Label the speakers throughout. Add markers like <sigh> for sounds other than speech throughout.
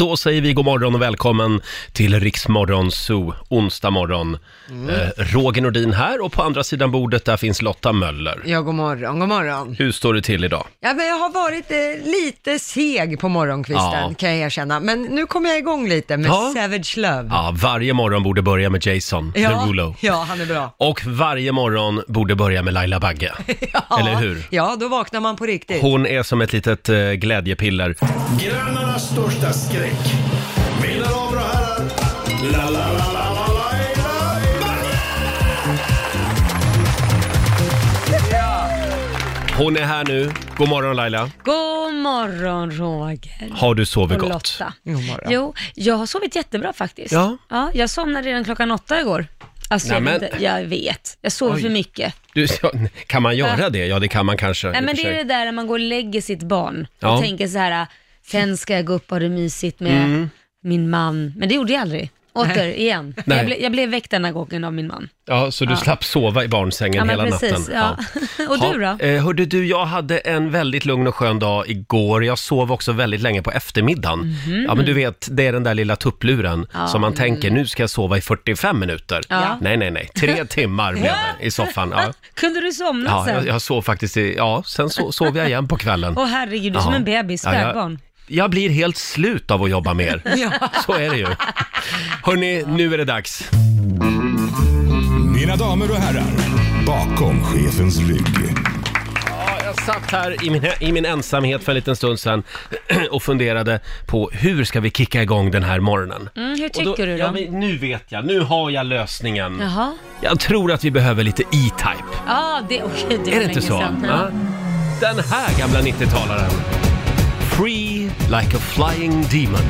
Speaker 1: Då säger vi god morgon och välkommen till Riksmorgon Zoo, onsdag morgon.
Speaker 2: Mm.
Speaker 1: Eh, Roger Nordin här och på andra sidan bordet där finns Lotta Möller.
Speaker 2: Ja, god morgon, god morgon.
Speaker 1: Hur står det till idag?
Speaker 2: Ja, men jag har varit eh, lite seg på morgonkvisten,
Speaker 1: Ja.
Speaker 2: kan jag erkänna. Men nu kommer jag igång lite med
Speaker 1: Ja.
Speaker 2: Savage Love.
Speaker 1: Ja, varje morgon borde börja med Jason Derulo.
Speaker 2: ja, han är bra.
Speaker 1: Och varje morgon borde börja med Laila
Speaker 2: <laughs>
Speaker 1: Bagge.
Speaker 2: <laughs> Ja.
Speaker 1: Eller hur?
Speaker 2: Ja, då vaknar man på riktigt.
Speaker 1: Hon är som ett litet eh, glädjepiller.
Speaker 3: Grannarnas största skräck. Mina damer och herrar. La, la, la, la, la, la, la,
Speaker 1: Hon är här nu. God morgon Laila.
Speaker 4: God morgon Roger
Speaker 1: Har du sovit
Speaker 4: och
Speaker 1: gott?
Speaker 4: Lotta.
Speaker 2: God morgon.
Speaker 4: Jo, jag har sovit jättebra faktiskt.
Speaker 1: Ja.
Speaker 4: jag somnade redan klockan åtta igår. Alltså, jag,
Speaker 1: Nämen.
Speaker 4: vet inte, jag vet. Jag sover för mycket.
Speaker 1: Du, <laughs> ja, kan man göra det? Ja, det kan man kanske. i
Speaker 4: Nej,
Speaker 1: och
Speaker 4: men
Speaker 1: för
Speaker 4: det är
Speaker 1: sig.
Speaker 4: det där när man går och lägger sitt barn
Speaker 1: Ja.
Speaker 4: och tänker så här, sen ska jag gå upp och ha det mysigt med min man. Men det gjorde jag aldrig. Åter, igen.
Speaker 1: Nej.
Speaker 4: Jag, ble, jag blev väckt denna gången av min man.
Speaker 1: Ja, så du slapp sova i barnsängen
Speaker 4: Ja, men
Speaker 1: hela
Speaker 4: precis,
Speaker 1: natten.
Speaker 4: ja. <laughs> Och du
Speaker 1: Ja,
Speaker 4: då?
Speaker 1: Eh, hörde du, jag hade en väldigt lugn och skön dag igår. Jag sov också väldigt länge på eftermiddagen.
Speaker 4: Mhm.
Speaker 1: Ja, men du vet, det är den där lilla tuppluren som man tänker, nu ska jag sova i 45 minuter.
Speaker 4: Mm. Ja.
Speaker 1: Nej, nej, nej,
Speaker 4: <laughs>
Speaker 1: tre timmar blev det i soffan. Ja.
Speaker 4: Kunde du somna
Speaker 1: Ja,
Speaker 4: sen?
Speaker 1: jag, jag sov faktiskt i, ja, sen so, sov jag igen på kvällen.
Speaker 4: Alltså. Åh herregud, du är som
Speaker 1: Ja.
Speaker 4: en bebis,
Speaker 1: Ja, jag-
Speaker 4: spädbarn.
Speaker 1: Jag blir helt slut av att jobba
Speaker 4: <laughs>
Speaker 1: mer. Så är det ju. Hörni, nu är det dags.
Speaker 3: la. Mina damer och herrar. Bakom chefens rygg.
Speaker 1: Jag satt här i min, i min ensamhet för en liten stund sedan <clears throat> och funderade på hur ska vi kicka igång den här morgonen?
Speaker 4: Mm, hur tycker
Speaker 1: Och
Speaker 4: du då?
Speaker 1: Ja, men nu vet jag, nu har jag lösningen.
Speaker 4: Jaha.
Speaker 1: Jag tror att vi behöver lite E-Type.
Speaker 4: Ja, det, okej, det var
Speaker 1: Är det
Speaker 4: länge
Speaker 1: inte så?
Speaker 4: sedan.
Speaker 1: Ja. Den här gamla 90-talaren. Free like a flying demon.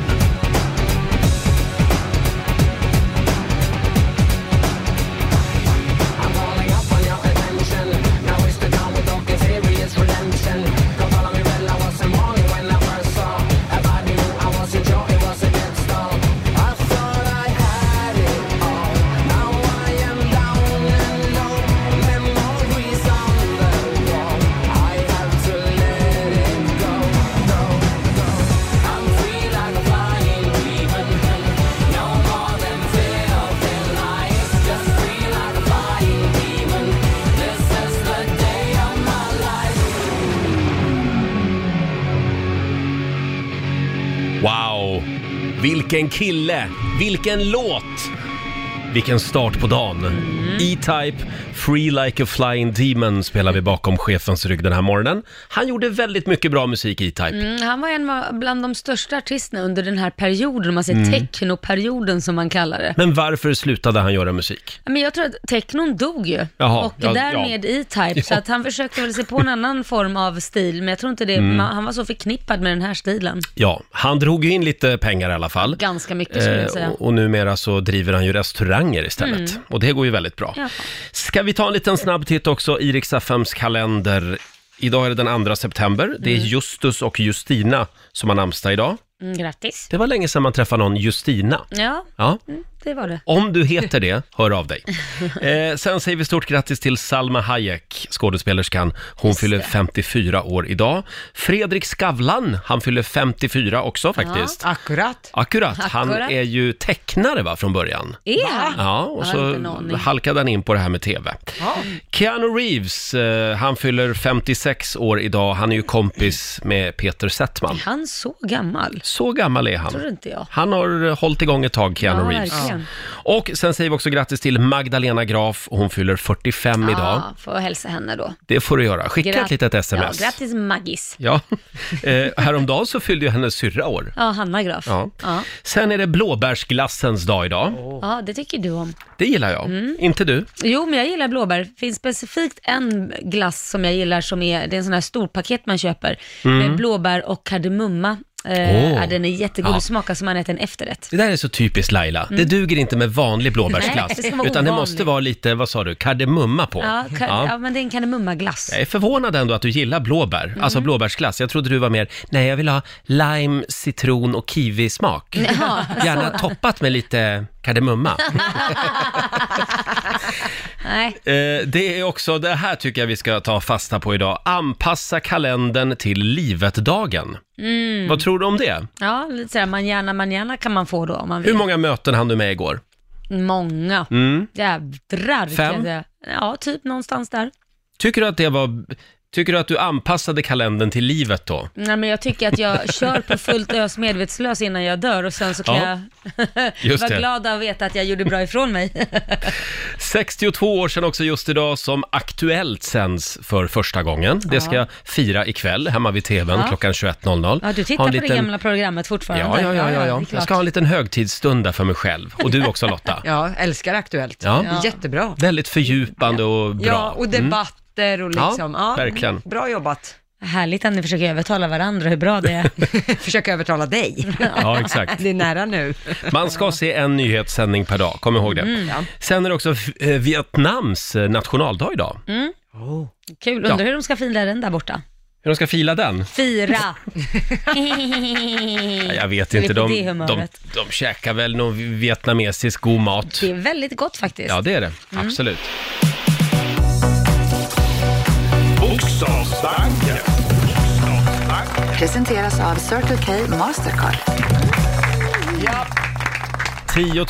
Speaker 1: Wow! Vilken kille! Vilken låt! Vilken start på dagen! E-Type, Free Like a Flying Demon spelar vi bakom chefens rygg den här morgonen. Han gjorde väldigt mycket bra musik, E-Type.
Speaker 4: Mm, han var en av- bland de största artisterna under den här perioden, om man säger
Speaker 1: Mm.
Speaker 4: technoperioden som man kallar det.
Speaker 1: Men varför slutade han göra musik?
Speaker 4: Men jag tror att technon dog ju
Speaker 1: Jaha,
Speaker 4: och
Speaker 1: ja,
Speaker 4: därmed
Speaker 1: ja.
Speaker 4: E-Type, så att han försökte väl se på en annan form av stil, men jag tror inte det,
Speaker 1: Mm.
Speaker 4: man, han var så förknippad med den här stilen.
Speaker 1: Ja, han drog ju in lite pengar i alla fall.
Speaker 4: Ganska mycket skulle jag
Speaker 1: Eh,
Speaker 4: säga. Mm.
Speaker 1: och, och numera så driver han ju restauranger istället. Och det går ju väldigt bra.
Speaker 4: Ja.
Speaker 1: Ska vi ta en liten snabb titt också i Rix FMs kalender. Idag är det den 2 september. Det är Justus och Justina som har namnsdag idag.
Speaker 4: Mm, grattis.
Speaker 1: Det var länge sedan man träffade någon Justina.
Speaker 4: Ja, mm,
Speaker 1: Ja.
Speaker 4: det var det.
Speaker 1: Om du heter det, hör av
Speaker 4: <laughs>
Speaker 1: dig. Eh, sen säger vi stort grattis till Salma Hayek, skådespelerskan. Hon fyller 54 år idag. Fredrik Skavlan, han fyller 54 också faktiskt.
Speaker 2: Akkurat.
Speaker 1: Akkurat, han
Speaker 4: Akkurat.
Speaker 1: är ju tecknare va, från början.
Speaker 4: Är han?
Speaker 1: Ja, och
Speaker 4: Jag har inte en
Speaker 1: så
Speaker 4: aning.
Speaker 1: halkade han in på det här med TV. Keanu Reeves, eh, han fyller 56 år idag. Han är ju kompis med Peter Settman.
Speaker 4: Han så gammal?
Speaker 1: Så gammal är
Speaker 4: Tror
Speaker 1: han.
Speaker 4: inte jag.
Speaker 1: Han har eh, hållit igång ett tag, Keanu
Speaker 4: Ja,
Speaker 1: Reeves.
Speaker 4: verkligen.
Speaker 1: Och sen säger vi också grattis till Magdalena Graf. Hon fyller
Speaker 4: Ah,
Speaker 1: 45 idag.
Speaker 4: Ja, får jag hälsa henne då.
Speaker 1: Det får du göra. Skicka ett
Speaker 4: Grat-
Speaker 1: litet
Speaker 4: Ja,
Speaker 1: sms.
Speaker 4: grattis Maggis.
Speaker 1: Ja, <laughs> eh, häromdagen så fyllde ju hennes syrra år.
Speaker 4: Ja, Hanna Graf.
Speaker 1: Ja.
Speaker 4: Ja.
Speaker 1: Sen är det blåbärsglassens dag idag.
Speaker 4: ja, det tycker du om.
Speaker 1: Det gillar jag.
Speaker 4: Mm.
Speaker 1: Inte du?
Speaker 4: Jo, men jag gillar blåbär. Det finns specifikt en glass som jag gillar som är, det är en sån här stor paket man köper med blåbär och kardemumma. Eh,
Speaker 1: Mm. Åh.
Speaker 4: ja, den är jättegod,
Speaker 1: Ja.
Speaker 4: ja. smakar som man äter en efterrätt.
Speaker 1: Det där är så typiskt Laila. Det duger inte med vanlig
Speaker 4: Mm. <laughs> Nej,
Speaker 1: blåbärsglass.
Speaker 4: det ska vara
Speaker 1: utan det
Speaker 4: ovanlig.
Speaker 1: måste vara lite, vad sa du, kardemumma på.
Speaker 4: Ja, ka-
Speaker 1: Ja.
Speaker 4: ja. men det är en kardemummaglass.
Speaker 1: Jag är förvånad ändå att du gillar blåbär,
Speaker 4: Mm.
Speaker 1: alltså blåbärsglass. Jag trodde du var mer, nej
Speaker 4: Mm. <laughs>
Speaker 1: jag vill ha lime, citron och kiwismak. Gärna toppat med lite kardemumma.
Speaker 4: Nej.
Speaker 1: Eh, det är också, det här tycker jag vi ska ta fasta på idag. Anpassa kalendern till livet-dagen. Vad tror du om det?
Speaker 4: Mm. Ja, lite sådär manjana manjana kan man få då om man vill.
Speaker 1: Hur många möten hann du med igår?
Speaker 4: Många.
Speaker 1: Mm.
Speaker 4: Jädrar.
Speaker 1: Fem?
Speaker 4: kan jag säga. Ja, typ någonstans där.
Speaker 1: Tycker du att det var... Tycker du att du anpassade kalendern till livet då?
Speaker 4: Nej, men jag tycker att jag kör
Speaker 1: <laughs>
Speaker 4: på fullt ös medvetslös innan jag dör och sen så kan
Speaker 1: Ja,
Speaker 4: jag
Speaker 1: <laughs> just
Speaker 4: vara
Speaker 1: det.
Speaker 4: glad att veta att jag gjorde bra
Speaker 1: <laughs>
Speaker 4: ifrån mig.
Speaker 1: 62 år sedan också just idag som Aktuellt sänds för första gången. Det ska jag fira ikväll hemma vid TVn
Speaker 4: Ja.
Speaker 1: klockan 21.00.
Speaker 4: Ja, du
Speaker 1: Ha
Speaker 4: tittar
Speaker 1: en
Speaker 4: på det
Speaker 1: liten-
Speaker 4: gamla programmet
Speaker 1: Ja,
Speaker 4: fortfarande.
Speaker 1: ja, ja, ja,
Speaker 4: det är
Speaker 1: ja. Jag
Speaker 4: klart.
Speaker 1: ska ha en liten högtidsstund där för mig själv. Och du också
Speaker 4: <laughs>
Speaker 1: Lotta.
Speaker 2: Ja, älskar Aktuellt.
Speaker 1: Ja.
Speaker 2: Ja. Jättebra.
Speaker 1: Väldigt fördjupande och bra. Mm.
Speaker 2: Ja, och debatter och
Speaker 1: Ja,
Speaker 2: liksom.
Speaker 1: verkligen.
Speaker 2: Bra jobbat.
Speaker 4: Härligt att ni försöker övertala varandra hur bra det är.
Speaker 2: <laughs> Försök övertala dig.
Speaker 1: <laughs> Ja, exakt.
Speaker 2: Det är nära nu.
Speaker 1: Man ska se en nyhetssändning per dag, kom ihåg det.
Speaker 4: Mm,
Speaker 1: Sen är det också eh, Vietnams eh, nationaldag idag.
Speaker 4: Mm.
Speaker 1: Oh.
Speaker 4: Kul, undrar hur de ska fira den där borta.
Speaker 1: Hur de ska fila den?
Speaker 2: <laughs>
Speaker 4: Fira!
Speaker 1: Ja, Jag vet
Speaker 4: Du
Speaker 1: inte,
Speaker 4: vet,
Speaker 1: de,
Speaker 4: det är
Speaker 1: de, de,
Speaker 4: humöret.
Speaker 1: käkar väl någon vietnamesisk god mat.
Speaker 4: Det är väldigt gott faktiskt.
Speaker 1: Ja, det är det.
Speaker 4: Mm.
Speaker 1: Absolut.
Speaker 3: Bokstavsbanken.
Speaker 5: Presenteras av Circle K Mastercard.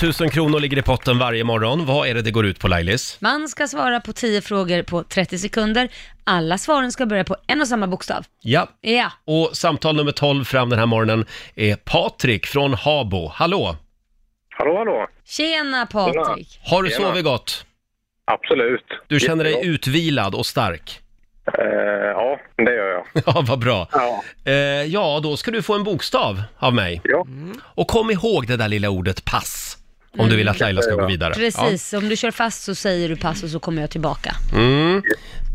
Speaker 1: 10 000 kronor ligger i potten varje morgon. Vad är det det går ut på Lailis?
Speaker 4: Man ska svara på 10 frågor på 30 sekunder. Alla svaren ska börja på en och samma bokstav.
Speaker 1: Ja.
Speaker 4: Ja,
Speaker 1: Och samtal nummer 12 fram den här morgonen är Patrik från Habo. Hallå!
Speaker 6: Hallå, hallå!
Speaker 4: tjena Patrik.
Speaker 1: Har du
Speaker 6: Tjena.
Speaker 1: sovit gott?
Speaker 6: Absolut.
Speaker 1: Du känner dig
Speaker 6: Jättebra.
Speaker 1: utvilad och stark?
Speaker 6: Eh, ja, det gör jag.
Speaker 1: <laughs> Ja, vad bra.
Speaker 6: Ja.
Speaker 1: Eh, ja, då ska du få en bokstav av mig.
Speaker 6: Ja.
Speaker 1: Och kom ihåg det där lilla ordet pass. Om du vill att
Speaker 6: Mm.
Speaker 1: Laila ska gå vidare.
Speaker 4: Precis, om du kör fast så säger du pass och så kommer jag tillbaka.
Speaker 1: Ja. Mm.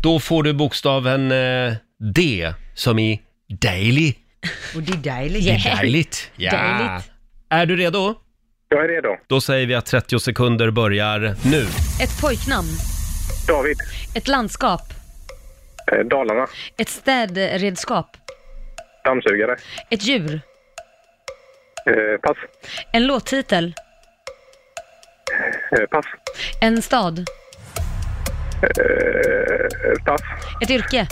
Speaker 1: Då får du bokstaven eh, D, som i daily.
Speaker 2: Och det är dejligt.
Speaker 1: Det är dejligt. Ja.
Speaker 4: <laughs> Dejligt.
Speaker 1: Är du redo?
Speaker 6: Jag är redo.
Speaker 1: Då säger vi att 30 sekunder börjar nu. <laughs>
Speaker 4: Ett pojknamn,
Speaker 6: David.
Speaker 4: ett landskap,
Speaker 6: Eh, Dalarna.
Speaker 4: ett städredskap,
Speaker 6: Dammsugare.
Speaker 4: ett djur,
Speaker 6: Eh, pass.
Speaker 4: en låttitel,
Speaker 6: Eh, pass.
Speaker 4: en stad,
Speaker 6: Eh, pass.
Speaker 4: ett yrke,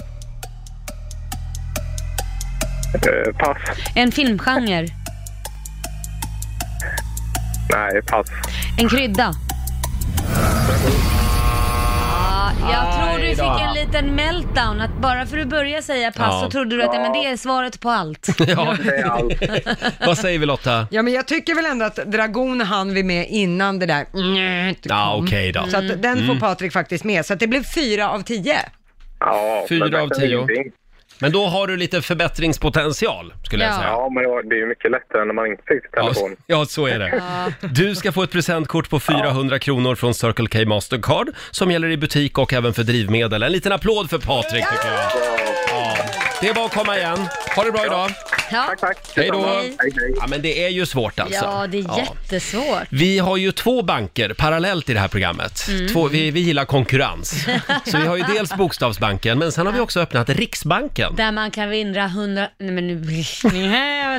Speaker 6: Eh, pass.
Speaker 4: en filmgenre,
Speaker 6: Nej, pass.
Speaker 4: en krydda. Ah, Jag tror du fick en liten meltdown, att bara för att du började säga pass
Speaker 1: Ja.
Speaker 4: så trodde du att "Nej, men det är svaret på allt.
Speaker 1: Ja.
Speaker 6: Det är allt.
Speaker 1: Vad säger vi Lotta?
Speaker 2: Ja, men jag tycker väl ändå att Dragon hann vi med innan det där njöt kom.
Speaker 1: Ja, okej då. Mm.
Speaker 2: Så att den får Patrik faktiskt med. Så att det blev fyra av tio.
Speaker 6: Ja,
Speaker 1: Fyra
Speaker 6: men det är
Speaker 1: av tio.
Speaker 6: ingenting.
Speaker 1: Men då har du lite förbättringspotential, skulle jag
Speaker 4: Ja.
Speaker 1: säga.
Speaker 6: Ja, men det var- det är ju mycket lättare när man inte fick sitt telefon.
Speaker 1: Ja, så är det. Du ska få ett presentkort på 400 kronor från Circle K Mastercard som gäller i butik och även för drivmedel. En liten applåd för Patrik tycker jag. Ja. Det är bara att komma igen. Ha det bra idag.
Speaker 4: Ja,
Speaker 6: Tack.
Speaker 1: Hej då.
Speaker 6: detsamma. Hej, hej.
Speaker 1: Ja, men det är ju svårt alltså.
Speaker 4: ja det är jättesvårt.
Speaker 1: Vi har ju två banker parallellt i det här programmet.
Speaker 4: Mm.
Speaker 1: Två, vi, vi gillar
Speaker 4: <laughs>
Speaker 1: konkurrens. Så vi har ju dels Bokstavsbanken, men sen har vi också öppnat Riksbanken.
Speaker 4: Där man kan vinna 100... Nej men nu... <laughs>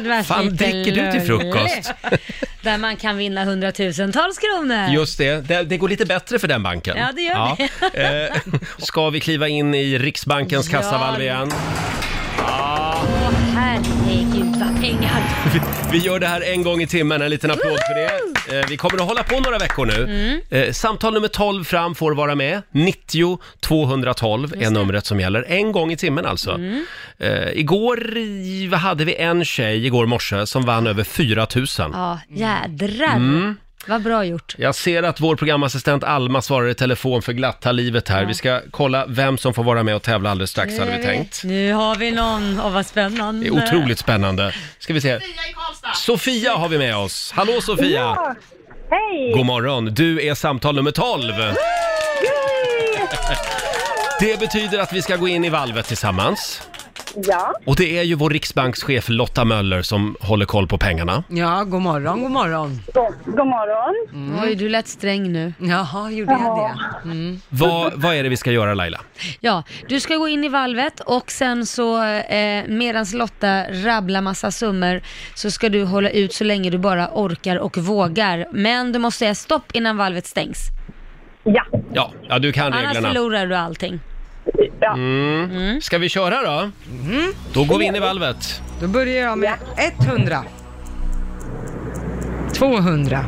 Speaker 4: Det var
Speaker 1: Fan,
Speaker 4: lite
Speaker 1: dricker du till frukost?
Speaker 4: löjligt. <laughs> Där man kan vinna hundratusentals kronor.
Speaker 1: Just det. det, det går lite bättre för den banken.
Speaker 4: Eh. Ja, det <laughs> gör
Speaker 1: det. Eh, ska vi kliva in i Riksbankens
Speaker 4: Ja.
Speaker 1: kassavalv igen?
Speaker 4: Åh, herregud vad pengar.
Speaker 1: Vi gör det här en gång i timmen, en liten applåd för det. Eh, Vi kommer att hålla på några veckor nu.
Speaker 4: Mm.
Speaker 1: Eh, Samtal nummer 12 fram får vara med. 90 212 är numret som gäller. En gång i timmen alltså.
Speaker 4: Mm.
Speaker 1: Eh, Igår i- vad hade vi en tjej igår morse som vann över 4 000.
Speaker 4: Ja, jädrar.
Speaker 1: Mm.
Speaker 4: Vad bra gjort.
Speaker 1: Jag ser att vår programassistent Alma svarar i telefon för glatta livet här. Vi ska kolla vem som får vara med och tävla alldeles strax hade vi tänkt.
Speaker 4: Nu har vi någon. Åh vad spännande.
Speaker 1: Det är otroligt spännande. Ska vi se. Sofia har vi med oss. Hallå Sofia!
Speaker 7: Hej!
Speaker 1: God morgon, du är samtal nummer 12. <laughs> Det betyder att vi ska gå in i valvet tillsammans.
Speaker 7: Ja,
Speaker 1: Och det är ju vår riksbankschef Lotta Möller som håller koll på pengarna.
Speaker 2: Ja, god morgon, god morgon. Mm.
Speaker 7: god, god morgon.
Speaker 4: Oj, du lät sträng nu.
Speaker 2: Jaha, gjorde jag
Speaker 7: Jaha.
Speaker 2: det?
Speaker 1: Vad, vad är det vi ska göra Laila?
Speaker 4: Ja, du ska gå in i valvet och sen så eh, medans Lotta rabblar massa summor så ska du hålla ut så länge du bara orkar och vågar. Men du måste säga stopp innan valvet stängs.
Speaker 7: Ja,
Speaker 1: Ja, ja du kan
Speaker 4: Annars
Speaker 1: reglerna.
Speaker 4: förlorar du allting.
Speaker 7: ja.
Speaker 1: Mm.
Speaker 4: Mm.
Speaker 1: Ska vi köra då? Då går vi in i valvet.
Speaker 2: Då börjar jag med 100. 200.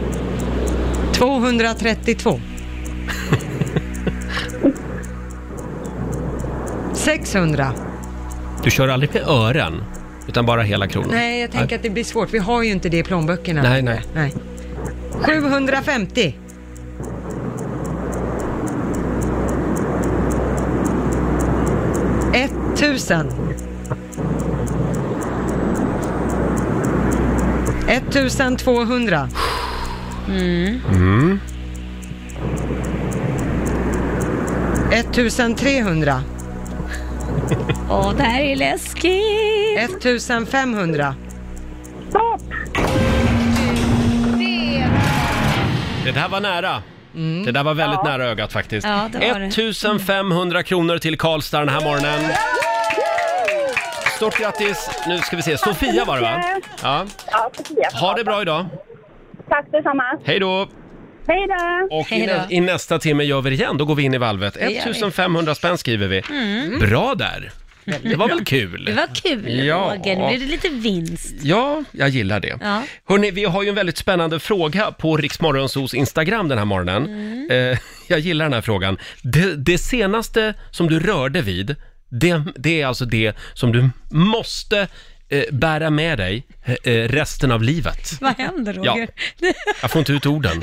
Speaker 2: <laughs> 232. 600.
Speaker 1: Du kör aldrig med ören, utan bara hela kronan.
Speaker 2: Nej, jag tänker att det blir svårt. Vi har ju inte det i plånböckerna.
Speaker 1: Nej, nej.
Speaker 2: nej. 750. 1000. 1200. Mm. 1300.
Speaker 4: Åh, det här är läskigt.
Speaker 2: 1500.
Speaker 7: Stopp!
Speaker 1: Det där var nära. Det där var väldigt
Speaker 4: <laughs>
Speaker 1: nära ögat faktiskt.
Speaker 4: Mm. Ja, det var det.
Speaker 1: 1500 kronor till Karlstad den här morgonen. Stort grattis! Nu ska vi se, Sofia var det va? Ja.
Speaker 7: Ja, Sofia.
Speaker 1: Ha det bra idag!
Speaker 7: Tack detsamma.
Speaker 1: Hej då!
Speaker 7: Hej då!
Speaker 1: Och i,
Speaker 4: Hej då.
Speaker 1: nä- i nästa timme gör vi det igen, då går vi in i valvet.
Speaker 4: gör vi. Mm.
Speaker 1: 1500 spänn skriver vi. Bra där! Det var väl kul?
Speaker 4: Det var kul
Speaker 1: Ja.
Speaker 4: Roger, nu blir det lite vinst.
Speaker 1: Ja, jag gillar det.
Speaker 4: Ja.
Speaker 1: Hörrni, vi har ju en väldigt spännande fråga på Riksmorgonsos Instagram den här morgonen.
Speaker 4: Mm.
Speaker 1: Eh, jag gillar den här frågan. Det, det senaste som du rörde vid, det, det är alltså det som du måste eh, bära med dig eh, eh, resten av livet.
Speaker 4: Vad händer Roger?
Speaker 1: Jag får inte ut orden.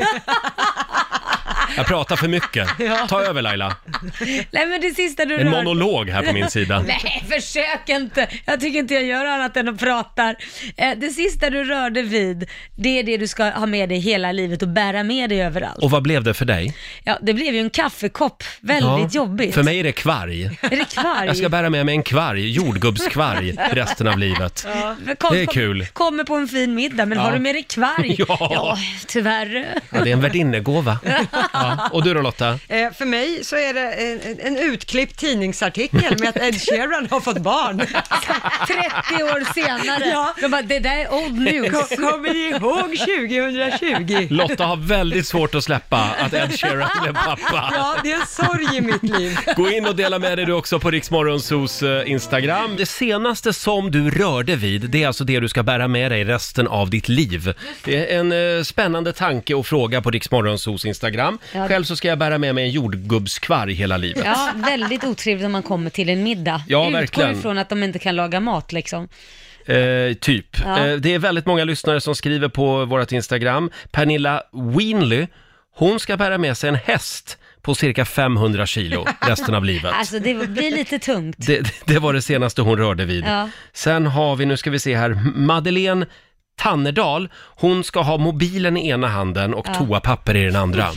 Speaker 1: Jag pratar för mycket. Ta över Laila.
Speaker 4: <laughs> Nej men det sista du
Speaker 1: En
Speaker 4: rör.
Speaker 1: monolog här på min sida.
Speaker 4: <laughs> Nej, försök inte. Jag tycker inte jag gör annat än att prata. Eh, Det sista du rörde vid, det är det du ska ha med dig hela livet och bära med dig överallt.
Speaker 1: Och vad blev det för dig?
Speaker 4: Ja, det blev ju en kaffekopp. Väldigt jobbigt.
Speaker 1: För mig är det kvarg.
Speaker 4: Är det kvarg?
Speaker 1: Jag ska bära med mig en kvarg, jordgubbskvarg, resten av livet.
Speaker 4: Men kom-
Speaker 1: det är
Speaker 4: kom-
Speaker 1: kul.
Speaker 4: Kommer på en fin middag, men har du med dig kvarg?
Speaker 1: <laughs> Ja.
Speaker 4: tyvärr.
Speaker 1: Ja, det är en
Speaker 2: <laughs>
Speaker 1: värdinnegåva. Ja. Och du då Lotta?
Speaker 2: Eh, för mig så är det en, en- en utklippt tidningsartikel med att Ed Sheeran har fått
Speaker 4: <laughs>
Speaker 2: barn.
Speaker 4: 30 år senare.
Speaker 2: Ja.
Speaker 4: De bara, det där är old
Speaker 2: Kom,
Speaker 4: news.
Speaker 2: kommer ni ihåg 2020?
Speaker 1: Lotta har väldigt svårt att släppa att Ed Sheeran blev pappa.
Speaker 2: Ja, det är en sorg i mitt liv.
Speaker 1: Gå in och dela med dig du också på Riksmorgonsos eh, Instagram. Det senaste som du rörde vid, det är alltså det du ska bära med dig resten av ditt liv. Det är en eh, spännande tanke och fråga på Riksmorgonsos Instagram.
Speaker 4: Ja.
Speaker 1: Själv så ska jag bära med mig en jordgubbskvarg hela livet.
Speaker 4: Ja, väldigt otrevligt om man kommer till en middag.
Speaker 1: Ja,
Speaker 4: Utgår
Speaker 1: verkligen.
Speaker 4: ifrån att de inte kan laga mat liksom.
Speaker 1: Eh, typ.
Speaker 4: Ja.
Speaker 1: Eh, det är väldigt många lyssnare som skriver på vårt Instagram. Pernilla Winley, hon ska bära med sig en häst på cirka 500
Speaker 4: <laughs>
Speaker 1: kilo resten av livet.
Speaker 4: Alltså det blir lite tungt.
Speaker 1: Det, det var det senaste hon rörde vid.
Speaker 4: Ja.
Speaker 1: Sen har vi, nu ska vi se här, Madeleine Tannerdal, hon ska ha mobilen i ena handen och toapapper i den
Speaker 4: <laughs>
Speaker 1: andra.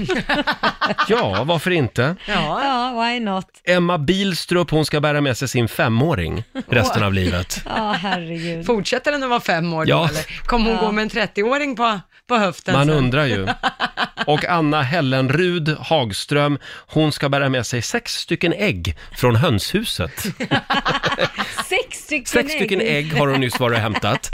Speaker 1: ja, varför inte?
Speaker 2: Ja,
Speaker 4: Ja, why not?
Speaker 1: Emma Bilstrup, hon ska bära med sig sin femåring resten av livet.
Speaker 4: Ja, herregud.
Speaker 2: fortsätter den att vara fem år
Speaker 1: Ja.
Speaker 2: då eller? Kommer hon gå med en 30-åring på, på höften
Speaker 1: Man
Speaker 2: sen?
Speaker 1: undrar
Speaker 4: <laughs>
Speaker 1: ju. Och Anna Hellenrud Hagström, hon ska bära med sig sex stycken ägg från hönshuset.
Speaker 4: Sex stycken
Speaker 1: Sex stycken ägg har hon nyss varit och
Speaker 4: <laughs>
Speaker 1: hämtat.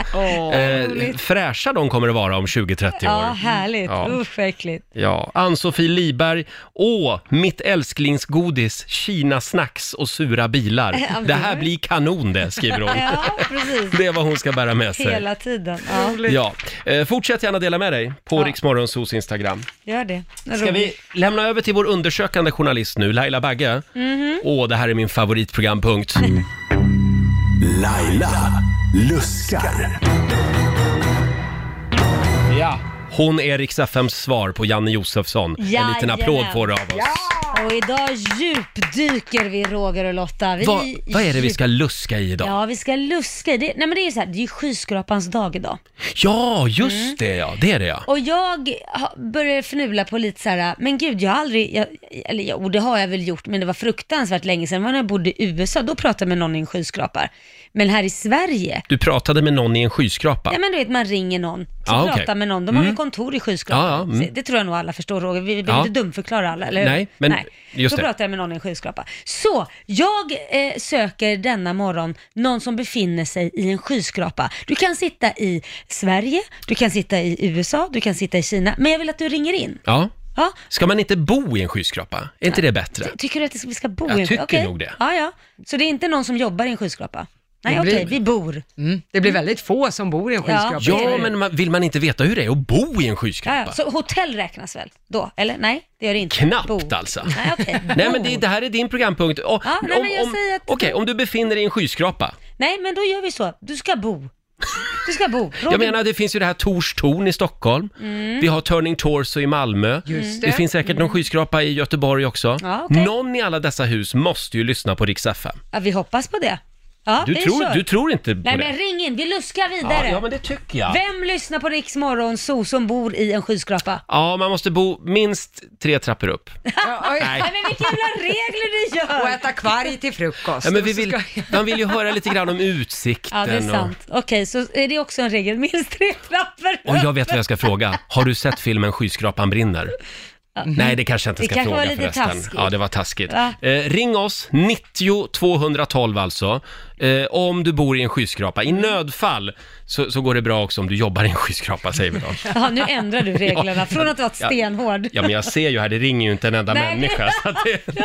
Speaker 1: eh, fräscha de kommer det vara om 20-30
Speaker 4: Ja,
Speaker 1: år.
Speaker 4: härligt.
Speaker 1: Ja.
Speaker 4: Usch, vad äckligt.
Speaker 1: Ja, Ann-Sofie Liberg. Åh, mitt älsklingsgodis, Kina-snacks och sura
Speaker 4: <laughs>
Speaker 1: bilar. Det här blir kanon det, skriver hon.
Speaker 4: Ja, precis.
Speaker 1: Det är vad hon ska bära med sig.
Speaker 4: Hela tiden. Ja,
Speaker 1: Ja. Eh, fortsätt gärna dela med dig på ja. Riksmorgonsos Instagram.
Speaker 4: gör det.
Speaker 1: Ska vi lämna över till vår undersökande journalist nu, Laila
Speaker 4: Mm.
Speaker 1: Bagge?
Speaker 4: Mhm.
Speaker 1: Åh, det här är min favoritprogrampunkt.
Speaker 3: Laila luskar.
Speaker 1: Ja. Hon är riks FMs svar på Janne Josefsson. En liten
Speaker 4: Jajamän.
Speaker 1: applåd får du av oss.
Speaker 4: Ja. Och idag djupdyker vi Roger och Lotta. Vi
Speaker 1: Vad, vad är det vi ska luska i idag?
Speaker 4: Ja, vi ska luska i det. Nej men det är ju så här, det är ju skyskrapans dag idag.
Speaker 1: Ja, just
Speaker 4: Mm.
Speaker 1: det ja, det är det ja.
Speaker 4: Och jag ha- började fnula på lite så här, men gud jag har aldrig, jag, eller jo det har jag väl gjort, men det var fruktansvärt länge sedan. Det var när jag bodde i USA, då pratade jag med någon i en skyskrapa. Men här i Sverige,
Speaker 1: Du pratade med någon i en skyskrapa.
Speaker 4: ja men du vet man ringer någon, så
Speaker 1: Ja, okej. Mm.
Speaker 4: pratar med någon, de har ju kontor i skyskrapan.
Speaker 1: Ja, ja, mm.
Speaker 4: Så Det tror jag nog alla förstår Roger, vi behöver
Speaker 1: Ja.
Speaker 4: inte dumförklara alla, eller hur?
Speaker 1: Nej, men just
Speaker 4: Då
Speaker 1: det.
Speaker 4: pratar jag med någon i en skyskrapa. Så, jag eh, söker denna morgon någon som befinner sig i en skyskrapa. Du kan sitta i Sverige, du kan sitta i USA, du kan sitta i Kina, men jag vill att du ringer in.
Speaker 1: Ja.
Speaker 4: Ja.
Speaker 1: Ska man inte bo i en skyskrapa? Är inte det bättre?
Speaker 4: Tycker du att vi ska bo
Speaker 1: Jag
Speaker 4: i en
Speaker 1: tycker
Speaker 4: okej.
Speaker 1: nog det.
Speaker 4: Ja, ja. Så det är inte någon som jobbar i en skyskrapa? Nej,
Speaker 2: Det
Speaker 4: okej,
Speaker 2: blir-
Speaker 4: vi bor.
Speaker 2: Mm. Det blir väldigt få som bor i en
Speaker 4: Ja.
Speaker 2: skyskrapa.
Speaker 1: Ja, men man, vill man inte veta hur det är att bo i en skyskrapa?
Speaker 4: Mm. Ja, ja. Så hotell räknas väl då? Eller nej, det gör det inte.
Speaker 1: Knappt
Speaker 4: bo.
Speaker 1: alltså.
Speaker 4: Nej, okej.
Speaker 1: Nej men
Speaker 4: Bo.
Speaker 1: det, det här är din programpunkt. Och,
Speaker 4: Ja, nej,
Speaker 1: om,
Speaker 4: men jag
Speaker 1: om,
Speaker 4: säger att-
Speaker 1: Okej, om du befinner dig i en skyskrapa.
Speaker 4: nej, men då gör vi så. Du ska bo. Du ska bo. Roger,
Speaker 1: Jag menar, det finns ju det här Tors torn i Stockholm.
Speaker 4: Mm.
Speaker 1: Vi har Turning Torso i Malmö.
Speaker 2: Just
Speaker 1: det.
Speaker 2: det.
Speaker 1: finns säkert någon skyskrapa i Göteborg också.
Speaker 4: Ja, okej.
Speaker 1: Någon i alla dessa hus måste ju lyssna på Rix FM.
Speaker 4: ja, vi hoppas på det. Ja,
Speaker 1: Du,
Speaker 4: vi
Speaker 1: tror,
Speaker 4: kör.
Speaker 1: du tror inte på
Speaker 4: Nej,
Speaker 1: det?
Speaker 4: men ring in. Vi luskar
Speaker 1: ja,
Speaker 4: vidare.
Speaker 1: ja, men det tycker jag.
Speaker 4: Vem lyssnar på Riks Morgonzoo som bor i en skyskrapa?
Speaker 1: Ja, man måste bo minst tre trappor upp.
Speaker 2: Ja, oj.
Speaker 1: Nej.
Speaker 4: Nej, men vilka jävla regler du gör!
Speaker 2: Och äta kvarg till frukost.
Speaker 1: Ja, men vi
Speaker 2: Och så
Speaker 1: vill,
Speaker 2: ska-
Speaker 1: man vill ju höra lite
Speaker 4: <laughs>
Speaker 1: grann om utsikten.
Speaker 4: <laughs> Ja, det är
Speaker 1: och-
Speaker 4: sant. Okej, så är det också en regel. Minst tre trappor
Speaker 1: Och jag vet vad jag ska fråga. Har du sett filmen Skyskrapan brinner? Nej, det kanske jag inte
Speaker 4: Mm. Det
Speaker 1: ska
Speaker 4: kanske
Speaker 1: fråga
Speaker 4: var lite
Speaker 1: förresten.
Speaker 4: taskigt.
Speaker 1: Ja, det var taskigt.
Speaker 4: Va?
Speaker 1: Eh, ring oss, 90 212 alltså. Eh, om du bor i en skyskrapa.
Speaker 4: Mm.
Speaker 1: I nödfall så, så går det bra också om du jobbar i en skyskrapa, säger vi
Speaker 4: <laughs>
Speaker 1: då.
Speaker 4: Jaha, nu
Speaker 1: <laughs>
Speaker 4: ändrar du reglerna. Från att vara ett
Speaker 1: Ja.
Speaker 4: stenhård.
Speaker 1: Ja, men jag
Speaker 4: <laughs>
Speaker 1: ser ju här, det ringer ju inte en enda
Speaker 4: Nej.
Speaker 1: människa. Så att det...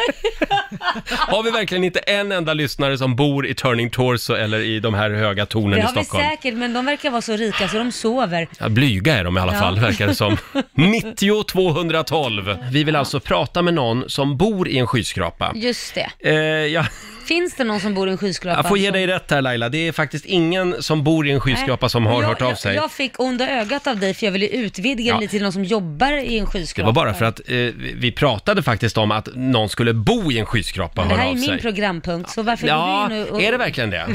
Speaker 1: Har vi verkligen inte en enda lyssnare som bor i Turning Torso eller i de här höga tornen
Speaker 4: Det
Speaker 1: i
Speaker 4: har vi
Speaker 1: Stockholm?
Speaker 4: säkert, men de verkar vara så rika så de sover.
Speaker 1: Ja, blyga är de i alla
Speaker 4: Ja.
Speaker 1: fall, verkar det
Speaker 4: <laughs>
Speaker 1: som. 90 212. Vi vill alltså prata med någon som bor i en skyskrapa.
Speaker 4: Just det.
Speaker 1: Eh, jag,
Speaker 4: Finns det någon som bor i en skyskrapa?
Speaker 1: jag får ge
Speaker 4: som-
Speaker 1: dig rätt här Laila, det är faktiskt ingen som bor i en skyskrapa som har
Speaker 4: jag,
Speaker 1: hört av
Speaker 4: jag-
Speaker 1: sig.
Speaker 4: Jag fick onda ögat av dig för jag ville utvidga
Speaker 1: Ja.
Speaker 4: det lite till någon som jobbar i en
Speaker 1: Det
Speaker 4: skyskrapa.
Speaker 1: var bara för att eh, vi vi pratade faktiskt om att någon skulle bo i en skyskrapa och
Speaker 4: Det
Speaker 1: höra
Speaker 4: här är
Speaker 1: av sig.
Speaker 4: min <laughs> programpunkt, så varför
Speaker 1: Ja,
Speaker 4: går du in och... och
Speaker 1: är det verkligen det?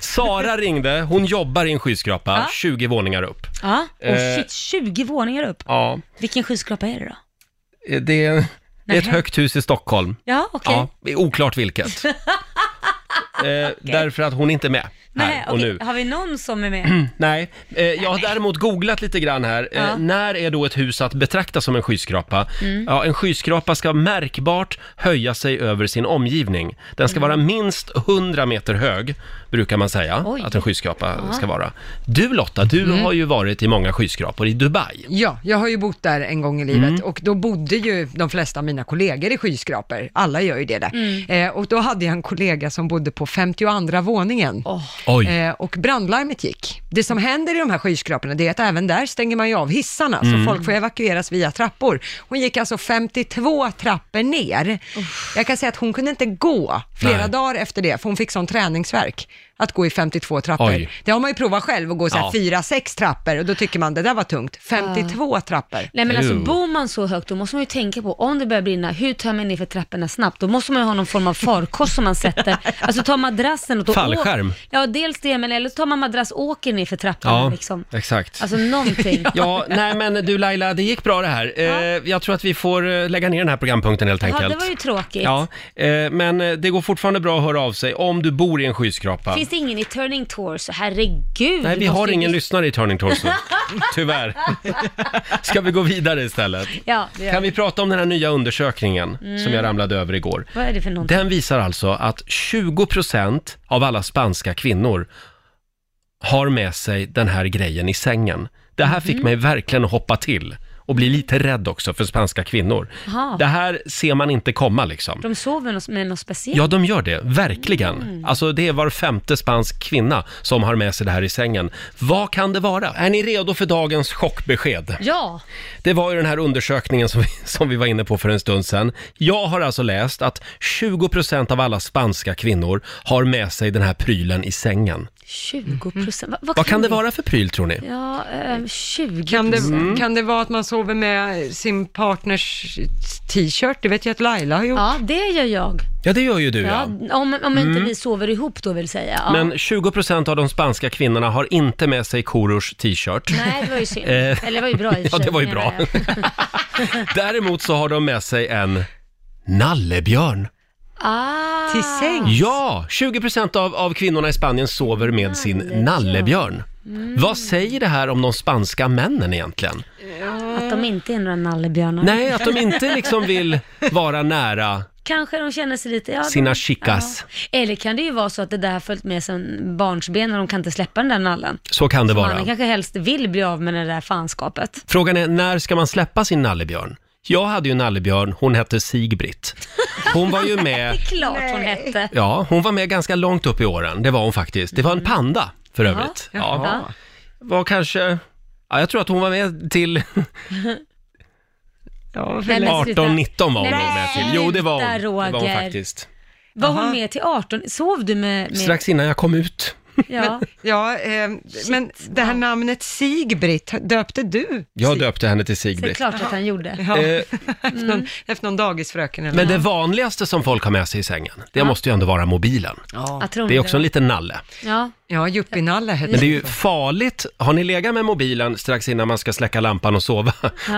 Speaker 1: Sara ringde, hon jobbar i en skyskrapa,
Speaker 4: Ja.
Speaker 1: 20 våningar upp.
Speaker 4: Ja,
Speaker 1: Eh.
Speaker 4: och shit, 20 våningar upp.
Speaker 1: Ja,
Speaker 4: Vilken skyskrapa är det då?
Speaker 1: eh, det är det är ett
Speaker 4: Nähä.
Speaker 1: högt hus i Stockholm.
Speaker 4: Ja, okej.
Speaker 1: Ja, det är oklart
Speaker 4: <laughs>
Speaker 1: vilket. eh, Därför att hon är inte med här
Speaker 4: Nej,
Speaker 1: och
Speaker 4: okej.
Speaker 1: nu.
Speaker 4: Har vi någon som är med?
Speaker 1: <clears throat> Nej, eh, jag har däremot googlat lite grann här. Eh,
Speaker 4: Ja. Mm.
Speaker 1: När är då ett hus att betrakta som en skyskrapa? Ja, en skyskrapa ska märkbart höja sig över sin omgivning. Den
Speaker 4: Mm.
Speaker 1: ska vara minst 100 meter hög, brukar man säga
Speaker 4: Oj. Mm.
Speaker 1: att en skyskrapa ska vara. Du Lotta, du har ju varit i många skyskrapor i Dubai.
Speaker 2: Ja, jag har ju bott där en gång i livet och då bodde ju de flesta av mina kollegor i skyskrapor. Alla gör ju det där. Eh, och då hade jag en kollega som bodde på 52 våningen.
Speaker 1: Oj.
Speaker 2: Eh, och brandlarmet gick. Det som händer i de här skyskraporna det är att även där stänger man ju av hissarna,
Speaker 1: Mm.
Speaker 2: så folk får evakueras via trappor. Hon gick alltså 52 trappor ner. Jag kan säga att hon kunde inte gå flera
Speaker 1: Nej.
Speaker 2: dagar efter det, för hon fick sån träningsverk att gå i 52 trappor.
Speaker 1: Oj.
Speaker 2: Det har man ju provat själv, att gå så här
Speaker 1: Ja.
Speaker 2: fyra, sex trappor och då tycker man det där var tungt. 52 trappor.
Speaker 4: Ah. Nej men alltså
Speaker 1: Ew.
Speaker 4: bor man så högt då måste man ju tänka på om det börjar brinna, hur tar man ner för trapporna snabbt? Då måste man ju ha någon form av farkost som
Speaker 1: <laughs>
Speaker 4: man sätter. Alltså ta madrassen och... Då
Speaker 1: Fallskärm.
Speaker 4: Åk, ja dels det, men eller så tar man madrass och åker ner för trapporna
Speaker 1: Ja,
Speaker 4: liksom.
Speaker 1: exakt.
Speaker 4: Alltså någonting.
Speaker 1: <laughs> Ja, nej men du Laila, det gick bra det här. Eh, Jag tror att vi får eh, lägga ner den här programpunkten helt
Speaker 4: Ja,
Speaker 1: enkelt.
Speaker 4: det var ju tråkigt.
Speaker 1: Ja, eh, men eh, det går fortfarande bra att höra av sig om du bor i en skyskrapa.
Speaker 4: Finns det ingen i Turning Torso?
Speaker 1: <laughs> Nej,
Speaker 4: Herregud. det
Speaker 1: vi
Speaker 4: måste
Speaker 1: har
Speaker 4: ju-
Speaker 1: ingen lyssnare i Turning Torso.
Speaker 4: <laughs>
Speaker 1: Tyvärr. Ska vi gå vidare istället?
Speaker 4: Ja, det gör
Speaker 1: Kan
Speaker 4: vi...
Speaker 1: vi
Speaker 4: Mm.
Speaker 1: prata om den här nya undersökningen som jag ramlade över igår?
Speaker 4: Vad är det för någonting?
Speaker 1: Den visar alltså att 20% av alla spanska kvinnor har med sig den här grejen i sängen. Det här
Speaker 4: Mm.
Speaker 1: fick mig verkligen att hoppa till och bli lite rädd också för spanska kvinnor.
Speaker 4: Jaha.
Speaker 1: Det här ser man inte komma liksom.
Speaker 4: De sover något- med något speciellt?
Speaker 1: Ja, de gör det. Verkligen. Alltså, det är var femte spansk kvinna som har med sig det här i sängen. Vad kan det vara? Är ni redo för dagens chockbesked?
Speaker 4: Ja.
Speaker 1: Det var ju den här undersökningen som vi, <laughs> som vi var inne på för en stund sedan. Jag har alltså läst att 20% av alla spanska kvinnor har med sig den här prylen i sängen.
Speaker 4: 20
Speaker 2: Mm.
Speaker 4: procent? Va-
Speaker 1: Vad kan det vara för Mm. pryl tror ni?
Speaker 4: Ja, ehm, 20
Speaker 2: Kan det,
Speaker 4: procent.
Speaker 2: kan det vara att man sover med sin partners t-shirt? Det vet jag att Laila har gjort.
Speaker 4: Ja, det gör jag.
Speaker 1: Ja, det gör ju du
Speaker 4: Ja,
Speaker 1: ja. Mm.
Speaker 4: om, om inte vi sover ihop då vill säga. Ja.
Speaker 1: Men 20% av de spanska kvinnorna har inte med sig Korosh t-shirt.
Speaker 4: Nej, det var ju synd.
Speaker 1: <laughs> Eh.
Speaker 4: Eller det var ju
Speaker 1: <laughs>
Speaker 4: bra i och för
Speaker 1: Ja,
Speaker 4: sig,
Speaker 1: det var ju
Speaker 4: menar
Speaker 1: bra.
Speaker 4: jag.
Speaker 1: <laughs> Däremot så har de med sig en nallebjörn.
Speaker 4: Ah,
Speaker 2: Till säng.
Speaker 1: Ja, 20% av, av kvinnorna i Spanien sover med sin nallebjörn.
Speaker 4: Mm.
Speaker 1: Vad säger det här om de spanska männen egentligen?
Speaker 4: att de inte är några nallebjörnar.
Speaker 1: Nej, att de inte liksom vill vara nära
Speaker 4: <laughs> Kanske de känner sig lite... Ja,
Speaker 1: sina
Speaker 4: de,
Speaker 1: chicas.
Speaker 4: ja. Eller kan det ju vara så att det där har följt med sedan barnsben och de kan inte släppa den där nallen.
Speaker 1: Så kan det
Speaker 4: Mannen
Speaker 1: vara.
Speaker 4: kanske helst vill bli av med det där fanskapet.
Speaker 1: Frågan är, när ska man släppa sin nallebjörn? Jag hade ju en nallebjörn, hon hette Sigbritt. Hon var ju
Speaker 4: <laughs>
Speaker 1: med,
Speaker 4: Det är klart hon hette.
Speaker 1: ja, hon var med ganska långt upp i åren, det var hon faktiskt. Det var
Speaker 4: Mm.
Speaker 1: en panda för övrigt. Ja,
Speaker 4: Ja.
Speaker 1: var kanske, ja, jag tror att hon var med till <laughs>
Speaker 2: Ja,
Speaker 4: Nej, men sluta.
Speaker 1: 18-19 var hon
Speaker 4: Nej,
Speaker 1: nog med till. Jo, det var hon.
Speaker 4: sluta,
Speaker 1: Det var hon
Speaker 4: Roger.
Speaker 1: faktiskt.
Speaker 4: Var
Speaker 2: Aha.
Speaker 4: hon med till 18? Sov du med... med
Speaker 1: Strax innan jag kom ut.
Speaker 4: Ja.
Speaker 2: ja eh, men det här namnet Sigbritt, döpte du?
Speaker 1: Jag döpte henne till
Speaker 4: Det är
Speaker 1: Sigbritt.
Speaker 4: klart att han gjorde. Mm.
Speaker 2: Ja,
Speaker 1: Eh,
Speaker 2: <laughs> efter, någon, efter någon dagisfröken eller
Speaker 1: Men
Speaker 2: något.
Speaker 1: det vanligaste som folk har med sig i sängen, det måste ju ändå vara mobilen.
Speaker 2: Ja,
Speaker 4: Jag tror
Speaker 1: Det är också en liten nalle.
Speaker 4: Ja.
Speaker 2: ja yuppienalle hette
Speaker 1: Men det är ju farligt. Har ni legat med mobilen strax innan man ska släcka lampan och sova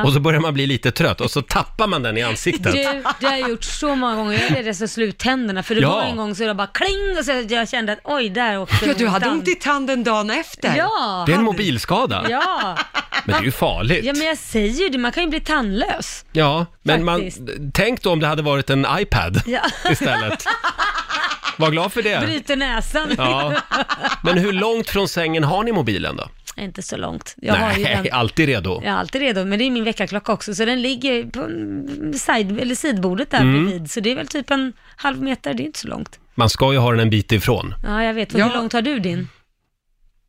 Speaker 1: och så börjar man bli lite trött och så tappar man den i ansiktet?
Speaker 4: Du, det har jag gjort så många gånger. Jag blev det så slut tänderna. För det
Speaker 1: Ja.
Speaker 4: var en gång så jag bara kling och så jag kände att oj, där åkte
Speaker 2: Ja, du hade
Speaker 4: notan.
Speaker 2: ont i tanden dagen efter.
Speaker 4: Ja.
Speaker 1: Det är en mobilskada.
Speaker 4: Ja.
Speaker 1: Men det är ju farligt.
Speaker 4: ja, men jag säger ju det. Man kan ju bli tandlös.
Speaker 1: Ja, men man,
Speaker 4: Faktiskt.
Speaker 1: tänk då om det hade varit en iPad
Speaker 4: <laughs> Ja.
Speaker 1: istället. Var glad för det.
Speaker 4: <laughs> Bryter näsan.
Speaker 1: Ja. Men hur långt från sängen har ni mobilen då?
Speaker 4: Inte så långt. Jag har ju den.
Speaker 1: Nej, alltid redo.
Speaker 4: Jag är alltid redo, men det är min väckarklocka också, så den ligger på mm, side, eller sidbordet där
Speaker 1: Mm.
Speaker 4: bredvid. Så det är väl typ en halv meter, det är inte så långt.
Speaker 1: Man ska ju ha den en bit ifrån.
Speaker 4: Ja, jag vet.
Speaker 2: Ja.
Speaker 4: Hur långt har du din?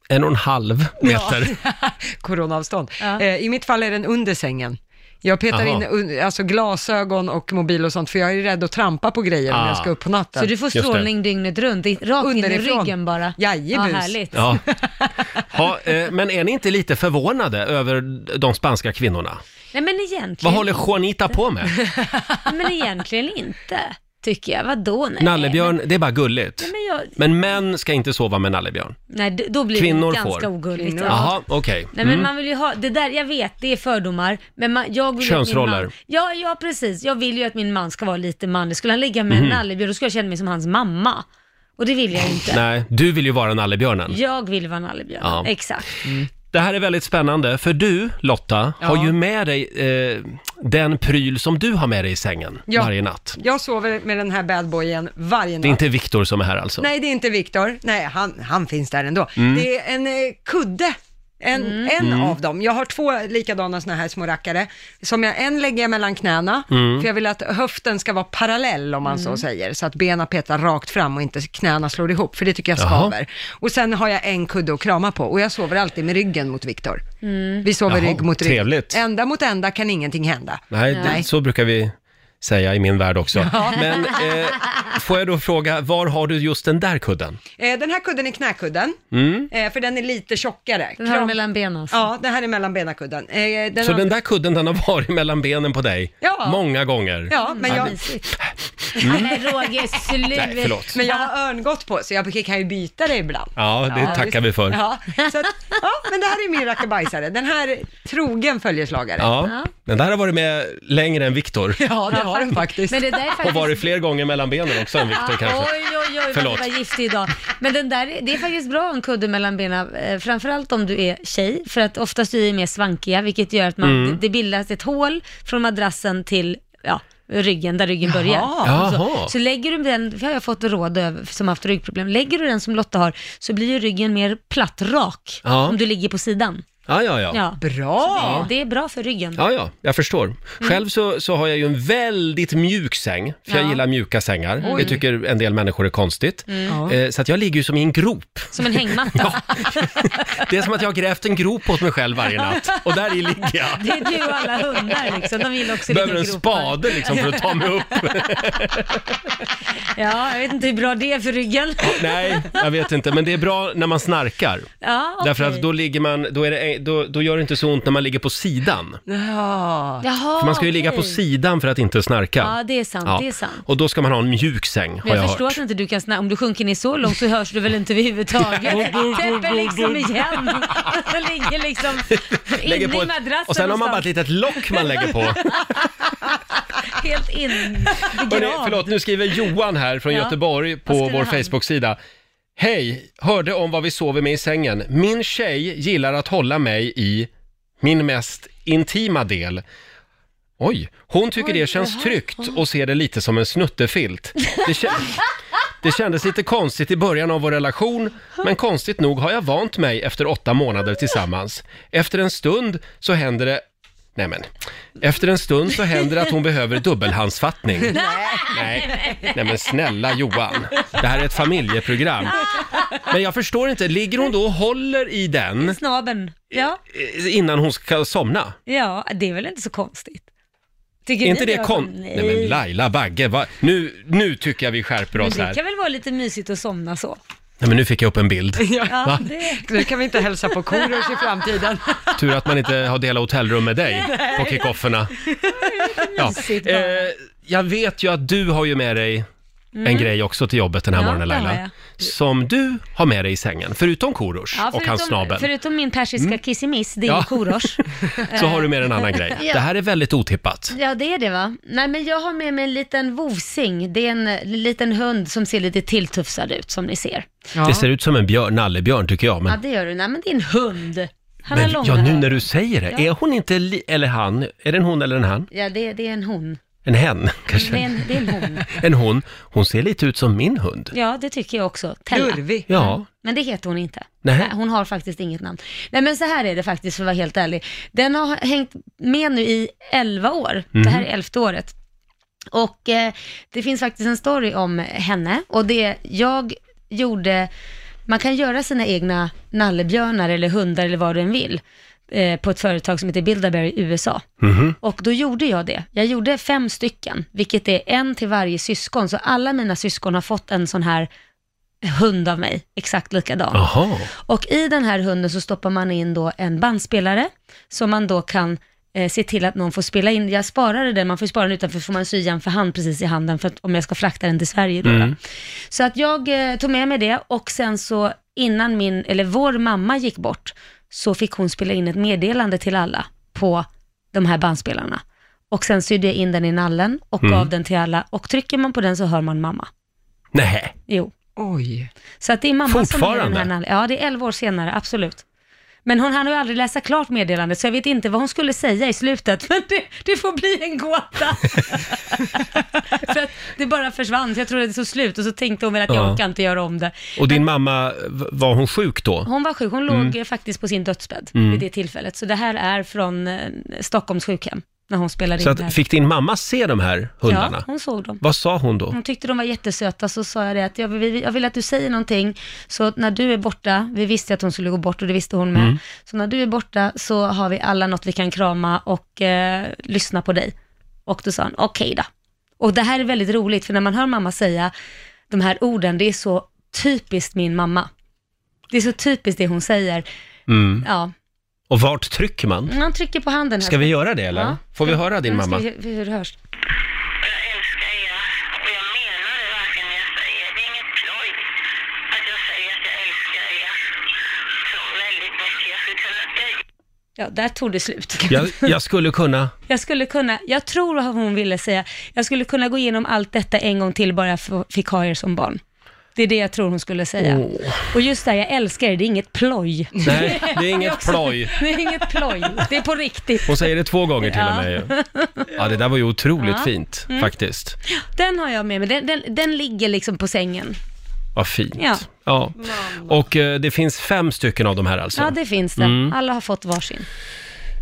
Speaker 1: En och en halv meter.
Speaker 2: <laughs> Coronaavstånd.
Speaker 4: Ja.
Speaker 2: Eh, I mitt fall är den under sängen. Jag petar
Speaker 1: Aha.
Speaker 2: in un- alltså glasögon och mobil och sånt, för jag är rädd att trampa på grejer om
Speaker 1: Ah.
Speaker 2: jag ska upp på natten.
Speaker 4: Så du får
Speaker 1: Just det.
Speaker 4: strålning dygnet runt, i- rakt in i
Speaker 2: Underifrån.
Speaker 4: ryggen bara.
Speaker 2: Jajebus.
Speaker 4: Ja, härligt. <laughs>
Speaker 1: Ja. Ja, eh, men är ni inte lite förvånade över de spanska kvinnorna?
Speaker 4: Nej, men egentligen,
Speaker 1: Vad håller Juanita på
Speaker 4: <laughs>
Speaker 1: med?
Speaker 4: men egentligen inte, tycker jag. Vadå? Nej.
Speaker 1: Nallebjörn, det är bara gulligt.
Speaker 4: Men jag,
Speaker 1: Men män ska inte sova med nallebjörn.
Speaker 4: nej, d- då blir
Speaker 1: Kvinnor
Speaker 4: det
Speaker 1: får.
Speaker 4: ganska ogulligt.
Speaker 2: Kvinnor.
Speaker 4: ja.
Speaker 1: Jaha, okej. Mm.
Speaker 4: Nej men man vill ju ha, det där, jag vet, det är fördomar, men man, jag vill ju Att
Speaker 1: Könsroller.
Speaker 4: min man, ja, ja precis, jag vill ju att min man ska vara lite manlig. Skulle han ligga
Speaker 1: Mhm.
Speaker 4: med en nallebjörn då skulle jag känna mig som hans mamma. Och det vill jag ju inte.
Speaker 1: Nej, du vill ju vara nallebjörnen.
Speaker 4: Jag vill vara nallebjörn,
Speaker 1: Ja.
Speaker 4: exakt.
Speaker 1: Mm. Det här är väldigt spännande, för du, Lotta, har ju med dig eh, den pryl som du har med dig i sängen
Speaker 2: Ja.
Speaker 1: varje natt.
Speaker 2: Jag sover med den här badboyen varje natt.
Speaker 1: Det är inte Viktor som är här alltså?
Speaker 2: Nej, det är inte Viktor. Nej, han, han finns där ändå.
Speaker 1: Mm.
Speaker 2: Det är en eh, kudde. En, en av dem. Jag har två likadana såna här små rackare. Som jag, en lägger jag mellan knäna,
Speaker 1: Mm.
Speaker 2: för jag vill att höften ska vara parallell om man så säger. Så att benen petar rakt fram och inte knäna slår ihop, för det tycker jag
Speaker 1: Jaha.
Speaker 2: skaver. Och sen har jag en kudde att krama på och jag sover alltid med ryggen mot Viktor. Vi sover
Speaker 1: Jaha,
Speaker 2: rygg mot rygg.
Speaker 1: trevligt.
Speaker 2: Ända mot ända kan ingenting hända.
Speaker 1: Nej, det, så brukar vi säga i min värld också. Men eh, får jag då fråga, var har du just den där kudden? Mm.
Speaker 2: Eh, den här kudden är knäkudden, eh, för den är lite tjockare.
Speaker 4: Den har
Speaker 2: Kram-
Speaker 4: du mellan benen alltså.
Speaker 2: Ja, det här är mellan benkudden. Eh, den
Speaker 1: Så
Speaker 2: har-
Speaker 1: den där kudden, den har varit <laughs> mellan benen på dig
Speaker 2: Ja.
Speaker 1: många gånger.
Speaker 2: Ja, men jag,
Speaker 4: Mysigt. Nej Roger, sluta.
Speaker 1: Nej, förlåt.
Speaker 2: men jag har örngott på, så jag kan ju byta det ibland.
Speaker 1: Ja, det tackar vi för.
Speaker 2: Ja, så att, ja, men det här är min rackabajsare. Den här trogen följeslagare. Ja,
Speaker 1: Ja, den där har varit med längre än Viktor.
Speaker 2: det har den
Speaker 4: <laughs>
Speaker 2: faktiskt.
Speaker 4: Men det där är faktiskt...
Speaker 1: Och varit fler gånger mellan benen också än Viktor
Speaker 4: Ah, Oj,
Speaker 1: kanske.
Speaker 4: oj, oj, vad du
Speaker 1: Förlåt.
Speaker 4: var giftig idag. Men den där, det är faktiskt bra en kudde mellan benen, eh, framförallt om du är tjej, för att oftast är vi mer svankiga, vilket gör att man,
Speaker 1: Mm.
Speaker 4: det, det bildas ett hål från madrassen till ja, ryggen, där ryggen börjar.
Speaker 1: Jaha.
Speaker 4: Så, så lägger du den, det har jag fått råd över som haft ryggproblem, lägger du den som Lotta har så blir ju ryggen mer platt, rak,
Speaker 1: Ja.
Speaker 4: om du ligger på sidan.
Speaker 1: Ja, ja, ja.
Speaker 4: Ja.
Speaker 2: Bra!
Speaker 4: Det Mm. är bra för ryggen.
Speaker 1: Ja, ja, jag förstår. Själv så, så har jag ju en väldigt mjuk säng, för jag
Speaker 4: Ja. Mm.
Speaker 1: gillar mjuka sängar. Det tycker en del människor är konstigt. Eh, Så att jag ligger ju som i en grop.
Speaker 4: Som en hängmatta.
Speaker 1: <laughs> Det är som att jag har grävt en grop åt mig själv varje natt, och där i ligger jag.
Speaker 4: Det är du och alla hundar liksom. De gillar också
Speaker 1: Behöver en
Speaker 4: ligga i gropar.
Speaker 1: spade liksom för att ta mig upp.
Speaker 4: <laughs> Ja, jag vet inte hur bra det är för ryggen.
Speaker 1: Nej, jag vet inte, men det är bra när man snarkar.
Speaker 4: Ja, okej.
Speaker 1: Därför att då ligger man, då, är det, då, då gör det inte så ont när man ligger på sidan.
Speaker 2: Ja.
Speaker 4: Jaha,
Speaker 1: För man ska ju
Speaker 4: Ah, okej.
Speaker 1: ligga på sidan för att inte snarka.
Speaker 4: Ja, det är sant, det är sant.
Speaker 1: Och då ska man ha en mjuk säng, har
Speaker 4: Men
Speaker 1: jag,
Speaker 4: jag, förstår
Speaker 1: hört.
Speaker 4: att inte du kan snabbt, om du sjunker ner så långt så hörs du väl inte överhuvudtaget.
Speaker 1: <laughs>
Speaker 4: Täpper liksom igen och ligger liksom
Speaker 1: Lägger
Speaker 4: inne
Speaker 1: på
Speaker 4: i
Speaker 1: ett-
Speaker 4: madrassen
Speaker 1: och sen har man bara ett
Speaker 4: sånt.
Speaker 1: litet lock <laughs> man lägger
Speaker 4: <laughs>
Speaker 1: på.
Speaker 4: helt in
Speaker 1: Hörrni,
Speaker 4: begravd. <laughs>
Speaker 1: förlåt, nu skriver Johan här från
Speaker 4: Ja.
Speaker 1: Göteborg på
Speaker 4: Vad skriver
Speaker 1: vår
Speaker 4: han?
Speaker 1: Facebook-sida. Hej! Hörde om vad vi sover med i sängen. Min tjej gillar att hålla mig i min mest intima del. Oj, hon tycker det känns tryggt och ser det lite som en snuttefilt. Det, kä- det kändes lite konstigt i början av vår relation, men konstigt nog har jag vant mig efter åtta månader tillsammans. Efter en stund så händer det Nej men, efter en stund så händer det att hon behöver
Speaker 4: <laughs>
Speaker 1: dubbelhandsfattning. Nej. Nej men snälla Johan, det här är ett familjeprogram.
Speaker 4: <laughs>
Speaker 1: Men jag förstår inte, ligger hon då och håller i den
Speaker 4: Snabeln. Ja,
Speaker 1: eh, innan hon ska somna?
Speaker 4: ja, det är väl inte så konstigt. Tycker
Speaker 1: Är
Speaker 4: ni
Speaker 1: inte det
Speaker 4: var-
Speaker 1: kon...
Speaker 4: Nej.
Speaker 1: Nej men Laila Bagge, va? Nu, nu tycker jag vi skärper
Speaker 4: Men
Speaker 1: oss
Speaker 4: det
Speaker 1: här.
Speaker 4: kan väl vara lite mysigt att
Speaker 1: <laughs>
Speaker 4: somna så?
Speaker 1: Nej men nu fick jag upp en bild.
Speaker 4: Ja,
Speaker 1: Va?
Speaker 4: det...
Speaker 2: Nu kan vi inte hälsa på Korosh i
Speaker 4: <laughs>
Speaker 2: framtiden.
Speaker 1: Tur att man inte har delat hotellrum med dig på kickofferna. Ja.
Speaker 4: mysigt bara. Mm.
Speaker 1: Eh, jag vet ju att du har ju med dig en grej också till jobbet den här
Speaker 4: Ja,
Speaker 1: morgonen
Speaker 4: det har
Speaker 1: Laila. Som du har med dig i sängen, förutom Korosh
Speaker 4: Ja,
Speaker 1: och hans snabel. Mm.
Speaker 4: Förutom min persiska kissemiss, din
Speaker 1: Ja.
Speaker 4: korosh.
Speaker 1: <laughs>
Speaker 4: Eh.
Speaker 1: Så har du med en annan grej.
Speaker 4: <laughs> Ja.
Speaker 1: Det här är väldigt otippat.
Speaker 4: Ja, det är det va? Nej, men jag har med mig en liten vovsing. Det är en liten hund som ser lite tilltufsad ut, som ni ser.
Speaker 1: Det ser ut som en björn, nallebjörn tycker jag.
Speaker 4: Ja,
Speaker 1: Men,
Speaker 4: det gör du. Nej, men det är en hund. Han
Speaker 1: men
Speaker 4: har långa
Speaker 1: ja, nu
Speaker 4: öron.
Speaker 1: när du säger det.
Speaker 4: Ja.
Speaker 1: Är hon inte, li- eller han, är det en hon eller en han?
Speaker 4: Ja, det, det är en hon.
Speaker 1: En hen <laughs>
Speaker 4: Det är
Speaker 1: kanske?
Speaker 4: en, det är en hon.
Speaker 1: En hon. Hon ser lite ut som min hund.
Speaker 4: Ja, det tycker jag också. Tella.
Speaker 2: Lurvig.
Speaker 1: Ja,
Speaker 4: Men det heter hon inte.
Speaker 1: Nej.
Speaker 4: hon har faktiskt inget namn. Nej men så här är det faktiskt för att vara helt ärlig. Den har hängt med nu i 11 år. Det här är elfte året. Och eh, det finns faktiskt en story om henne och det jag gjorde, man kan göra sina egna nallebjörnar eller hundar eller vad du än vill eh, på ett företag som heter Bilderberg i USA. Och då gjorde jag det. Jag gjorde fem stycken, vilket är en till varje syskon. Så alla mina syskon har fått en sån här hund av mig, exakt likadan.
Speaker 1: jaha.
Speaker 4: Och i den här hunden så stoppar man in då en bandspelare som man då kan eh, se till att någon får spela in. Jag sparade den, man får ju spara den utanför, får man sy igen för hand precis i handen för att, om jag ska frakta den till Sverige då.
Speaker 1: Mm.
Speaker 4: va? Så att jag eh, tog med mig det och sen så innan min, eller vår mamma gick bort, så fick hon spela in ett meddelande till alla på de här bandspelarna. Och sen sydde jag in den i nallen och gav den till alla och trycker man på den så hör man mamma.
Speaker 1: Nej.
Speaker 4: Jo.
Speaker 2: Oj.
Speaker 4: Så att det är mamma som är den
Speaker 1: Fortfarande?
Speaker 4: här nall- Ja, det är 11 år senare, absolut. Men hon hann ju aldrig läsa klart meddelandet, så jag vet inte vad hon skulle säga i slutet. <laughs> Men det, det får bli en gåta. <laughs> För att det bara försvann, så jag trodde det tog slut och så tänkte hon väl att jag
Speaker 1: Ja.
Speaker 4: orkar inte göra om det.
Speaker 1: Och din mamma, v- var hon sjuk då?
Speaker 4: Hon var sjuk, hon
Speaker 1: Mm.
Speaker 4: låg eh, faktiskt på sin dödsbädd vid det tillfället. Så det här är från eh, Stockholms sjukhem, när hon spelade
Speaker 1: Så
Speaker 4: in det här.
Speaker 1: att, fick din mamma se de här hundarna?
Speaker 4: Ja, hon såg dem. Mm.
Speaker 1: Vad sa hon då?
Speaker 4: Hon tyckte de var jättesöta, så sa jag det att jag vill, jag vill att du säger någonting, så när du är borta, vi visste att hon skulle gå bort och det visste hon med, så när du är borta så har vi alla något vi kan krama och eh, lyssna på dig. Och då sa hon, okej då. Och det här är väldigt roligt, för när man hör mamma säga de här orden, det är så typiskt min mamma. Det är så typiskt det hon säger. Ja,
Speaker 1: Mm.
Speaker 4: Mm.
Speaker 1: Och vart trycker man?
Speaker 4: han trycker på handen här.
Speaker 1: Mm. Ska vi göra det eller?
Speaker 4: Ja.
Speaker 1: Får vi höra din
Speaker 4: Nu ska
Speaker 1: mamma?
Speaker 4: vi- hur det hörs.
Speaker 8: Jag älskar er och jag menar det verkligen när jag säger det. Det är inget ploj att jag säger att jag älskar er så väldigt mycket. Jag skulle kunna dö
Speaker 4: Ja, där tog det slut.
Speaker 1: Jag, jag skulle kunna...
Speaker 4: <laughs> Jag skulle kunna, jag tror vad hon ville säga, jag skulle kunna gå igenom allt detta en gång till bara jag f- fick ha er som barn. Det är det jag tror hon skulle säga. Och just det, här, jag älskar er, det är inget ploj.
Speaker 1: Nej, det är inget
Speaker 4: också-
Speaker 1: ploj.
Speaker 4: <laughs> Det är inget ploj, det är på riktigt.
Speaker 1: Hon säger det två gånger till
Speaker 4: Ja.
Speaker 1: och med ju.
Speaker 4: <laughs>
Speaker 1: Ja, det där var ju otroligt
Speaker 4: Ja. Mm.
Speaker 1: fint faktiskt.
Speaker 4: Den har jag med mig, den, den, den ligger liksom på sängen.
Speaker 1: Vad fint. Ja.
Speaker 4: Ja.
Speaker 1: Och eh, det finns fem stycken av de här alltså?
Speaker 4: Ja, det finns det. Alla har fått varsin.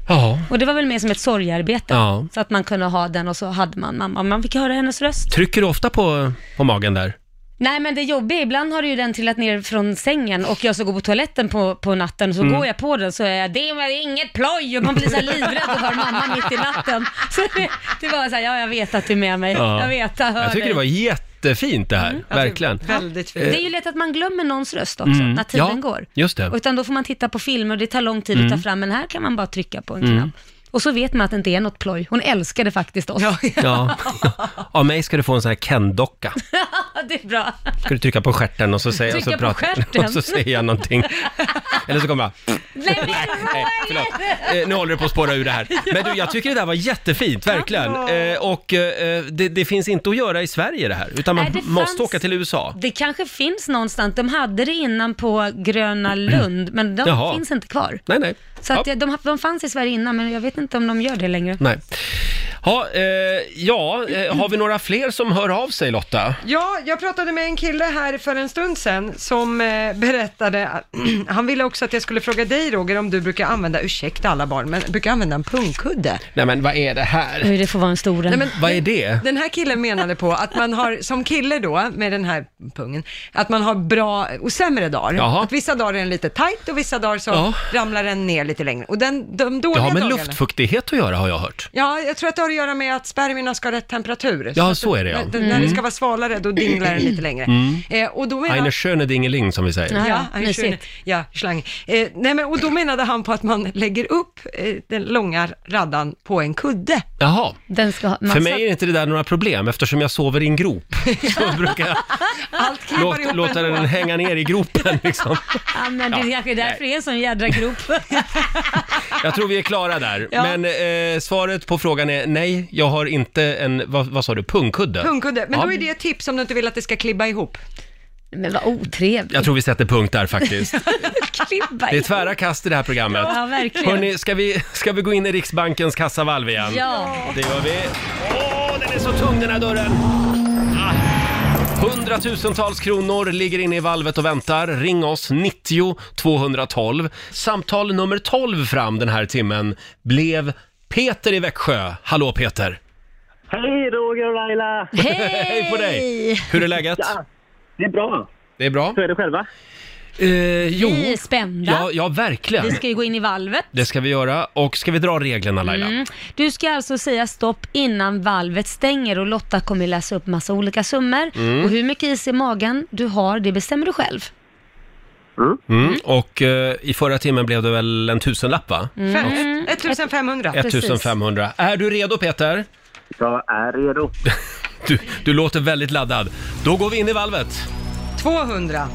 Speaker 1: ja.
Speaker 4: Och det var väl mer som ett sorgarbete.
Speaker 1: Ja.
Speaker 4: Så att man kunde ha den och så hade man mamma. Man fick höra hennes röst.
Speaker 1: Trycker du ofta på, på magen där?
Speaker 4: Nej men det jobbiga, ibland har ju den trillat ner från sängen och jag ska gå på toaletten på, på natten och så
Speaker 1: Mm.
Speaker 4: går jag på den så är jag, det var inget ploj och man blir så här livrädd och hör mamma mitt i natten. <laughs> Så det, det var så här, ja jag vet att du är med mig.
Speaker 1: Ja.
Speaker 4: Jag vet, jag hör
Speaker 1: Jag tycker
Speaker 4: dig. Mm.
Speaker 1: det var jättefint det här, verkligen.
Speaker 2: Väldigt fint.
Speaker 4: Det är ju lätt att man glömmer någons röst också när tiden
Speaker 1: Mm. ja,
Speaker 4: går.
Speaker 1: just det. Mm.
Speaker 4: Och Utan då får man titta på filmer och det tar lång tid att ta fram, men här kan man bara trycka på en knapp. Och så vet man att det inte är något ploj. Hon älskade faktiskt oss. <laughs> Ja,
Speaker 1: Ja. Av mig ska du få en sån här Ken-docka.
Speaker 4: det är bra.
Speaker 1: Ska du trycka på stjärten och så säger och så
Speaker 4: Trycka på
Speaker 1: pratar-
Speaker 4: stjärten?
Speaker 1: Och så säger jag någonting. Eller så kommer jag
Speaker 4: Nej, men,
Speaker 1: Nej, förlåt. Eh, nu håller du på att spåra ur det här. Men du, jag tycker det där var jättefint, verkligen. Eh, och eh, det, det finns inte att göra i Sverige det här, utan man
Speaker 4: Nej, det
Speaker 1: måste
Speaker 4: fanns-
Speaker 1: åka till USA.
Speaker 4: Det kanske finns någonstans. De hade det innan på Gröna Lund, men de
Speaker 1: Jaha.
Speaker 4: finns inte kvar.
Speaker 1: Nej, nej.
Speaker 4: Så att
Speaker 1: ja,
Speaker 4: det- de, de fanns i Sverige innan, men jag vet inte om de gör det längre.
Speaker 1: nej. Ha, eh, ja, eh, har vi några fler som hör av sig Lotta?
Speaker 2: Ja, jag pratade med en kille här för en stund sedan som eh, berättade, att, <clears throat> han ville också att jag skulle fråga dig Roger om du brukar använda, ursäkta alla barn, men brukar använda en pungkudde?
Speaker 1: Nej men vad är det här?
Speaker 4: Hur det får vara en stor en.
Speaker 2: Nej, men
Speaker 1: Vad är det?
Speaker 2: Den här killen menade på att man har, som kille då, med den här pungen, att man har bra och sämre dagar.
Speaker 1: Jaha.
Speaker 2: Att vissa dagar är den lite tight och vissa dagar så
Speaker 1: Ja.
Speaker 2: ramlar den ner lite längre. Och den, de
Speaker 1: Det
Speaker 2: dåliga
Speaker 1: har med
Speaker 2: dagarna...
Speaker 1: luftfuktighet att göra har jag hört.
Speaker 2: Ja, jag tror att det har att göra med att spermierna ska ha rätt temperatur.
Speaker 1: Ja,
Speaker 2: att
Speaker 1: så är det, ja. Mm.
Speaker 2: När, när det ska vara svalare, då dinglar den lite längre. Eh, och då menar
Speaker 1: Eine schöne dingeling som vi säger.
Speaker 4: Ja,
Speaker 2: Ja,
Speaker 4: ja,
Speaker 2: en
Speaker 4: mysigt.
Speaker 2: schöne- ja slang. Eh, nej men, och då menade han på att man lägger upp eh, den långa raddan på en kudde.
Speaker 1: Jaha.
Speaker 4: Den ska ha massa...
Speaker 1: För mig är inte det där några problem eftersom jag sover i en grop. Så brukar
Speaker 4: <laughs>
Speaker 1: jag
Speaker 2: Allt klippar
Speaker 1: låt,
Speaker 2: ihop
Speaker 1: låta
Speaker 2: ändå.
Speaker 1: den hänga ner i gropen liksom.
Speaker 4: Ja, men det är kanske är därför det är en sån jädra grop.
Speaker 1: Jag tror vi är klara där.
Speaker 2: Ja.
Speaker 1: Men eh, svaret på frågan är nej, jag har inte en, vad, vad sa du, pungkudde?
Speaker 2: Pungkudde. Men
Speaker 1: Ja.
Speaker 2: då är det ett tips om du inte vill att det ska klibba ihop.
Speaker 4: Men vad otrevligt.
Speaker 1: Jag tror vi sätter punkt där
Speaker 2: <laughs>
Speaker 1: faktiskt.
Speaker 4: <laughs> Klibba
Speaker 1: Det är
Speaker 4: i.
Speaker 1: tvära kast i det här programmet.
Speaker 4: Ja, verkligen.
Speaker 1: Hörrni, ska vi, ska vi gå in i Riksbankens kassavalv igen?
Speaker 4: Ja.
Speaker 1: Det gör vi. Åh, den är så tung den här dörren! Ah. Hundratusentals kronor ligger inne i valvet och väntar. Ring oss, 90 212. Samtal nummer 12 fram den här timmen blev Peter i Växjö. Hallå Peter!
Speaker 9: Hej Roger och Laila!
Speaker 4: Hej!
Speaker 1: Hej på dig! Hur är läget?
Speaker 9: Det är bra.
Speaker 1: Det är bra?
Speaker 9: Hur är det själva?
Speaker 1: Eh, <laughs> jo,
Speaker 4: Vi är spända.
Speaker 1: ja, ja
Speaker 4: Vi
Speaker 1: verkligen.
Speaker 4: ska ju gå in i valvet.
Speaker 1: Det ska vi göra. Och ska vi dra reglerna Laila?
Speaker 4: Mm. Du ska alltså säga stopp innan valvet stänger och Lotta kommer läsa upp massa olika summor. Och hur mycket is i magen du har, det bestämmer du själv.
Speaker 1: Mm. Och eh, i förra timmen blev det väl en tusenlapp
Speaker 4: Mm.
Speaker 1: va?
Speaker 2: Fem, 1500.
Speaker 1: 1500. Är du redo Peter?
Speaker 9: Jag är redo.
Speaker 1: <laughs> Du, du låter väldigt laddad. Då går vi in i valvet.
Speaker 2: 200.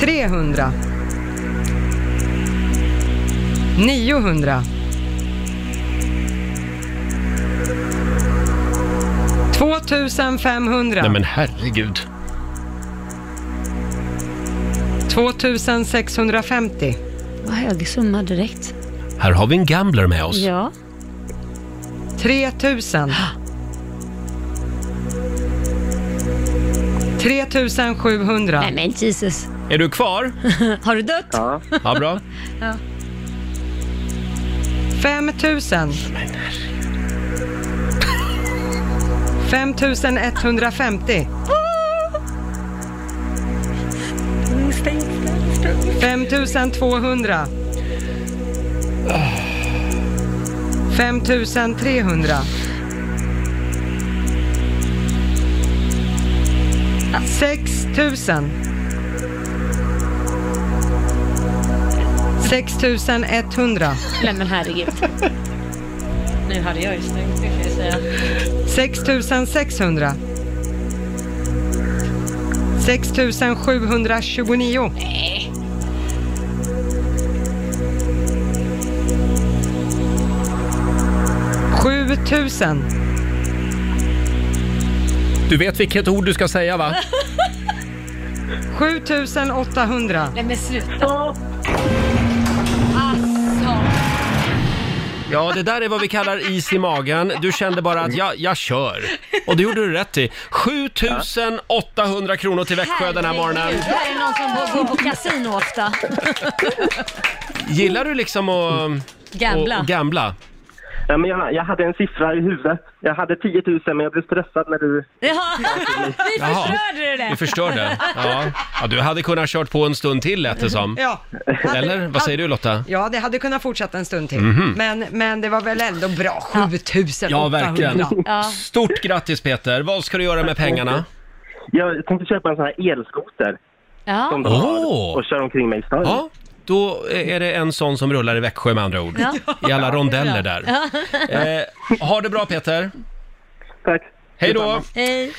Speaker 2: 300. 900. 2500.
Speaker 1: Nej men herregud.
Speaker 2: 2650.
Speaker 4: Vad hög summa direkt.
Speaker 1: Här har vi en gambler med oss.
Speaker 4: Ja. <gasps>
Speaker 2: 3000. 3700.
Speaker 4: Nej men Jesus.
Speaker 1: Är du kvar?
Speaker 4: <laughs> Har du dött?
Speaker 9: Ja.
Speaker 1: Ja, bra.
Speaker 2: 5000. 5150. 5200. 5300. 6000. 6100.
Speaker 4: Nej men herregud. nu hade jag ju stängt det kan jag säga.
Speaker 2: 6600. 6729. 7000.
Speaker 1: Du vet vilket ord du ska säga
Speaker 2: <laughs>
Speaker 4: <laughs>
Speaker 1: va?
Speaker 2: 7800.
Speaker 4: Nej men sluta. Alltså.
Speaker 1: Ja, det där är vad vi kallar is i magen. Du kände bara att jag, jag kör. Och det gjorde du rätt i. 7800 kronor till Växjö den här morgonen.
Speaker 4: Herregud, Det här är någon som går på kasino ofta. <laughs>
Speaker 1: Gillar du liksom att...
Speaker 4: Gambla.
Speaker 1: Och, och gambla?
Speaker 9: Ja, men jag, jag hade en siffra i huvudet. Jag hade 10 000 men jag blev stressad när du...
Speaker 4: Ja, vi
Speaker 1: Jaha.
Speaker 4: förstörde det där.
Speaker 1: Vi förstörde. Ja. ja, du hade kunnat kört på en stund till lät det som.
Speaker 2: Ja.
Speaker 1: Eller? Vad säger du Lotta?
Speaker 2: Ja, det hade kunnat fortsätta en stund till. Men, men det var väl ändå bra. 7800.
Speaker 1: Mhm. Ja, verkligen. <laughs>
Speaker 4: Ja.
Speaker 1: Stort grattis Peter! Vad ska du göra med pengarna?
Speaker 9: Jag tänkte köpa en sån här elskoter
Speaker 4: Ja.
Speaker 9: som de
Speaker 1: Åh!
Speaker 9: har och köra omkring mig i stan.
Speaker 1: Ja, då är det en sån som rullar i Växjö med andra ord.
Speaker 4: Ja.
Speaker 1: I alla rondeller där. Eh, ha det bra Peter!
Speaker 9: Tack.
Speaker 1: Hej då!
Speaker 4: Hej.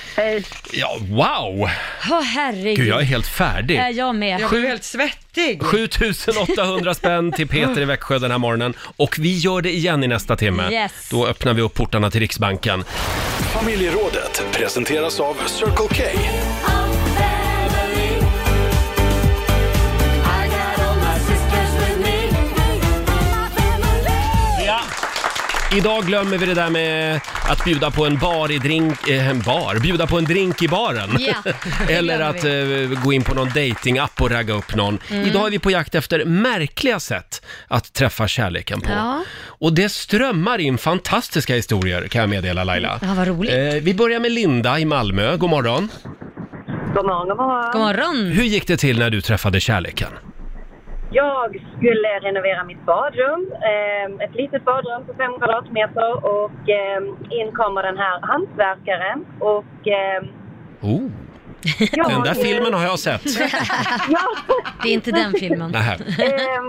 Speaker 1: Ja, wow!
Speaker 4: Åh herregud.
Speaker 1: Gud, jag är helt färdig.
Speaker 4: Är Eh, jag med?
Speaker 2: Jag blev helt svettig.
Speaker 1: 7800 spänn till Peter i Växjö den här morgonen. Och vi gör det igen i nästa timme.
Speaker 4: Yes.
Speaker 1: Då öppnar vi upp portarna till Riksbanken.
Speaker 3: Familjerådet presenteras av Circle K.
Speaker 1: Idag glömmer vi det där med att bjuda på en bar i drink... Eh, en bar? Bjuda på en drink i baren. <laughs>
Speaker 4: Ja, det
Speaker 1: Eller
Speaker 4: glömmer
Speaker 1: att eh, gå in på någon datingapp och ragga upp någon.
Speaker 4: Mm.
Speaker 1: Idag är vi på jakt efter märkliga sätt att träffa kärleken på.
Speaker 4: Ja.
Speaker 1: Och det strömmar in fantastiska historier kan jag meddela Laila.
Speaker 4: Ja, vad roligt.
Speaker 1: Eh, vi börjar med Linda i Malmö. God morgon.
Speaker 7: God morgon, god morgon.
Speaker 4: God morgon.
Speaker 1: Hur gick det till när du träffade kärleken?
Speaker 7: Jag skulle renovera mitt badrum. Eh, Ett litet badrum på fem kvadratmeter. Och eh, in kommer den här hantverkaren. Och... eh,
Speaker 1: Oh,
Speaker 7: <laughs> jag-
Speaker 1: den där filmen har jag
Speaker 4: <laughs>
Speaker 1: sett.
Speaker 7: Ja,
Speaker 4: Det är inte den filmen.
Speaker 1: Nähä.
Speaker 7: Ehm,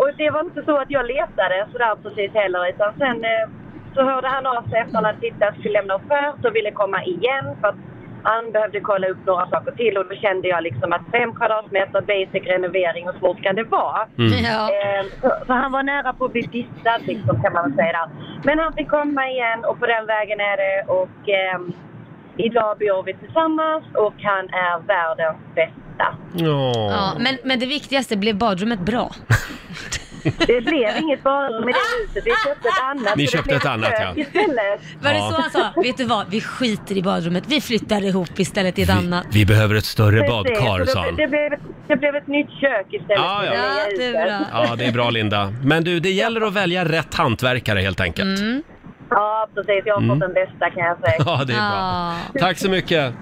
Speaker 7: och det var inte så att jag letade sådär precis heller utan sen eh, så hörde han av sig efter han hade tittat, skulle lämna offert och ville komma igen för att han behövde kolla upp några saker till och då kände jag liksom att fem kvadratmeter basic renovering, hur svårt kan det vara?
Speaker 4: Ja.
Speaker 7: Ehm, så, så han var nära på att bli dissad liksom kan man väl säga där. Men han fick komma igen och på den vägen är det och ehm, idag bor vi tillsammans och han är världens bästa.
Speaker 4: Ja,
Speaker 1: Ja.
Speaker 4: men, men det viktigaste, blev badrummet bra?
Speaker 7: Det blev inget badrum i det huset. Vi köpte ett annat.
Speaker 1: Ni
Speaker 7: så det
Speaker 1: köpte
Speaker 7: blev
Speaker 1: ett annat,
Speaker 7: kök
Speaker 1: ja.
Speaker 7: Istället.
Speaker 4: Ah, Var det
Speaker 1: Ja.
Speaker 4: så han sa? Vet du vad, vi skiter i badrummet. Vi flyttar ihop istället till ett
Speaker 1: Vi,
Speaker 4: annat.
Speaker 1: vi behöver ett större badkar,
Speaker 7: Precis, så
Speaker 1: sa han.
Speaker 7: Det, det, blev, det blev ett nytt kök istället.
Speaker 1: Ja,
Speaker 7: för
Speaker 1: ja.
Speaker 7: det nya
Speaker 4: Ja, det är
Speaker 7: huset.
Speaker 4: bra.
Speaker 1: Ja, det är bra Linda. Men du, det gäller att välja rätt hantverkare helt enkelt.
Speaker 4: Mm.
Speaker 7: Ja, precis. Jag har fått den bästa kan jag säga.
Speaker 1: Mm. <laughs> Ja, det är bra.
Speaker 4: Ja.
Speaker 1: Tack så mycket.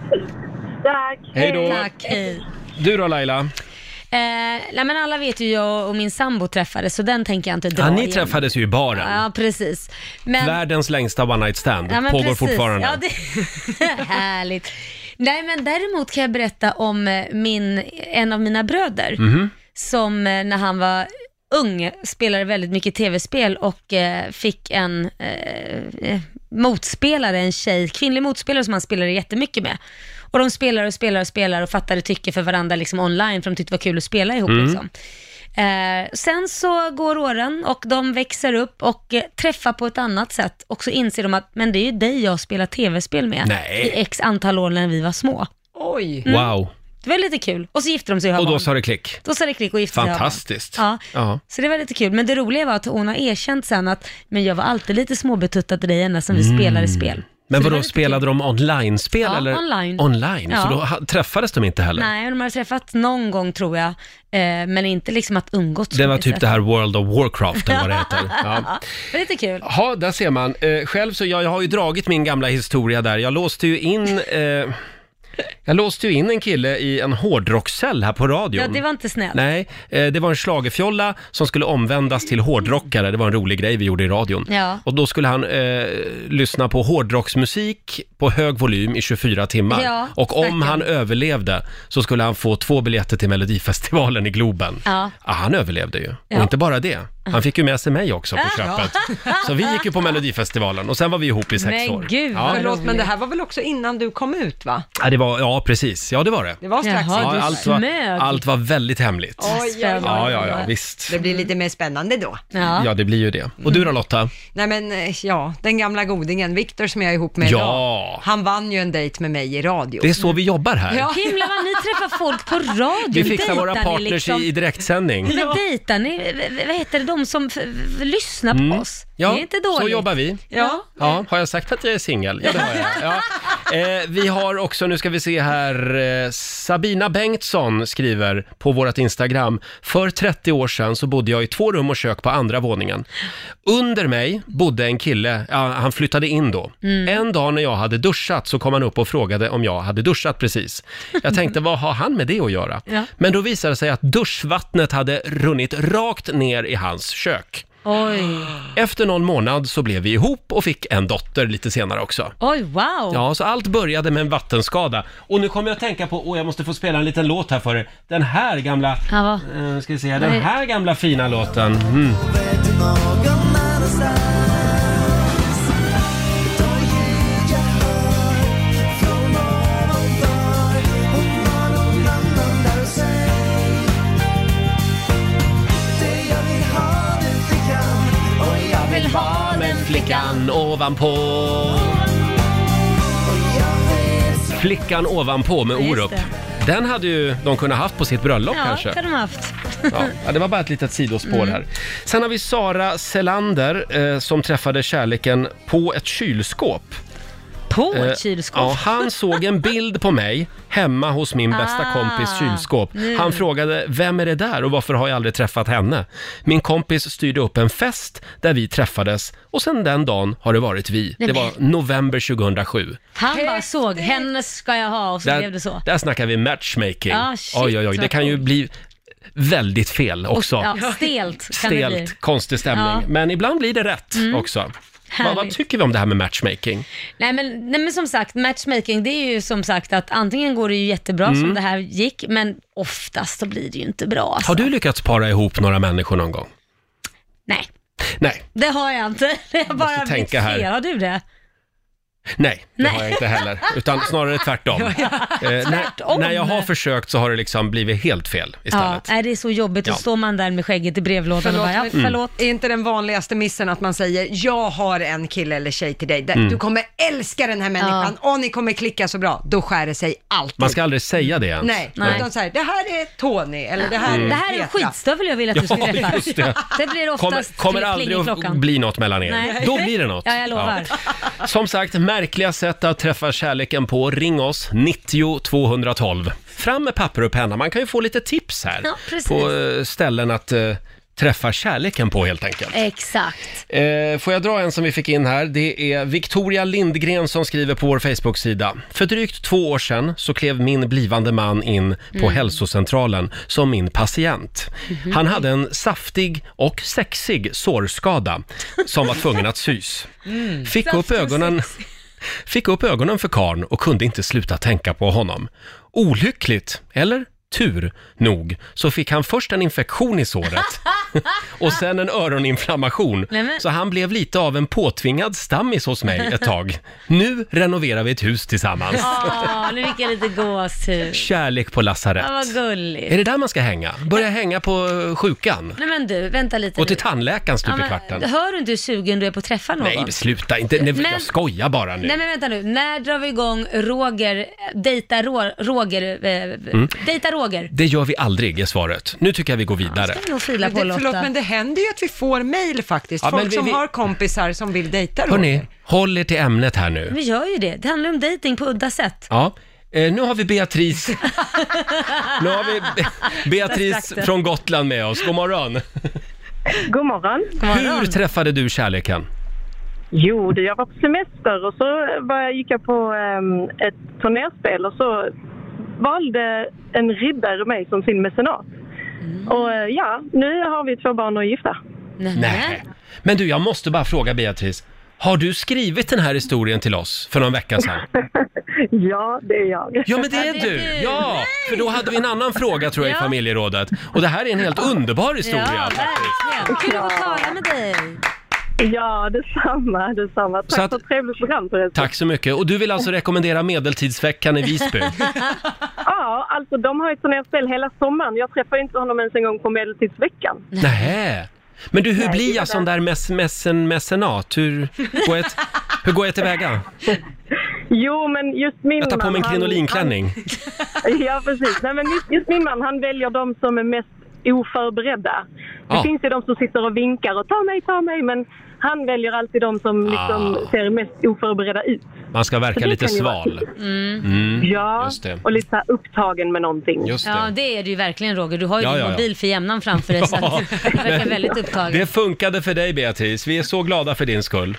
Speaker 7: Tack!
Speaker 1: Hej då.
Speaker 4: Tack, hej.
Speaker 1: Du då Laila?
Speaker 4: Eh, nej men alla vet ju jag och min sambo träffades så den tänker jag inte dra
Speaker 1: Ja, ni
Speaker 4: igen.
Speaker 1: träffades ju i baren.
Speaker 4: Ja precis. Men,
Speaker 1: Världens längsta one night stand
Speaker 4: ja, men
Speaker 1: pågår
Speaker 4: precis.
Speaker 1: fortfarande.
Speaker 4: Ja, det, <laughs> härligt. Nej men däremot kan jag berätta om eh, min, en av mina bröder
Speaker 1: Mhm.
Speaker 4: som eh, när han var ung spelade väldigt mycket tv-spel och eh, fick en eh, eh, motspelare, en tjej, kvinnlig motspelare som han spelade jättemycket med. Och de spelar och spelar och spelar och fattade tycke för varandra liksom online för de tyckte det var kul att spela ihop.
Speaker 1: Mm.
Speaker 4: Liksom. Eh, sen så går åren och de växer upp och eh, träffar på ett annat sätt och så inser de att men det är ju dig jag spelar tv-spel med
Speaker 1: Nej.
Speaker 4: i x antal år när vi var små. Mm.
Speaker 2: Oj.
Speaker 1: Wow.
Speaker 4: Det var lite kul. Och så gifte de sig och har
Speaker 1: Och då
Speaker 4: barn.
Speaker 1: sa det klick.
Speaker 4: Då sa det klick och gifte sig och har barn.
Speaker 1: Fantastiskt.
Speaker 4: Ja.
Speaker 1: Ja.
Speaker 4: Så det var lite kul. Men det roliga var att hon har erkänt sen att, men jag var alltid lite småbetuttad till dig ända som
Speaker 1: Mm.
Speaker 4: vi spelade spel.
Speaker 1: Men
Speaker 4: Så det var
Speaker 1: vadå,
Speaker 4: lite
Speaker 1: spelade
Speaker 4: kul.
Speaker 1: de online-spel
Speaker 4: Ja,
Speaker 1: eller?
Speaker 4: online.
Speaker 1: Online, så
Speaker 4: Ja.
Speaker 1: då ha- träffades de inte heller?
Speaker 4: Nej, de har träffats någon gång tror jag, eh, men inte liksom att umgåtts.
Speaker 1: Det
Speaker 4: på
Speaker 1: var typ
Speaker 4: sättet.
Speaker 1: det här World of Warcraft eller vad det
Speaker 4: <laughs>
Speaker 1: heter. Ja.
Speaker 4: Det var lite kul.
Speaker 1: Ja, där ser man. Eh, själv så, jag, jag har ju dragit min gamla historia där. Jag låste ju in, eh, jag låste ju in en kille i en hårdrockscell här på radion.
Speaker 4: Ja, det var inte snällt.
Speaker 1: Nej, eh, det var en schlagerfjolla som skulle omvändas till hårdrockare. Det var en rolig grej vi gjorde i radion.
Speaker 4: Ja.
Speaker 1: Och då skulle han eh, lyssna på hårdrocksmusik på hög volym i 24 timmar.
Speaker 4: Ja,
Speaker 1: och om
Speaker 4: stackarn.
Speaker 1: han överlevde så skulle han få två biljetter till Melodifestivalen i Globen.
Speaker 4: Ja.
Speaker 1: han överlevde ju. Och
Speaker 4: Ja.
Speaker 1: inte bara det, han fick ju med sig mig också på köpet. Så vi gick ju på Melodifestivalen och sen var vi ihop i sex
Speaker 4: Men
Speaker 1: år.
Speaker 4: gud,
Speaker 1: ja.
Speaker 4: vad-
Speaker 2: Förlåt, men det här var väl också innan du kom ut, va?
Speaker 1: Ja, det var, ja, precis. Ja, det var det.
Speaker 2: Det var strax
Speaker 4: Jaha,
Speaker 2: innan.
Speaker 1: Ja,
Speaker 4: du
Speaker 1: allt, var,
Speaker 4: smög.
Speaker 1: allt var väldigt hemligt.
Speaker 2: Oj, oj, oj.
Speaker 1: Ja, ja, ja, visst.
Speaker 2: Det blir lite mer spännande då.
Speaker 4: Ja.
Speaker 1: Ja, det blir ju det. Och du då Lotta?
Speaker 2: Nej men eh, ja, den gamla godingen, Viktor som jag är ihop med
Speaker 1: Ja.
Speaker 2: idag, han vann ju en dejt med mig i radio.
Speaker 1: Det är så vi jobbar här.
Speaker 2: Ja.
Speaker 4: Himla vad ni träffar folk på radion.
Speaker 1: Vi fixar våra
Speaker 4: Dejtar ni
Speaker 1: partners
Speaker 4: liksom-
Speaker 1: Mm. i, i direktsändning.
Speaker 4: Men dejtar ni, v- v- vad heter det, de som f- f- lyssnar på oss?
Speaker 1: Mm. Ja,
Speaker 4: det är inte dåligt.
Speaker 1: så jobbar vi.
Speaker 4: Ja.
Speaker 1: Ja, har jag sagt att jag är singel? Ja, det har jag. Ja. Eh, vi har också, nu ska vi se här, eh, Sabina Bengtsson skriver på vårt Instagram. För 30 år sedan så bodde jag i två rum och kök på andra våningen. Under mig bodde en kille, ja, han flyttade in då.
Speaker 4: Mm.
Speaker 1: En dag när jag hade duschat så kom han upp och frågade om jag hade duschat precis. Jag tänkte, vad har han med det att göra?
Speaker 4: Ja.
Speaker 1: Men då visade det sig att duschvattnet hade runnit rakt ner i hans kök.
Speaker 4: Oj.
Speaker 1: Efter någon månad så blev vi ihop och fick en dotter lite senare också.
Speaker 4: Oj, wow.
Speaker 1: Ja, så allt började med en vattenskada. Och nu kommer jag att tänka på, åh jag måste få spela en liten låt här för er. Den här gamla,
Speaker 4: Ja, va?
Speaker 1: eh, ska vi se,
Speaker 4: Nej.
Speaker 1: den här gamla fina låten. Mm.
Speaker 4: vill ha
Speaker 1: den flickan ovanpå. Flickan ovanpå med
Speaker 4: Ja, just
Speaker 1: Orup. Den hade ju de kunnat haft på sitt bröllop
Speaker 4: Ja,
Speaker 1: kanske.
Speaker 4: det kan de ha haft.
Speaker 1: Ja, ja, det var bara ett litet sidospår
Speaker 4: Mm.
Speaker 1: här. Sen har vi Sara Selander eh, som träffade kärleken på ett kylskåp.
Speaker 4: På
Speaker 1: Eh,
Speaker 4: ett kylskåp.
Speaker 1: Ja, han såg en bild på mig hemma hos min bästa
Speaker 4: Ah,
Speaker 1: kompis kylskåp.
Speaker 4: nu.
Speaker 1: Han frågade, vem är det där och varför har jag aldrig träffat henne? Min kompis styrde upp en fest där vi träffades och sen den dagen har det varit vi.
Speaker 4: Nej,
Speaker 1: Det var november 2007.
Speaker 4: Han bara såg, hennes ska jag ha och så blev det så.
Speaker 1: där snackar vi matchmaking.
Speaker 4: Ah, shit,
Speaker 1: oj, oj, oj. Det
Speaker 4: vad
Speaker 1: kan ju
Speaker 4: coolt.
Speaker 1: bli väldigt fel också. <laughs>
Speaker 4: Ja, stelt kan det bli.
Speaker 1: Stelt, konstig stämning.
Speaker 4: Ja. Mm.
Speaker 1: Men ibland blir det rätt också. Vad, vad
Speaker 4: Härligt.
Speaker 1: tycker vi om det här med matchmaking?
Speaker 4: Nej men, nej men som sagt, matchmaking det är ju som sagt att antingen går det ju jättebra
Speaker 1: Mm.
Speaker 4: som det här gick, men oftast så blir det ju inte bra. Alltså.
Speaker 1: Har du lyckats para ihop några människor någon gång?
Speaker 4: Nej,
Speaker 1: Nej,
Speaker 4: det har jag inte. <laughs> Det har bara blivit
Speaker 1: tänka här.
Speaker 4: fel. Har du det?
Speaker 1: nej, det
Speaker 4: Nej.
Speaker 1: har jag inte heller. Utan snarare
Speaker 4: <laughs>
Speaker 1: tvärtom. Eh, när,
Speaker 4: Tvärtom.
Speaker 1: när jag har försökt så har det liksom blivit helt fel
Speaker 4: Ja,
Speaker 1: istället.
Speaker 4: nej, det är så jobbigt.
Speaker 1: Ja.
Speaker 4: Då står man där med skägget i brevlådan
Speaker 2: Förlåt,
Speaker 4: och bara, ja,
Speaker 2: men- Mm.
Speaker 4: förlåt.
Speaker 2: Är inte den vanligaste missen att man säger jag har en kille eller tjej till dig,
Speaker 1: Mm.
Speaker 2: du kommer älska den här människan och ni kommer klicka så bra, då skär det sig alltid.
Speaker 1: Man ska aldrig säga det ens.
Speaker 2: Nej,
Speaker 4: Nej.
Speaker 2: utan så här, det här är Tony eller det här är
Speaker 4: Mm. Det här är en
Speaker 2: Petra.
Speaker 4: skitstövel jag vill att du ska
Speaker 1: <laughs> Ja,
Speaker 4: träffa.
Speaker 1: just det.
Speaker 4: blir
Speaker 1: Kommer,
Speaker 4: oftast
Speaker 1: kommer
Speaker 4: pling i
Speaker 1: aldrig att
Speaker 4: klockan.
Speaker 1: bli något mellan er.
Speaker 4: Nej.
Speaker 1: Då blir det något.
Speaker 4: Ja, jag lovar.
Speaker 1: Ja. Som sagt, märkliga sätt att träffa kärleken på. Ring oss, 90 212. Fram med papper och penna. Man kan ju få lite tips här
Speaker 4: Ja, precis.
Speaker 1: på eh, ställen att eh, träffa kärleken på helt enkelt.
Speaker 4: Exakt.
Speaker 1: Eh, får jag dra en som vi fick in här? Det är Victoria Lindgren som skriver på vår Facebook-sida. För drygt två år sedan så klev min blivande man in på
Speaker 4: Mm.
Speaker 1: hälsocentralen som min patient.
Speaker 4: Mhm.
Speaker 1: Han hade en saftig och sexig sårskada som var tvungen att sys. Fick upp ögonen... <laughs> Fick upp ögonen för karn och kunde inte sluta tänka på honom. Olyckligt, eller tur nog, så fick han först en infektion i
Speaker 4: <laughs>
Speaker 1: såret och sen en öroninflammation.
Speaker 4: Nej, men-
Speaker 1: Så han blev lite av en påtvingad stammis hos mig ett tag. Nu renoverar vi ett hus tillsammans.
Speaker 4: Åh, Ah, nu fick jag lite gåshud.
Speaker 1: Kärlek på lasarett.
Speaker 4: Ja, vad gulligt.
Speaker 1: Är det där man ska hänga? Börja hänga på eh, sjukan?
Speaker 4: Nej men du, vänta lite
Speaker 1: Och till
Speaker 4: nu.
Speaker 1: tandläkaren stup i
Speaker 4: men,
Speaker 1: kvarten?
Speaker 4: Hör du inte hur sugen du är på att träffa någon?
Speaker 1: Nej, sluta inte. Nej,
Speaker 4: Men-
Speaker 1: Jag skojar bara nu.
Speaker 4: Nej men vänta nu, när drar vi igång Roger, dejta Ro- Roger, eh,
Speaker 1: Mm.
Speaker 4: dejta Roger?
Speaker 1: Det gör vi aldrig, är svaret. Nu tycker jag vi går vidare.
Speaker 4: Ska vi nog fila
Speaker 2: Men
Speaker 4: på
Speaker 2: det,
Speaker 4: Lotta?
Speaker 2: förlåt, men det händer ju att vi får mail faktiskt.
Speaker 1: Ja, men
Speaker 2: Folk
Speaker 1: vi-
Speaker 2: som
Speaker 1: vi-
Speaker 2: har kompisar som vill dejta
Speaker 1: Hörni, håll er till ämnet här nu.
Speaker 4: Vi gör ju det, det handlar om dejting på udda sätt.
Speaker 1: Ja. Eh, nu har vi Beatrice.
Speaker 4: <laughs>
Speaker 1: nu har vi Be- Beatrice
Speaker 4: Strax.
Speaker 1: från Gotland med oss. God morgon.
Speaker 7: God morgon.
Speaker 1: Hur träffade du kärleken?
Speaker 7: Jo, du, jag var på semester och så var jag, gick jag på ehm, ett turnerspel och så valde en riddare mig som sin mecenat.
Speaker 1: Mm.
Speaker 7: Och eh, ja, nu har vi två barn och är gifta.
Speaker 4: Nej.
Speaker 1: Nej. Men du, jag måste bara fråga Beatrice. Har du skrivit den här historien till oss för någon vecka
Speaker 4: <laughs>
Speaker 1: sedan?
Speaker 7: <laughs> Ja, det är jag.
Speaker 1: Ja, men det är
Speaker 4: det är
Speaker 1: du!
Speaker 4: du.
Speaker 1: Ja, för då hade vi en annan fråga tror jag i
Speaker 4: Ja.
Speaker 1: familjerådet. Och det här är en helt underbar
Speaker 4: Ja,
Speaker 1: historia.
Speaker 4: verkligen. Kul att få tala med dig.
Speaker 7: Ja, detsamma. detsamma. Tack
Speaker 1: Så att-
Speaker 7: för ett trevligt program förresten.
Speaker 1: Tack så mycket. Och du vill alltså rekommendera Medeltidsveckan i
Speaker 4: <laughs>
Speaker 1: Visby?
Speaker 7: <laughs> Ja, alltså de har ju turnerspel hela sommaren. Jag träffar ju inte honom ens en gång på Medeltidsveckan.
Speaker 1: Nej. Men du, hur
Speaker 7: Nej,
Speaker 1: blir
Speaker 7: det var
Speaker 1: jag sån där mes- messen, mecenat? Hur går, jag, t- hur går jag tillväga?
Speaker 7: Jo, men just min
Speaker 1: Jag tar på
Speaker 7: man,
Speaker 1: mig en
Speaker 7: han-
Speaker 1: krinolinklänning.
Speaker 7: Ja, precis. Nej, men just, just min man, han väljer de som är mest oförberedda. Det
Speaker 1: Ja.
Speaker 7: finns ju de som sitter och vinkar och ta mig, ta mig, men han väljer alltid de som liksom
Speaker 1: Ah.
Speaker 7: ser mest oförberedda ut.
Speaker 1: Man ska
Speaker 7: Så
Speaker 1: verka
Speaker 7: det
Speaker 1: lite
Speaker 7: kan ju vara-
Speaker 1: sval.
Speaker 4: Mm.
Speaker 1: Mm.
Speaker 7: Ja,
Speaker 1: Just det.
Speaker 7: och lite så här upptagen med någonting.
Speaker 1: Just
Speaker 4: Ja,
Speaker 1: det.
Speaker 4: det är det ju verkligen Roger. Du har ju
Speaker 1: Ja,
Speaker 4: din
Speaker 1: ja, ja.
Speaker 4: mobil för jämnan framför dig
Speaker 1: <laughs>
Speaker 4: så att du verkar väldigt upptagen.
Speaker 1: Det funkade för dig Beatrice, vi är så glada för din skull.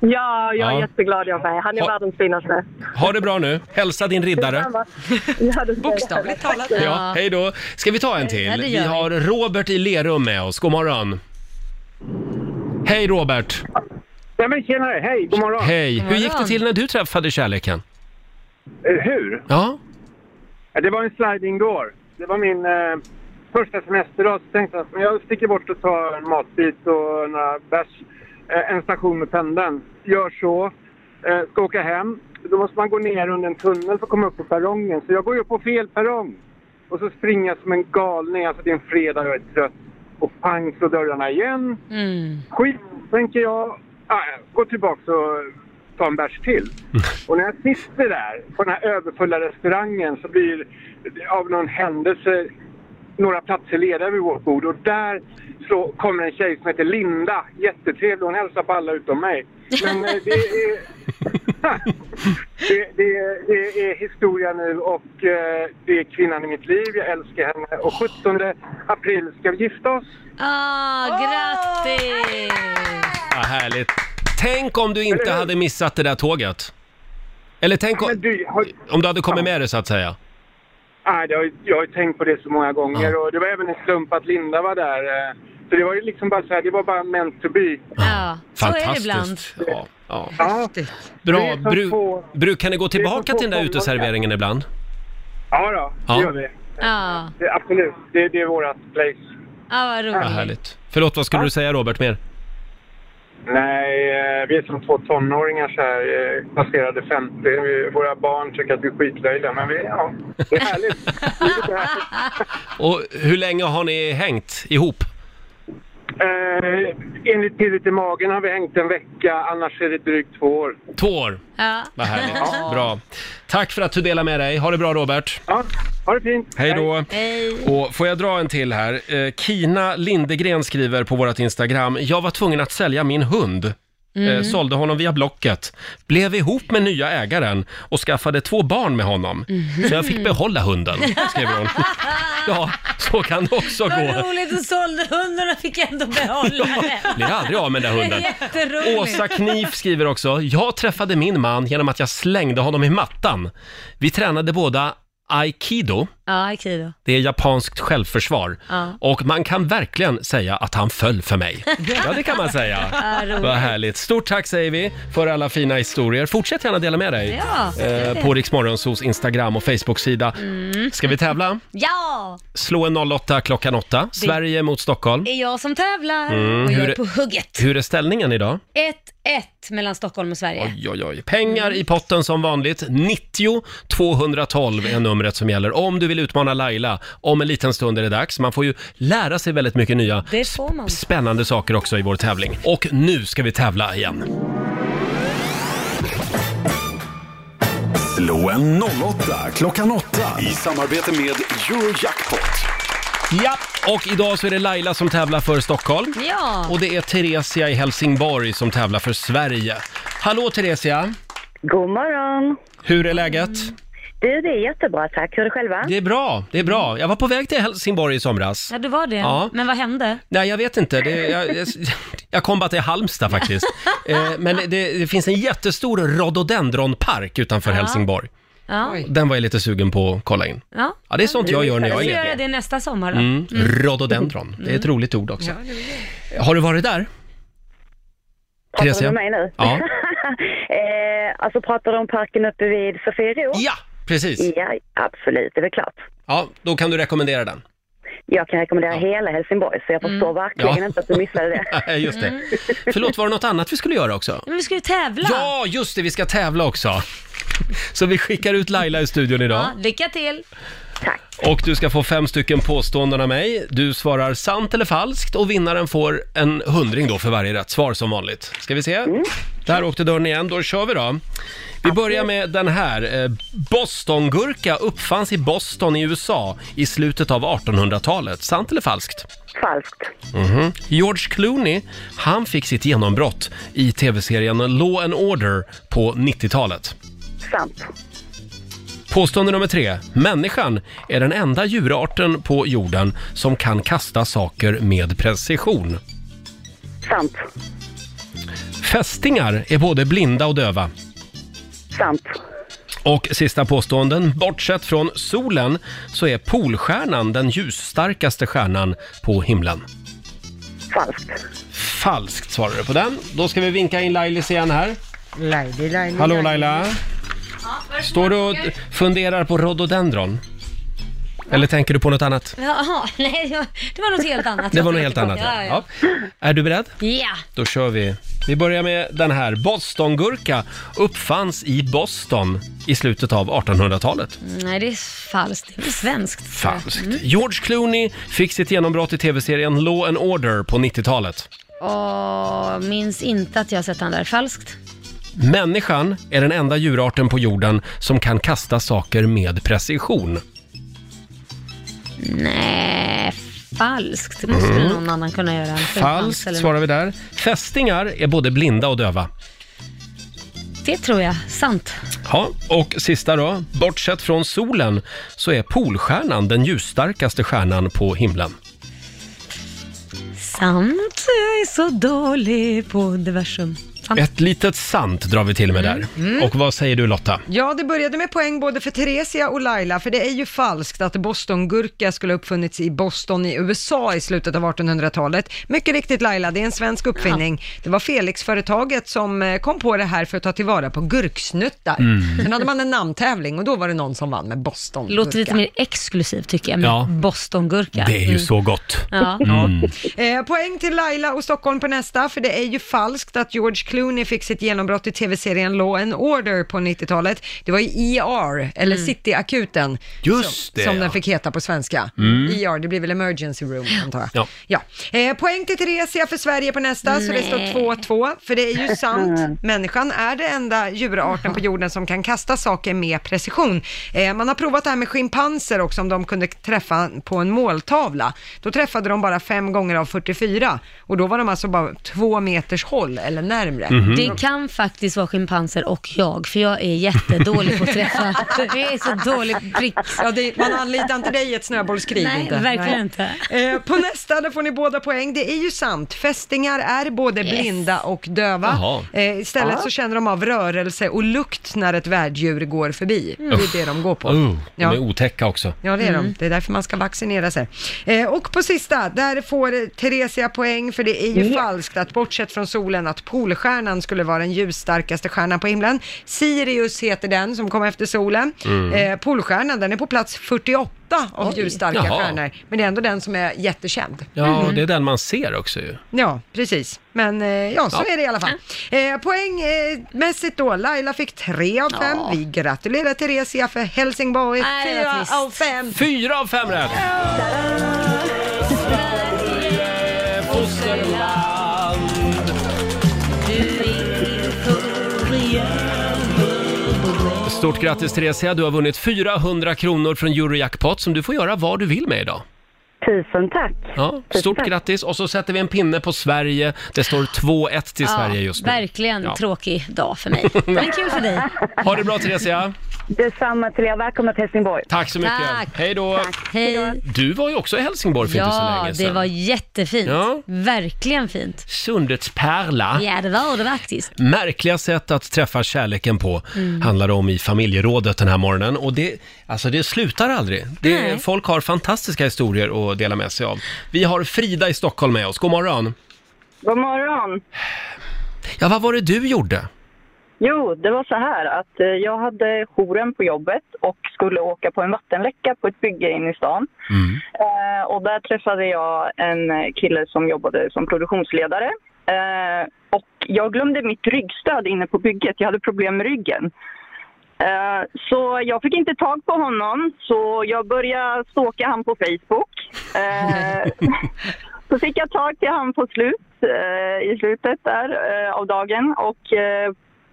Speaker 7: Ja, jag är
Speaker 1: Ja.
Speaker 7: jätteglad jag med. Han är
Speaker 1: Ha-
Speaker 7: världens finaste.
Speaker 1: Ha det bra nu, hälsa din riddare.
Speaker 7: Detsamma. Ja, det-
Speaker 2: Bokstavligt talat.
Speaker 1: Ja, hej då. Ska vi ta en
Speaker 4: Ja,
Speaker 1: till?
Speaker 4: det
Speaker 1: Vi
Speaker 4: gör vi.
Speaker 1: har Robert i Lerum med oss, god morgon. Hej Robert!
Speaker 10: Ja men tjenare, hej, god morgon.
Speaker 1: Hej!
Speaker 4: God
Speaker 1: Hur gick det
Speaker 4: morgon.
Speaker 1: till när du träffade kärleken?
Speaker 10: Eh, Hur?
Speaker 1: Ja,
Speaker 10: Ja, Det var en sliding door. Det var min eh, första semesterdag. Så tänkte jag att men jag sticker bort och tar en matbit och några bärs. Eh, en station med pendeln. Gör så. Eh, ska åka hem. Då måste man gå ner under en tunnel för att komma upp på perrongen. Så jag går ju upp på fel perrong. Och så springer jag som en galning. Alltså det är en fredag och jag är trött. Och pang så dörrarna igen.
Speaker 4: Mm.
Speaker 10: Skit, tänker jag. Ah, gå tillbaka och ta en bärs till. Och när jag sitter där på den här överfulla restaurangen så blir det av någon händelse några platser lediga vid vårt bord och där så kommer en tjej som heter Linda. Jättetrevlig. Hon hälsar på alla utom mig. Men eh, det är... Det, det, det är historia nu och eh, det är kvinnan i mitt liv. Jag älskar henne. Och 17 april ska vi gifta oss.
Speaker 4: Ah, grattis!
Speaker 1: vad härligt. Tänk om du inte
Speaker 10: Eller hur?
Speaker 1: hade missat det där tåget. Eller tänk
Speaker 10: Men
Speaker 1: om,
Speaker 10: du, har,
Speaker 1: om du hade kommit
Speaker 10: Ja.
Speaker 1: med det så att säga.
Speaker 10: Nej, det har, ju- jag har ju tänkt på det så många gånger
Speaker 1: Ja.
Speaker 10: och det var även en slump att Linda var där. eh. Så det var ju liksom bara så här, det var bara meant to be.
Speaker 4: Ja, så är det ibland.
Speaker 1: Fantastiskt. Ja, ja.
Speaker 10: Ja, Det
Speaker 1: Bra.
Speaker 10: är som
Speaker 1: Bru,
Speaker 10: två-
Speaker 1: brukar ni gå tillbaka
Speaker 10: två
Speaker 1: till den där
Speaker 10: kollar.
Speaker 1: uteserveringen ibland?
Speaker 10: ja då,
Speaker 1: Ja.
Speaker 10: det gör vi.
Speaker 4: Ja,
Speaker 10: Det, absolut, det, det är vårat place.
Speaker 4: ah,
Speaker 1: Vad
Speaker 4: vad roligt.
Speaker 1: härligt. Förlåt, vad skulle du säga Robert mer?
Speaker 10: Nej, eh, vi är som två tonåringar så här, eh, passerade 50. Vi- Våra barn tycker att vi är skitlöjliga, men vi, ja, det är härligt. Livet är härligt.
Speaker 1: Och hur länge har ni hängt ihop?
Speaker 10: Eh, enligt pirret i magen har vi hängt en vecka, annars är det drygt två år.
Speaker 1: Två år.
Speaker 4: Ja. Ah.
Speaker 1: Vad härligt. Bra. Tack för att du delade med dig. Ha det bra Robert.
Speaker 10: Ja, ha det fint.
Speaker 1: Hej då.
Speaker 4: Hej.
Speaker 1: Och får jag dra en till här? Eh, Kina Lindegren skriver på vårt Instagram. Jag var tvungen att sälja min hund.
Speaker 4: Mm.
Speaker 1: Eh, sålde honom via Blocket. Blev ihop med nya ägaren och skaffade två barn med honom.
Speaker 4: Mm.
Speaker 1: Så jag fick behålla hunden, skriver
Speaker 4: <laughs>
Speaker 1: hon. Ja, så kan det också
Speaker 4: Vad
Speaker 1: gå.
Speaker 4: roligt, du sålde hunden och fick
Speaker 1: <laughs>
Speaker 4: ändå behålla den.
Speaker 1: Blir aldrig av med den där <laughs>
Speaker 4: Det är <laughs>
Speaker 1: hunden.
Speaker 4: jätteroligt.
Speaker 1: Åsa Knif skriver också, jag träffade min man genom att jag slängde honom i mattan. Vi tränade båda aikido,
Speaker 4: Ja, okej då.
Speaker 1: det är japanskt självförsvar.
Speaker 4: Ja.
Speaker 1: Och man kan verkligen säga att han föll för mig. Ja, det kan man säga.
Speaker 4: Ah,
Speaker 1: Vad
Speaker 4: roligt.
Speaker 1: härligt. Stort tack säger vi för alla fina historier. Fortsätt gärna dela med dig
Speaker 4: Ja.
Speaker 1: eh, på Riksmorgonsos Instagram och Facebook-sida. Ska vi tävla?
Speaker 4: ja,
Speaker 1: Slå en 08 klockan 8. Sverige mot Stockholm.
Speaker 4: det är jag som tävlar och jag
Speaker 1: Mm. hur-
Speaker 4: är på hugget.
Speaker 1: Hur är ställningen idag?
Speaker 4: 1-1 mellan Stockholm och Sverige.
Speaker 1: Oj, oj, oj. Pengar i potten som vanligt. 90 212 är numret som gäller. Om du vill utmana Laila, om en liten stund är det dags. Man får ju lära sig väldigt mycket nya
Speaker 4: Det får man.
Speaker 1: spännande saker också i vår tävling. Och nu ska vi tävla igen.
Speaker 3: Slå en 08 klockan 8
Speaker 11: I samarbete med Eurojackpot.
Speaker 1: Ja, och idag så är det Laila som tävlar för Stockholm.
Speaker 4: Ja,
Speaker 1: Och det är Theresia i Helsingborg som tävlar för Sverige. Hallå Theresia!
Speaker 12: God morgon!
Speaker 1: Hur är läget?
Speaker 12: Du, det är jättebra tack. Hur är det själva?
Speaker 1: Det är bra, det är bra. Jag var på väg till Helsingborg i somras.
Speaker 4: ja, det var det.
Speaker 1: Ja.
Speaker 4: Men vad hände?
Speaker 1: Nej, jag vet inte. Det, jag, jag, jag kom bara till Halmstad faktiskt. Eh, men det, det finns en jättestor rhododendronpark utanför Helsingborg.
Speaker 4: Ja,
Speaker 2: Oj.
Speaker 1: Den var jag lite sugen på att kolla in.
Speaker 4: ja.
Speaker 1: Ja, det är sånt jag gör när
Speaker 4: Jag
Speaker 1: jag
Speaker 4: ska
Speaker 1: är
Speaker 4: göra
Speaker 1: ledig.
Speaker 4: det nästa sommar då.
Speaker 1: Mm, rhododendron. Det är ett roligt ord också. Har du varit där?
Speaker 12: Pratar du
Speaker 1: Theresia?
Speaker 12: med mig nu?
Speaker 1: Ja.
Speaker 12: <laughs> eh, alltså pratar du om parken uppe vid Sofiero?
Speaker 1: Ja, precis.
Speaker 12: Ja, absolut. Det är väl klart.
Speaker 1: Ja, då kan du rekommendera den.
Speaker 12: Jag kan rekommendera hela Helsingborg, så jag förstår verkligen
Speaker 1: Mm. Ja.
Speaker 12: inte att du missade det.
Speaker 1: Nej, just det.
Speaker 4: Mm,
Speaker 1: Förlåt, var det något annat vi skulle göra också?
Speaker 4: Men vi ska ju tävla.
Speaker 1: Ja, just det, vi ska tävla också. Så vi skickar ut Laila i studion idag.
Speaker 4: Ja, lycka till!
Speaker 1: Och du ska få fem stycken påståenden av mig. Du svarar sant eller falskt och vinnaren får en hundring då för varje rätt svar som vanligt. Ska vi se? Där åkte dörren igen, då kör vi då. Vi börjar med den här. Eh, Bostongurka uppfanns i Boston i USA i slutet av 1800-talet. Sant eller falskt?
Speaker 12: Falskt.
Speaker 1: Mhm. George Clooney, han fick sitt genombrott i tv-serien Law and Order på 90-talet.
Speaker 12: Sant.
Speaker 1: Påstående nummer tre. Människan är den enda djurarten på jorden som kan kasta saker med precision.
Speaker 12: Sant.
Speaker 1: Fästingar är både blinda och döva.
Speaker 12: Sant.
Speaker 1: Och sista påståenden. Bortsett från solen så är Polstjärnan den ljusstarkaste stjärnan på himlen.
Speaker 12: Falskt.
Speaker 1: Falskt svarar du på den. Då ska vi vinka in Lailis igen här.
Speaker 2: Laili, Laili,
Speaker 1: Hallå Laila! Står du och funderar på rhododendron? Eller tänker du på något annat?
Speaker 4: Jaha, nej, jag- det var något helt annat.
Speaker 1: Det var något helt annat.
Speaker 4: Ja,
Speaker 1: Ja.
Speaker 4: ja.
Speaker 1: Är du beredd?
Speaker 4: ja.
Speaker 1: Då kör vi. Vi börjar med den här. Bostongurka uppfanns i Boston i slutet av 1800-talet.
Speaker 4: Nej, det är falskt. Det är svenskt.
Speaker 1: Falskt.
Speaker 4: Mm.
Speaker 1: George Clooney fick sitt genombrott i tv-serien Law and Order på 90-talet.
Speaker 4: Åh, minns inte att jag har sett han där. Falskt.
Speaker 1: Människan är den enda djurarten på jorden som kan kasta saker med precision.
Speaker 4: Nej, falskt. Det måste
Speaker 1: Mm.
Speaker 4: väl någon annan kunna göra. än för falskt
Speaker 1: Falskt
Speaker 4: eller
Speaker 1: svarar vi där. Fästingar är både blinda och döva.
Speaker 4: något. Det tror jag. Sant.
Speaker 1: Ja, och sista då. Bortsett från solen så är Polstjärnan den ljusstarkaste stjärnan på himlen.
Speaker 4: Sant. Jag är så dålig på universum. Sant.
Speaker 1: Ett litet sant drar vi till med där.
Speaker 2: Mm.
Speaker 1: Och vad säger du Lotta?
Speaker 2: Ja, det började med poäng både för Theresia och Laila, för det är ju falskt att bostongurka skulle ha uppfunnits i Boston i USA i slutet av 1800-talet. Mycket riktigt Laila, det är en svensk uppfinning. Det var Felix-företaget som eh, kom på det här för att ta tillvara på gurksnuttar.
Speaker 1: Mm.
Speaker 2: Sen hade man en namntävling och då var det någon som vann med bostongurka.
Speaker 4: Låter lite mer exklusivt tycker jag med
Speaker 1: Ja.
Speaker 4: bostongurka.
Speaker 1: Det är ju
Speaker 4: Mm.
Speaker 1: så gott.
Speaker 2: <laughs>
Speaker 4: Ja.
Speaker 1: Mm.
Speaker 2: Eh, poäng till Laila och Stockholm på nästa, för det är ju falskt att George Clooney fick sitt genombrott i tv-serien Law and Order på 90-talet. Det var i ER, eller
Speaker 4: Mm.
Speaker 2: Cityakuten,
Speaker 1: Just
Speaker 2: som,
Speaker 1: det,
Speaker 2: som
Speaker 1: ja.
Speaker 2: den fick heta på svenska.
Speaker 1: Mm.
Speaker 2: ER, det blir väl emergency room antar jag.
Speaker 1: Ja.
Speaker 2: Ja. Eh, poäng till Theresia för Sverige på nästa, så det står 2-2, för det
Speaker 4: <laughs>
Speaker 2: är ju sant. Människan är den enda djurarten på jorden som kan kasta saker med precision. Eh, man har provat det här med schimpanser också, om de kunde träffa på en måltavla. Då träffade de bara fem gånger av 44 och då var de alltså bara två meters håll eller närmre.
Speaker 4: Det kan faktiskt vara schimpanser och jag, för jag är jättedålig på
Speaker 2: <laughs>
Speaker 4: att träffa. Jag är så dålig prick.
Speaker 2: Ja, det, man anlitar inte dig i ett snöbollskrig.
Speaker 4: Nej,
Speaker 2: inte.
Speaker 4: verkligen inte.
Speaker 2: Eh, på nästa, där får ni båda poäng. Det är ju sant. Fästingar är både
Speaker 4: Yes.
Speaker 2: blinda och döva.
Speaker 1: Jaha.
Speaker 2: Eh, istället
Speaker 1: Ja.
Speaker 2: så känner de av rörelse och lukt när ett värddjur går förbi. Det
Speaker 1: Uff.
Speaker 2: är det de går på.
Speaker 1: Oh, de
Speaker 2: Ja.
Speaker 1: är otäcka också. Mm.
Speaker 2: Ja, det är de. Det är därför man ska vaccinera sig. Eh, och på sista, där får eh, Theresia poäng, för det är ju
Speaker 12: Ja.
Speaker 2: falskt att bortsett från solen, att Polstjärnan skulle vara den ljusstarkaste stjärnan på himlen. Sirius heter den som kom efter solen.
Speaker 12: Mm.
Speaker 2: Eh, Polstjärnan, den är på plats 48 av
Speaker 1: Oj.
Speaker 2: ljusstarka
Speaker 1: Jaha.
Speaker 2: stjärnor, men det är ändå den som är jättekänd. Mm.
Speaker 1: Ja, det är den man ser också ju.
Speaker 2: Ja, precis. Men eh, ja, så
Speaker 1: Ja.
Speaker 2: är det i alla fall. Eh, Poängmässigt då, Laila fick tre av fem. Vi gratulerar Theresia för Helsingborg,
Speaker 4: Nej, det var
Speaker 2: fyra
Speaker 4: trist.
Speaker 2: av fem.
Speaker 1: Fyra av fem rätt! Stort grattis Theresia, du har vunnit 400 kronor från Eurojackpot som du får göra vad du vill med idag.
Speaker 12: Tusen tack.
Speaker 1: Ja, stort grattis och så sätter vi en pinne på Sverige. Det står 2-1 <laughs> till Sverige just nu.
Speaker 4: Verkligen
Speaker 1: Ja.
Speaker 4: tråkig
Speaker 1: <laughs>
Speaker 4: dag för mig, men kul för dig.
Speaker 1: Ha det bra Theresia!
Speaker 12: Detsamma till er. Välkomna till Helsingborg.
Speaker 1: Tack så mycket.
Speaker 4: Tack.
Speaker 1: Hej då.
Speaker 4: Hej.
Speaker 1: Du var ju också i Helsingborg för inte så
Speaker 4: Ja,
Speaker 1: länge sedan.
Speaker 4: det var jättefint.
Speaker 1: Ja. Ah.
Speaker 4: Verkligen fint.
Speaker 1: Sundets pärla.
Speaker 4: Ja, det var det faktiskt.
Speaker 1: Märkliga sätt att träffa kärleken på
Speaker 4: Mm.
Speaker 1: handlar det om i familjerådet den här morgonen. Och det, alltså det slutar aldrig. Det,
Speaker 4: Nej.
Speaker 1: folk har fantastiska historier att dela med sig av. Vi har Frida i Stockholm med oss. God morgon.
Speaker 13: God morgon.
Speaker 1: Ja, vad var det du gjorde?
Speaker 13: Jo, det var så här att eh, jag hade jouren på jobbet och skulle åka på en vattenläcka på ett bygge in i stan. Eh, och där träffade jag en eh, kille som jobbade som produktionsledare. Eh, och jag glömde mitt ryggstöd inne på bygget. Jag hade problem med ryggen.
Speaker 12: Eh, Så jag fick inte tag på honom, så jag började stalka han på Facebook. Eh, <laughs> Så fick jag tag till han på slut, eh, i slutet där eh, av dagen och eh,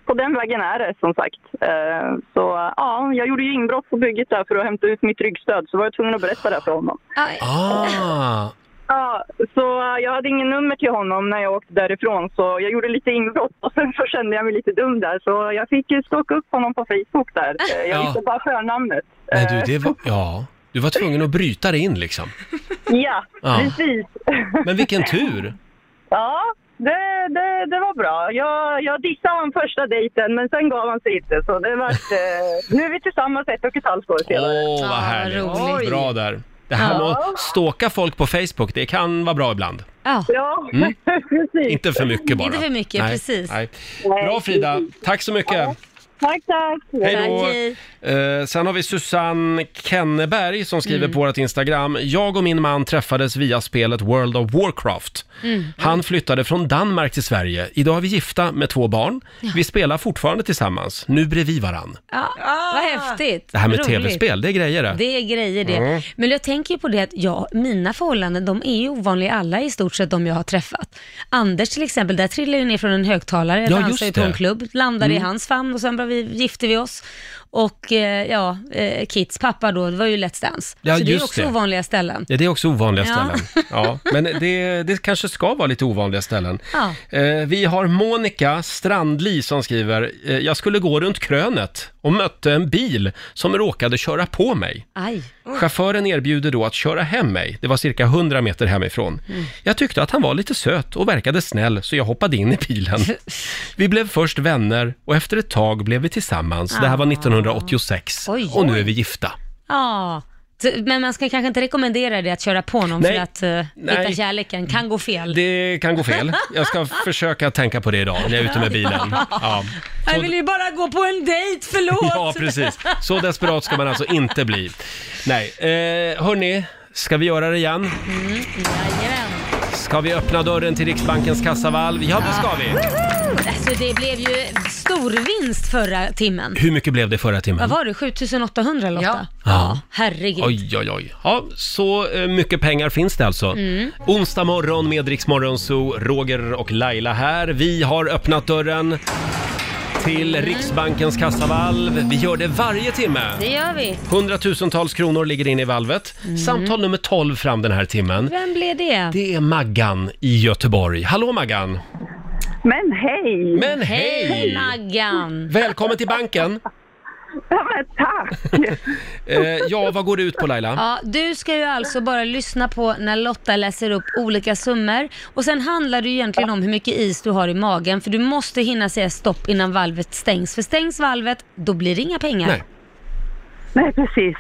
Speaker 12: på den vägen är det som sagt. Eh, Så ja, jag gjorde ju inbrott på bygget där för att hämta ut mitt ryggstöd så var jag tvungen att berätta det för honom.
Speaker 1: Ah!
Speaker 12: Ja, så eh, jag hade ingen nummer till honom när jag åkte därifrån så jag gjorde lite inbrott och sen så kände jag mig lite dum där så jag fick ju stalka upp honom på Facebook där. Eh, Jag
Speaker 1: Ja.
Speaker 12: visste bara förnamnet.
Speaker 1: Nej du, det var... Ja. Du var tvungen att bryta dig in liksom.
Speaker 12: Eh, Ja,
Speaker 1: Ja.
Speaker 12: precis.
Speaker 1: Ah. Men
Speaker 12: <laughs>
Speaker 1: vilken tur!
Speaker 12: Ja, det, det, det var bra. Jag, jag dissade honom första dejten men sen gav han sig inte så det var, eh, nu är vi tillsammans ett och ett halvt år senare.
Speaker 1: Åh, Ah, vad härligt. Bra där. Det här
Speaker 12: Ja.
Speaker 1: med att stalka folk på Facebook, det kan vara bra ibland.
Speaker 4: Ja,
Speaker 1: Mm.
Speaker 12: precis.
Speaker 1: Inte för mycket bara.
Speaker 4: Inte för mycket, precis.
Speaker 1: Nej. Bra Frida, tack så mycket.
Speaker 12: <laughs> Tack, tack.
Speaker 1: Hej då. Eh, sen har vi Susanne Kenneberg som skriver på vårt Instagram. Jag och min man träffades via spelet World of Warcraft.
Speaker 3: Mm.
Speaker 1: Han flyttade från Danmark till Sverige. Idag är vi gifta med två barn. Vi spelar fortfarande tillsammans, nu bredvid varann.
Speaker 4: Ja, vad häftigt.
Speaker 1: Det här med
Speaker 4: Roligt.
Speaker 1: tv-spel, det är grejer det.
Speaker 4: Det är grejer det.
Speaker 1: Mm.
Speaker 4: Men jag tänker ju på det att ja, mina förhållanden, de är ju ovanliga alla i stort sett de jag har träffat. Anders till exempel, där trillade jag ner från en högtalare,
Speaker 14: Ja, just
Speaker 4: dansade ju på
Speaker 14: det.
Speaker 4: en klubb, landade i
Speaker 14: Mm.
Speaker 4: hans famn och sen bara vi, gifte vi oss. Och eh, ja, eh, Kits pappa då, det var ju Let's Dance.
Speaker 1: Ja,
Speaker 4: Så det är ju
Speaker 1: just
Speaker 4: också
Speaker 1: det.
Speaker 4: ovanliga ställen.
Speaker 1: Ja, det är också ovanliga
Speaker 4: Ja.
Speaker 1: ställen. Ja, men det, det kanske ska vara lite ovanliga ställen.
Speaker 4: Ja.
Speaker 1: Eh, vi har Monica Strandli som skriver, eh, jag skulle gå runt krönet och mötte en bil som råkade köra på mig.
Speaker 4: Aj.
Speaker 1: Chauffören erbjuder då att köra hem mig. Det var cirka 100 meter hemifrån.
Speaker 4: Mm.
Speaker 1: Jag tyckte att han var lite söt och verkade snäll, så jag hoppade in i
Speaker 4: <laughs>
Speaker 1: bilen. Vi blev först vänner och efter ett tag blev vi tillsammans. Det här var 1986
Speaker 4: Ah. Oj.
Speaker 1: och nu är vi gifta.
Speaker 4: Ja. Så- Men man ska kanske inte rekommendera det att köra på någon
Speaker 1: Nej.
Speaker 4: för att eh, hitta
Speaker 1: Nej.
Speaker 4: kärleken. Kan gå fel.
Speaker 1: Det kan gå fel. Jag
Speaker 4: <laughs>
Speaker 1: ska försöka tänka på det idag när jag är ute med bilen. Ja,
Speaker 4: Jag vill ju bara gå på en dejt, förlåt!
Speaker 1: ja precis. Så desperat ska man alltså inte bli. Nej, eh, hörni, ska vi göra det igen?
Speaker 4: Mm, jajamän.
Speaker 1: Ska vi öppna dörren till Riksbankens kassavalv? Ja, det ska vi.
Speaker 4: Woho! Alltså det blev ju stor vinst förra timmen.
Speaker 1: Hur mycket blev det förra timmen?
Speaker 4: Vad var det? 7800 Lotta?
Speaker 1: Ja.
Speaker 4: Herregud.
Speaker 1: Oj, oj, oj. Ja, så eh, mycket pengar finns det alltså.
Speaker 4: Mm.
Speaker 1: Onsdag morgon med Rix Morgon Zoo, Roger och Laila här. Vi har öppnat dörren till Riksbankens kassavalv. Vi gör det varje timme.
Speaker 4: Mm. Det gör vi. Mm.
Speaker 1: Hundratusentals kronor ligger inne i valvet. Samtal nummer 12 fram den här timmen.
Speaker 4: Vem blev det?
Speaker 1: Det är Maggan i Göteborg. Hallå Maggan!
Speaker 4: Mm.
Speaker 12: Men hej!
Speaker 1: Men hej!
Speaker 4: Hej Maggan!
Speaker 1: Välkommen till banken!
Speaker 12: Ja, men tack!
Speaker 1: <laughs> Eh, ja, vad går det ut på Laila?
Speaker 4: Ja, du ska ju alltså bara lyssna på när Lotta läser upp olika summor och sen handlar det ju egentligen om hur mycket is du har i magen för du måste hinna säga stopp innan valvet stängs. För stängs valvet, då blir det inga pengar.
Speaker 1: Nej.
Speaker 12: Nej, precis.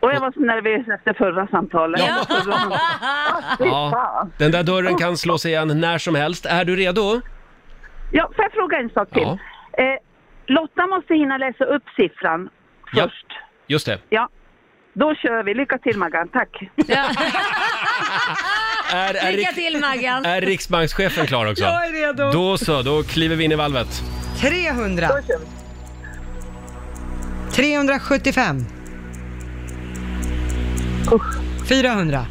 Speaker 12: Och jag var så nervös efter förra samtalet. <laughs>
Speaker 4: Ja.
Speaker 12: Så då- Ah, fy
Speaker 1: Ja,
Speaker 12: fan.
Speaker 1: den där dörren kan slås igen när som helst. Är du redo?
Speaker 12: Ja, får jag fråga en sak till?
Speaker 1: Ja.
Speaker 12: Eh, Lotta måste hinna läsa upp siffran.
Speaker 1: Först. Ja, just det.
Speaker 12: Ja, då kör vi. Lycka till Maggan, tack.
Speaker 1: Är, är,
Speaker 4: Lycka
Speaker 1: Riks-
Speaker 4: till Maggan!
Speaker 1: är riksbankschefen klar också?
Speaker 2: Jag är redo.
Speaker 1: Då så, då kliver vi in i valvet.
Speaker 2: 300. 375. 400.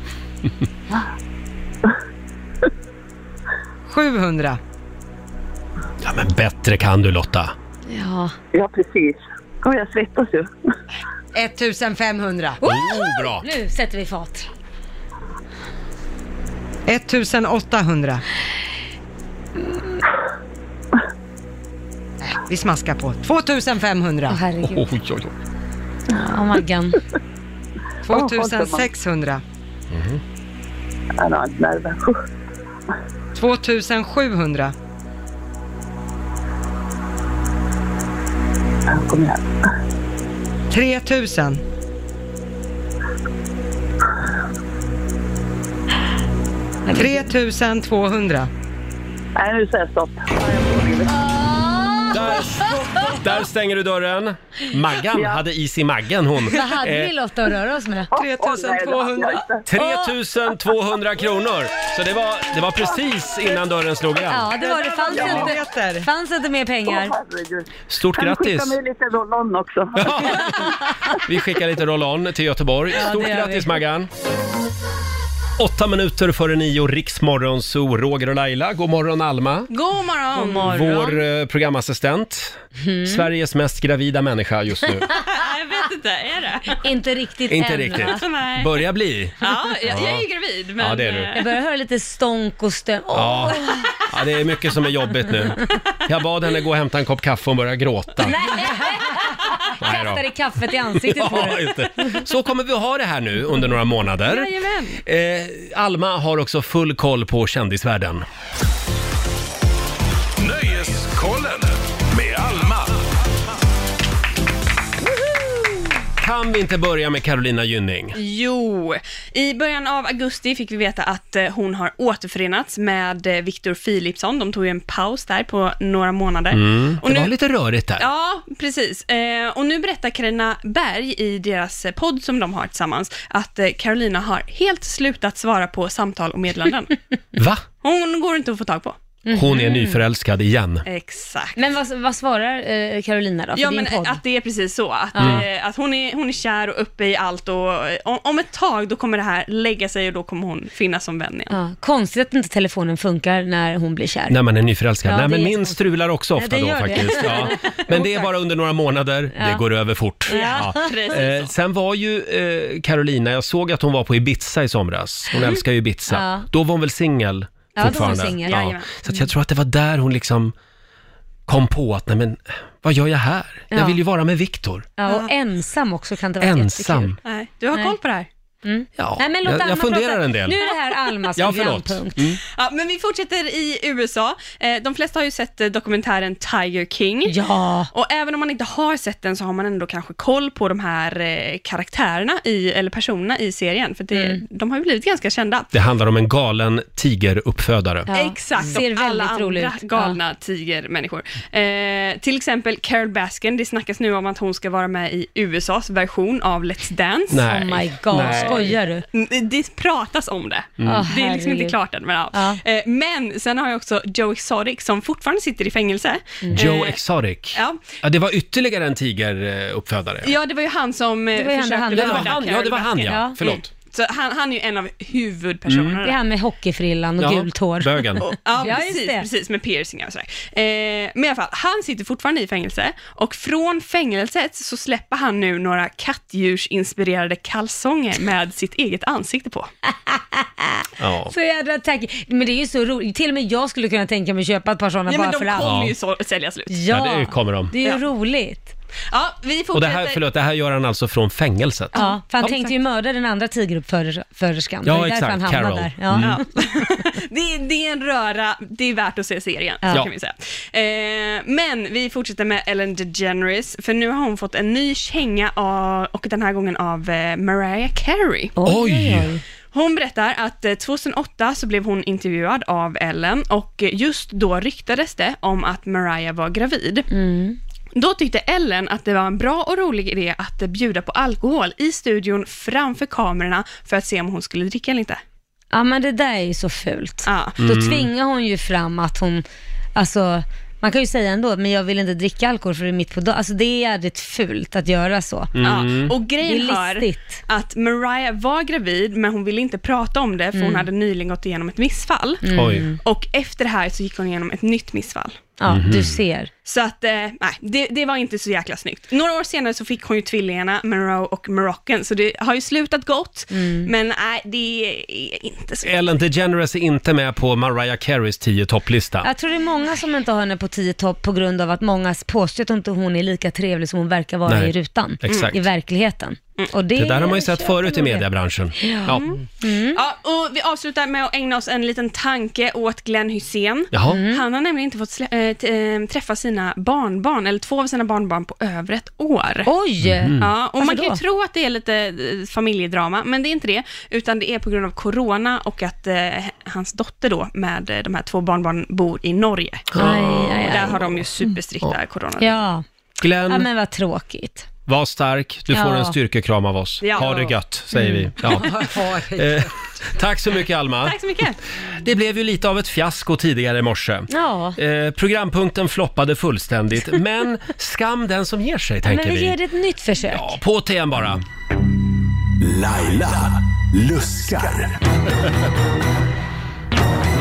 Speaker 2: 700.
Speaker 1: Ja, men bättre kan du Lotta.
Speaker 4: Ja.
Speaker 12: Ja, precis. Och jag svettas ju.
Speaker 2: 1500.
Speaker 1: Oh, bra.
Speaker 4: Nu sätter vi fart.
Speaker 2: 1800. Nej, Vi smaskar på. 2500.
Speaker 1: Oj, oj, oj.
Speaker 4: Ja, Maggan.
Speaker 2: 2600.
Speaker 1: Mhm.
Speaker 12: Han har Mm-hmm. inte nerver.
Speaker 2: 2700.
Speaker 12: Kom igen.
Speaker 2: 3000. 3200.
Speaker 12: Nej, nu säger jag stopp.
Speaker 1: Där Där stänger du dörren. Maggan
Speaker 4: Ja.
Speaker 1: hade is i maggen hon.
Speaker 4: Vad hade vi
Speaker 1: Eh,
Speaker 4: Lotta att röra oss med?
Speaker 2: 3200.
Speaker 1: 3200 kronor. Så det var, det var precis innan dörren slog igen.
Speaker 4: Ja, det var det. Fanns inte, fanns inte mer pengar.
Speaker 1: Stort
Speaker 12: Kan du skicka
Speaker 1: grattis!
Speaker 12: mig lite roll-on också?
Speaker 1: Vi skickar lite roll-on till Göteborg.
Speaker 12: Ja, det
Speaker 1: Stort
Speaker 12: gör vi.
Speaker 1: grattis Maggan! Åtta minuter före nio, Riksmorgon, så Roger och Laila. God morgon Alma!
Speaker 14: God morgon! Mm.
Speaker 1: Vår eh, programassistent.
Speaker 4: Mm.
Speaker 1: Sveriges mest gravida människa just
Speaker 14: <laughs>
Speaker 1: nu.
Speaker 14: jag vet inte, är det?
Speaker 4: Inte riktigt
Speaker 1: Inte riktigt.
Speaker 14: <laughs>
Speaker 4: Nej.
Speaker 1: Börjar bli.
Speaker 14: Ja, jag, jag är ju gravid, men... eh,
Speaker 1: Ja, det är du.
Speaker 4: Jag börjar höra lite stånk och stön. Åh,
Speaker 1: Ja. ja, det är mycket som är jobbigt nu. Jag bad henne gå och hämta en kopp kaffe och börja gråta. Nej då.
Speaker 4: Kastade kaffet i ansiktet på
Speaker 1: Ja,
Speaker 4: dig.
Speaker 1: just det. Så kommer vi att ha det här nu under några månader.
Speaker 4: Jajamän.
Speaker 1: Eh, Alma har också full koll på kändisvärlden.
Speaker 3: Nöjeskollen med Alma.
Speaker 1: Kan vi inte börja med Carolina Gynning?
Speaker 14: Jo, i början av augusti fick vi veta att eh, hon har återförenats med eh, Victor Philipsson. De tog ju en paus där på några månader.
Speaker 1: Mm.
Speaker 14: Och
Speaker 1: Det var
Speaker 14: nu-
Speaker 1: lite rörigt där.
Speaker 14: Ja, precis. Eh, och nu berättar Carina Berg i deras eh, podd som de har tillsammans att eh, Carolina har helt slutat svara på samtal och meddelanden.
Speaker 1: <laughs> Va?
Speaker 14: Hon går inte att få tag på.
Speaker 1: Hon
Speaker 14: Mm.
Speaker 1: är nyförälskad igen.
Speaker 14: Exakt.
Speaker 4: Men vad, vad svarar eh, Carolina då? För
Speaker 14: Ja,
Speaker 4: din
Speaker 14: men
Speaker 4: podd?
Speaker 14: att det är precis så. Att,
Speaker 4: Ja.
Speaker 14: eh, att hon, är, hon är kär och uppe i allt och eh, om, om ett tag då kommer det här lägga sig och då kommer hon finnas som vän igen.
Speaker 4: Ja, konstigt att inte telefonen funkar när hon blir kär.
Speaker 1: När man är nyförälskad.
Speaker 4: Ja,
Speaker 1: Nej,
Speaker 4: det
Speaker 1: men
Speaker 4: är
Speaker 1: min
Speaker 4: jättekonstigt.
Speaker 1: strular också
Speaker 4: Ja,
Speaker 1: ofta
Speaker 4: det
Speaker 1: då
Speaker 4: gör det.
Speaker 1: faktiskt.
Speaker 4: <laughs>
Speaker 1: Ja. Men det är bara under några månader.
Speaker 4: Ja.
Speaker 1: Det går över fort.
Speaker 4: Ja, <laughs> precis så.
Speaker 1: Eh, sen var ju eh, Carolina, jag såg att hon var på Ibiza i somras. Hon
Speaker 4: Mm.
Speaker 1: älskar ju Ibiza.
Speaker 4: Ja.
Speaker 1: Då var hon väl singel
Speaker 4: Ja, då var hon
Speaker 1: fortfarande?
Speaker 4: singel, jajamän.
Speaker 1: Så att jag tror att det var där hon liksom kom på att, nej men, vad gör jag här?
Speaker 4: Ja.
Speaker 1: Jag vill ju vara med Viktor.
Speaker 4: Ja, och ensam också kan det vara
Speaker 1: Ensam.
Speaker 4: jättekul.
Speaker 14: Nej, du har
Speaker 4: Nej.
Speaker 14: koll på det här?
Speaker 4: Mm.
Speaker 1: Ja,
Speaker 4: Nej, men låt
Speaker 1: jag- jag
Speaker 4: Alma
Speaker 1: funderar
Speaker 4: prata.
Speaker 1: en del.
Speaker 4: Nu är det här Almas
Speaker 1: Ja, förlåt.
Speaker 4: programpunkt.
Speaker 1: Mm.
Speaker 14: Ja, men vi fortsätter i USA. Eh, De flesta har ju sett eh, dokumentären Tiger King.
Speaker 4: Ja.
Speaker 14: Och även om man inte har sett den så har man ändå kanske koll på de här eh, karaktärerna i, eller personerna i serien, för det,
Speaker 4: Mm.
Speaker 14: de har ju blivit ganska kända.
Speaker 1: Det handlar om en galen tigeruppfödare.
Speaker 14: Exakt,
Speaker 4: Mm. Ser
Speaker 14: och alla
Speaker 4: väldigt rolig
Speaker 14: andra
Speaker 4: ut.
Speaker 14: galna tigermänniskor. Eh, till exempel Carol Baskin, det snackas nu om att hon ska vara med i USAs version av Let's Dance.
Speaker 4: Nej. Oh my God, Nej. skojar du?
Speaker 14: Mm, Det pratas om det.
Speaker 4: Mm. Ah,
Speaker 14: det är liksom inte
Speaker 4: herregud.
Speaker 14: klart än. Men, ja. eh, men sen har jag också Joe Exotic som fortfarande sitter i fängelse.
Speaker 4: Mm.
Speaker 1: Joe
Speaker 14: Eh,
Speaker 1: Exotic.
Speaker 14: ja.
Speaker 1: Ja, det var ytterligare en tigeruppfödare.
Speaker 14: Ja, det var ju han som eh,
Speaker 4: Det var ju han-
Speaker 14: försökte
Speaker 4: han-
Speaker 1: Ja, det var
Speaker 14: mörda
Speaker 1: han, ja,
Speaker 14: Carol
Speaker 1: det var han,
Speaker 14: Baskin.
Speaker 1: ja. Förlåt. Mm.
Speaker 14: Mm. Så han, han är ju en av huvudpersonerna.
Speaker 4: Det är han med hockeyfrillan och
Speaker 1: Ja,
Speaker 4: gult hår.
Speaker 1: bögen.
Speaker 14: Och- Ja, precis, precis, med piercingar och sådär. Eh, men i alla fall, han sitter fortfarande i fängelse och från fängelset så släpper han nu några kattdjursinspirerade kalsonger med sitt eget ansikte <laughs> på.
Speaker 1: Ja.
Speaker 4: Så jädra tack. Men det är ju så roligt. Till och med jag skulle kunna tänka mig att köpa ett par sådana
Speaker 14: Ja,
Speaker 4: bara
Speaker 14: men de
Speaker 4: för allt.
Speaker 14: kommer ju så, sälja slut.
Speaker 4: Ja,
Speaker 1: Ja, det kommer de.
Speaker 4: Det är ju
Speaker 14: Ja.
Speaker 4: roligt.
Speaker 14: Ja, vi
Speaker 1: Och det här, förlåt, det här gör han alltså från fängelset?
Speaker 4: Ja, för han tänkte ju mörda den andra tigeruppföderskan.
Speaker 1: Ja,
Speaker 4: det är
Speaker 1: exakt.
Speaker 4: därför han hamnade
Speaker 1: Carol.
Speaker 4: där. Ja.
Speaker 1: Mm.
Speaker 14: Det är, det är en röra, det är värt att se serien,
Speaker 4: Ja.
Speaker 14: kan vi säga. Eh, men vi fortsätter med Ellen DeGeneres, för nu har hon fått en ny känga av, och den här gången av eh, Mariah Carey.
Speaker 1: Oj!
Speaker 14: Hon berättar att eh, 2008 så blev hon intervjuad av Ellen och eh, just då ryktades det om att Mariah var gravid.
Speaker 4: Mm.
Speaker 14: Då tyckte Ellen att det var en bra och rolig idé att eh, bjuda på alkohol i studion framför kamerorna för att se om hon skulle dricka eller inte.
Speaker 4: Ja, men det där är ju så fult.
Speaker 14: Ja.
Speaker 4: Då
Speaker 14: Mm.
Speaker 4: tvingar hon ju fram att hon, alltså, man kan ju säga ändå, men jag vill inte dricka alkohol för det är mitt på dagen. Alltså det är jädrigt fult att göra så.
Speaker 1: Mm.
Speaker 14: Ja, och grejen
Speaker 4: det är
Speaker 14: var
Speaker 4: listigt.
Speaker 14: att Mariah var gravid, men hon ville inte prata om det, för hon
Speaker 4: Mm.
Speaker 14: hade nyligen gått igenom ett missfall.
Speaker 4: Mm. Oj.
Speaker 14: Och efter det här så gick hon igenom ett nytt missfall.
Speaker 4: Ja, du ser.
Speaker 14: Så att, eh, nej, det, det var inte så jäkla snyggt. Några år senare så fick hon ju tvillingarna, Monroe och Moroccan, så det har ju slutat gott,
Speaker 4: Mm.
Speaker 14: men nej, det är inte så
Speaker 1: Ellen DeGeneres är inte med på Mariah Careys 10 topplista.
Speaker 4: Jag tror det är många som inte har henne på 10 topp på grund av att många påstår att hon inte hon är lika trevlig som hon verkar vara
Speaker 1: Nej, Mm.
Speaker 4: i rutan.
Speaker 1: exakt. Mm.
Speaker 4: I verkligheten. Och det,
Speaker 1: Det där har man ju sett förut i
Speaker 4: köper man
Speaker 1: mediebranschen.
Speaker 4: det.
Speaker 1: Ja.
Speaker 14: Mm. Ja, och vi avslutar med att ägna oss en liten tanke åt Glenn Hussein.
Speaker 1: Jaha. Mm.
Speaker 14: Han har nämligen inte fått slä- äh, t- äh, träffa sina barnbarn, eller två av sina barnbarn, på över ett år.
Speaker 4: Oj! Mhm.
Speaker 14: Ja, och
Speaker 4: Varför
Speaker 14: man kan ju
Speaker 4: då?
Speaker 14: tro att det är lite eh, familjedrama, men det är inte det, utan det är på grund av corona och att eh, hans dotter då med eh, de här två barnbarnen bor i Norge.
Speaker 4: Aj, aj, aj.
Speaker 14: Där har de ju superstrikta coronaregler.
Speaker 4: Ja.
Speaker 1: Glenn,
Speaker 4: ja, men vad tråkigt.
Speaker 1: var stark. Du får
Speaker 4: Ja.
Speaker 1: en styrkekram av oss.
Speaker 4: Ja.
Speaker 1: Ha det gött, säger vi.
Speaker 4: Mm. <laughs>
Speaker 2: <laughs>
Speaker 1: Ja.
Speaker 2: Ha det
Speaker 1: Eh, tack så mycket, Alma.
Speaker 14: Tack så mycket.
Speaker 1: <laughs> Det blev ju lite av ett fiasko tidigare i morse.
Speaker 4: Ja.
Speaker 1: Eh, programpunkten floppade
Speaker 4: <laughs>
Speaker 1: fullständigt, men skam den som ger sig,
Speaker 4: Men
Speaker 1: tänker
Speaker 4: vi
Speaker 1: vi.
Speaker 4: ger det ett nytt försök.
Speaker 1: Ja, På till en bara.
Speaker 3: Laila luskar.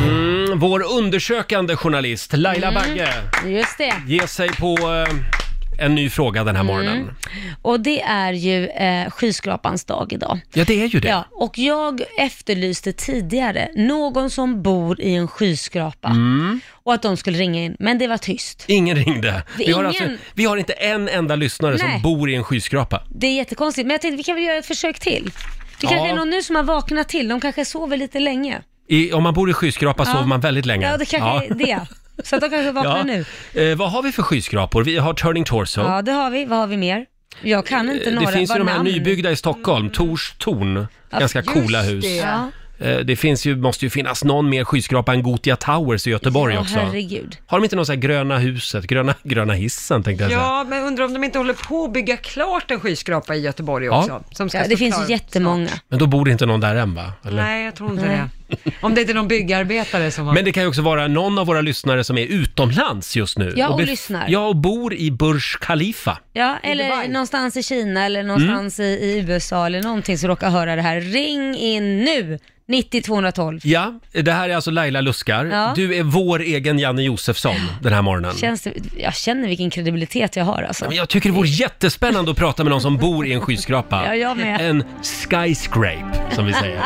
Speaker 1: Mm, vår undersökande journalist Laila Bagge
Speaker 4: Mm. Just det.
Speaker 1: ger sig på eh, en ny fråga den här
Speaker 4: Mm.
Speaker 1: morgonen.
Speaker 4: Och det är ju eh, skyskrapans dag idag.
Speaker 1: Ja, det är ju det.
Speaker 4: Ja, och jag efterlyste tidigare någon som bor i en skyskrapa
Speaker 1: Mm.
Speaker 4: och att de skulle ringa in, men det var tyst.
Speaker 1: Ingen ringde.
Speaker 4: Det är
Speaker 1: Vi har,
Speaker 4: ingen-
Speaker 1: alltså, vi har inte en enda lyssnare
Speaker 4: Nej.
Speaker 1: som bor i en skyskrapa.
Speaker 4: Det är jättekonstigt, men jag tänkte vi kan väl göra ett försök till. Det
Speaker 1: Ja.
Speaker 4: kanske är någon nu som har vaknat till, de kanske sover lite länge.
Speaker 1: I, om man bor i skyskrapa
Speaker 4: Ja.
Speaker 1: sover man väldigt länge.
Speaker 4: Ja, det kanske är det. Så att de kanske
Speaker 1: <laughs>
Speaker 4: vaknar
Speaker 1: Ja.
Speaker 4: nu.
Speaker 1: Eh, vad har vi för skyskrapor? Vi har Turning Torso.
Speaker 4: Ja, det har vi. Vad har vi mer? Jag kan inte
Speaker 1: Eh,
Speaker 4: några.
Speaker 1: det finns ju
Speaker 4: Vad
Speaker 1: de här
Speaker 4: namn?
Speaker 1: nybyggda i Stockholm, Tors torn.
Speaker 4: Ja,
Speaker 1: Ganska
Speaker 4: just
Speaker 1: coola hus.
Speaker 4: det. Ja.
Speaker 1: Eh, Det finns ju, måste ju finnas någon mer skyskrapa än Gotia Towers i Göteborg
Speaker 4: Ja,
Speaker 1: också.
Speaker 4: herregud.
Speaker 1: Har de inte något sånt här gröna huset, gröna, <laughs> gröna hissen tänkte jag säga.
Speaker 2: Ja, men undrar om de inte håller på att bygga klart en skyskrapa i Göteborg
Speaker 1: Ja.
Speaker 2: också. Som ska
Speaker 4: Ja,
Speaker 2: stå
Speaker 4: det finns
Speaker 2: klar.
Speaker 4: ju jättemånga.
Speaker 1: Men då bor det inte någon där än va? Eller?
Speaker 2: Nej, jag tror inte det. Om det inte är någon byggarbetare som har...
Speaker 1: Men det kan ju också vara någon av våra lyssnare som är utomlands just nu.
Speaker 4: Ja, och
Speaker 1: bef-
Speaker 4: lyssnar.
Speaker 1: Ja, och bor i Burj Khalifa.
Speaker 4: Ja, eller någonstans i Kina
Speaker 1: Mm.
Speaker 4: eller någonstans i, i USA eller någonting som råkar höra det här. Ring in nu! 90 212.
Speaker 1: Ja, det här är alltså Laila Luskar.
Speaker 4: Ja.
Speaker 1: Du är vår egen Janne Josefsson den här morgonen.
Speaker 4: Känns det, jag känner vilken kredibilitet jag har alltså.
Speaker 1: Men jag tycker det vore jättespännande att prata med någon som bor i en skyskrapa.
Speaker 4: Ja, jag med.
Speaker 1: En skyscrape, som vi säger.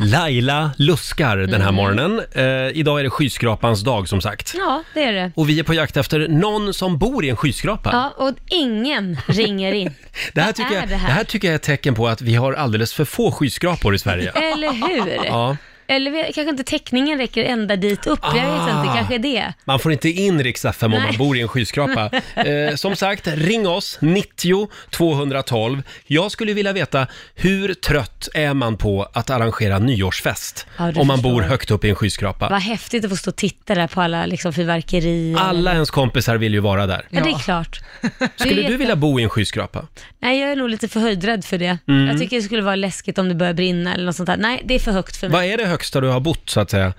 Speaker 1: Laila luskar den
Speaker 4: Mm.
Speaker 1: här morgonen. Eh, idag är det skyskrapans dag, som sagt.
Speaker 4: Ja, det är det.
Speaker 1: Och vi är på jakt efter någon som bor i en skyskrapa.
Speaker 4: Ja, och ingen ringer in.
Speaker 1: Det här,
Speaker 4: Vad
Speaker 1: tycker
Speaker 4: är
Speaker 1: jag,
Speaker 4: det här?
Speaker 1: det här tycker jag är ett tecken på att vi har alldeles för få skyskrapor i
Speaker 4: <laughs>
Speaker 1: Sverige.
Speaker 4: Eller hur?
Speaker 1: <laughs> Ja.
Speaker 4: Eller vi- kanske inte täckningen räcker ända dit upp. Jag vet
Speaker 1: Ah.
Speaker 4: inte, kanske det.
Speaker 1: Man får inte in Rix FM om
Speaker 4: Nej.
Speaker 1: man bor i en
Speaker 4: <laughs>
Speaker 1: skyskrapa. Eh, som sagt, ring oss, 90 212. Jag skulle vilja veta, hur trött är man på att arrangera nyårsfest?
Speaker 4: Ja, du
Speaker 1: om man
Speaker 4: förstår.
Speaker 1: bor högt upp i en skyskrapa.
Speaker 4: Vad häftigt att få stå och titta där på alla liksom, fyrverkerier.
Speaker 1: Alla ens kompisar vill ju vara där.
Speaker 4: Ja, det är klart. Det
Speaker 1: <laughs> Skulle
Speaker 4: är
Speaker 1: du vilja bo i en skyskrapa?
Speaker 4: Nej, jag är nog lite för höjdrädd för det.
Speaker 1: Mm.
Speaker 4: Jag tycker det skulle vara läskigt om det börjar brinna eller något sånt där. Nej, det är för högt för mig.
Speaker 1: Vad är det högsta du har bott, så att säga?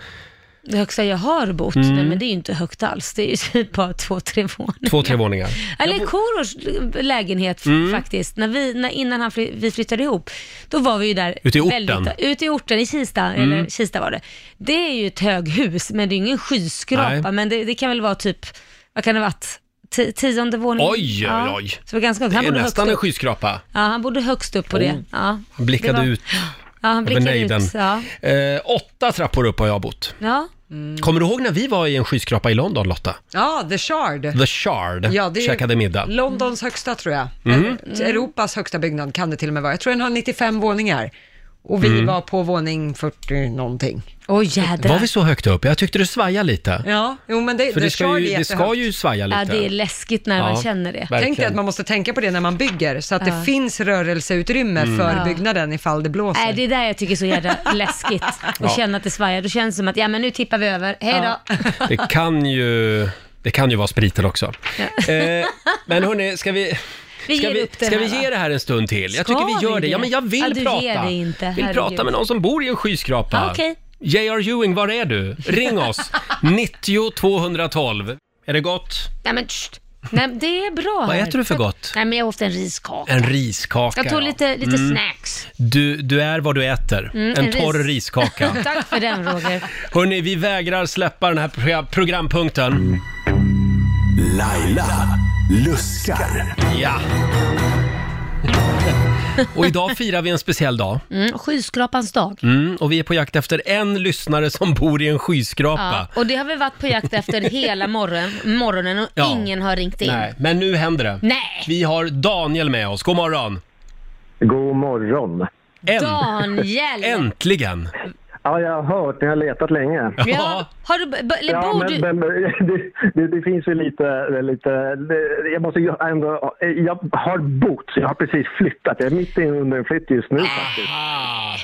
Speaker 4: Det högsta jag har bott,
Speaker 1: Mm.
Speaker 4: nej, men det är ju inte högt alls. Det är ju <laughs> typ bara två, tre våningar.
Speaker 1: Två, tre våningar.
Speaker 4: Eller Korosh eh, lägenhet f-
Speaker 1: Mm.
Speaker 4: faktiskt. När vi, när, innan han fly, vi flyttade ihop, då var vi ju där.
Speaker 1: Ute i orten.
Speaker 4: Väldigt, ute i orten, i Kista,
Speaker 1: Mm.
Speaker 4: eller Kista var det. Det är ju ett höghus, men det är ju ingen skyskrapa.
Speaker 1: Nej.
Speaker 4: Men det, det kan väl vara typ, vad kan det ha varit? Ti- tionde våningen?
Speaker 1: Oj, oj,
Speaker 4: Ja.
Speaker 1: oj.
Speaker 4: Så det var ganska högt.
Speaker 1: Det
Speaker 4: Han
Speaker 1: är
Speaker 4: bodde högst
Speaker 1: nästan en
Speaker 4: upp.
Speaker 1: skyskrapa.
Speaker 4: Ja, han bodde högst upp på det.
Speaker 1: Oh.
Speaker 4: Ja.
Speaker 1: Han blickade
Speaker 4: Det var-
Speaker 1: ut
Speaker 4: Ja, han
Speaker 1: över
Speaker 4: blickade
Speaker 1: nejden.
Speaker 4: ut. Ja.
Speaker 1: Eh, åtta trappor upp har jag bott.
Speaker 4: Ja.
Speaker 1: Mm. Kommer du ihåg när vi var i en skyskrapa i London, Lotta?
Speaker 2: Mm. Ja, The Shard.
Speaker 4: Eh.
Speaker 1: The Shard
Speaker 2: Ja, det är ju
Speaker 1: käkade middag.
Speaker 2: Londons högsta tror jag.
Speaker 1: Mm.
Speaker 2: Eller, Europas högsta byggnad kan det till och med vara. Jag tror den har 95 våningar. Och vi
Speaker 1: Mm.
Speaker 2: var på våning 40 någonting.
Speaker 4: Åh oh, jädrar.
Speaker 1: Var vi så högt upp? Jag tyckte det svajade lite.
Speaker 2: Ja, jo men det,
Speaker 1: För det
Speaker 2: The
Speaker 1: ska
Speaker 2: Shard
Speaker 1: ju,
Speaker 2: är
Speaker 1: det ska
Speaker 2: jättehögt.
Speaker 1: ju svaja lite.
Speaker 4: Ja, det är läskigt när
Speaker 1: Ja,
Speaker 4: man känner det.
Speaker 1: verkligen.
Speaker 2: Tänk dig att man måste tänka på det när man bygger, så att
Speaker 4: Ja.
Speaker 2: det finns rörelseutrymme
Speaker 1: Mm.
Speaker 2: för
Speaker 4: Ja.
Speaker 2: byggnaden ifall det blåser.
Speaker 4: Nej, det är där jag tycker är
Speaker 1: <laughs>
Speaker 4: så jävla läskigt. Att
Speaker 1: Ja.
Speaker 4: känna att det svajar. Då känns det som att, ja men nu tippar vi över. Hej då.
Speaker 1: <laughs> Det kan ju, det kan ju vara spriten också.
Speaker 4: Ja.
Speaker 1: Eh, men hörni, ska vi...
Speaker 4: <laughs> Vi
Speaker 1: ska
Speaker 4: ger
Speaker 1: vi,
Speaker 4: upp den
Speaker 1: ska vi
Speaker 4: här, va?
Speaker 1: ge det här en stund till? Jag
Speaker 4: Ska
Speaker 1: tycker vi gör
Speaker 4: vi
Speaker 1: det. Ja,
Speaker 4: det?
Speaker 1: men jag vill
Speaker 4: Ja, du
Speaker 1: prata.
Speaker 4: ger dig inte,
Speaker 1: vill
Speaker 4: herregud.
Speaker 1: prata med någon som bor i en skyskrapa.
Speaker 4: Ja, okej.
Speaker 1: J.R. Ewing, var är du? Ring
Speaker 4: <laughs>
Speaker 1: oss! 90 212. Är det gott?
Speaker 4: Nej men tst. Nej, men det är bra.
Speaker 1: Vad
Speaker 4: här.
Speaker 1: äter du för gott?
Speaker 4: Nej men jag åt en riskaka.
Speaker 1: En riskaka.
Speaker 4: Jag tog
Speaker 1: ja.
Speaker 4: lite, lite
Speaker 1: Mm.
Speaker 4: snacks.
Speaker 1: Du, du är vad du äter.
Speaker 4: Mm,
Speaker 1: en,
Speaker 4: en ris-
Speaker 1: torr riskaka.
Speaker 4: <laughs> Tack för den Roger.
Speaker 1: Hörni, vi vägrar släppa den här pro- programpunkten.
Speaker 3: Laila luskar.
Speaker 1: Ja. Och idag firar vi en speciell dag.
Speaker 4: Mm, skyskrapans dag.
Speaker 1: Mm, och vi är på jakt efter en lyssnare som bor i en skyskrapa.
Speaker 4: Ja, och det har vi varit på jakt efter hela morgon, morgonen och
Speaker 1: Ja.
Speaker 4: ingen har ringt in.
Speaker 1: Nej, men nu händer det.
Speaker 4: Nej.
Speaker 1: Vi har Daniel med oss. God morgon!
Speaker 15: God morgon.
Speaker 4: Daniel!
Speaker 1: Äntligen!
Speaker 15: Ja, jag har hört. Ni har letat länge.
Speaker 4: Ja, har du, b- b- eller
Speaker 15: Ja,
Speaker 4: bor
Speaker 15: men,
Speaker 4: du...
Speaker 15: men <laughs> det, det, det finns ju lite, lite det, jag måste ju ändå, jag har bott, så jag har precis flyttat. Jag är mitt inne under en flytt just nu faktiskt.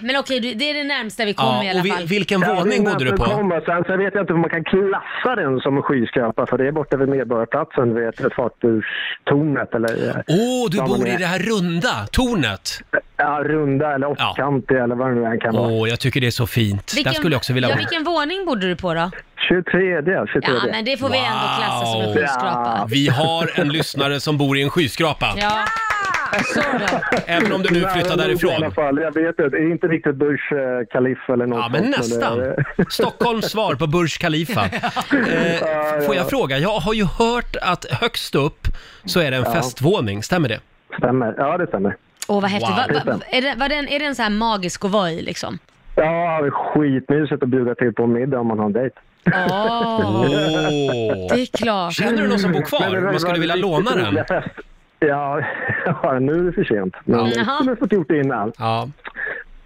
Speaker 4: Men okej, du- Ah, det är det närmsta vi kommer i alla fall.
Speaker 15: det är nästan Kommer. Sen, sen vet jag inte om man kan klassa den som en skyskrapa, för det är borta vid Medborgarplatsen, du vet fartygstornet eller...
Speaker 1: Åh, du
Speaker 15: vad man
Speaker 1: bor i
Speaker 15: är.
Speaker 1: det här runda tornet!
Speaker 15: Ja, runda eller åttkantig eller vad det nu än kan vara.
Speaker 1: Åh, jag tycker det är så fint. Där skulle jag också vilja
Speaker 4: ja,
Speaker 1: bo.
Speaker 4: vilken våning bodde du på då?
Speaker 15: 23, 23.
Speaker 4: Ja, men det får vi ändå klassa som en
Speaker 1: Wow.
Speaker 4: skyskrapa.
Speaker 1: Vi har en lyssnare som bor i en skyskrapa.
Speaker 4: Ja.
Speaker 1: Även om du nu
Speaker 15: Nära
Speaker 1: flyttar
Speaker 15: nog I
Speaker 1: därifrån.
Speaker 15: alla fall. Jag vet inte, det är inte riktigt Bush eh, Khalifa eller något
Speaker 1: Ja, men
Speaker 15: sånt,
Speaker 1: nästan.
Speaker 15: det- <laughs>
Speaker 1: Stockholms svar på Burj Khalifa. Eh, får jag fråga, jag har ju hört att högst upp så är det en
Speaker 15: Ja.
Speaker 1: festvåning, stämmer det?
Speaker 15: Stämmer, ja det stämmer.
Speaker 4: Åh vad häftigt.
Speaker 1: Wow.
Speaker 4: Va, va, är, det, var den, är det en sån här magisk konvoj liksom?
Speaker 15: Ja, det är skitmysigt att bjuda till på en middag om man har en dejt.
Speaker 4: Åh, det är klart.
Speaker 1: Känner du någon som bor kvar?
Speaker 15: Men det var-
Speaker 1: Man skulle
Speaker 15: var
Speaker 1: vilja
Speaker 15: riktigt
Speaker 1: låna
Speaker 15: roliga
Speaker 1: den.
Speaker 15: fest. Ja, <laughs> ja, nu är det för sent. Men
Speaker 1: Ja.
Speaker 15: jag skulle ha fått gjort det innan.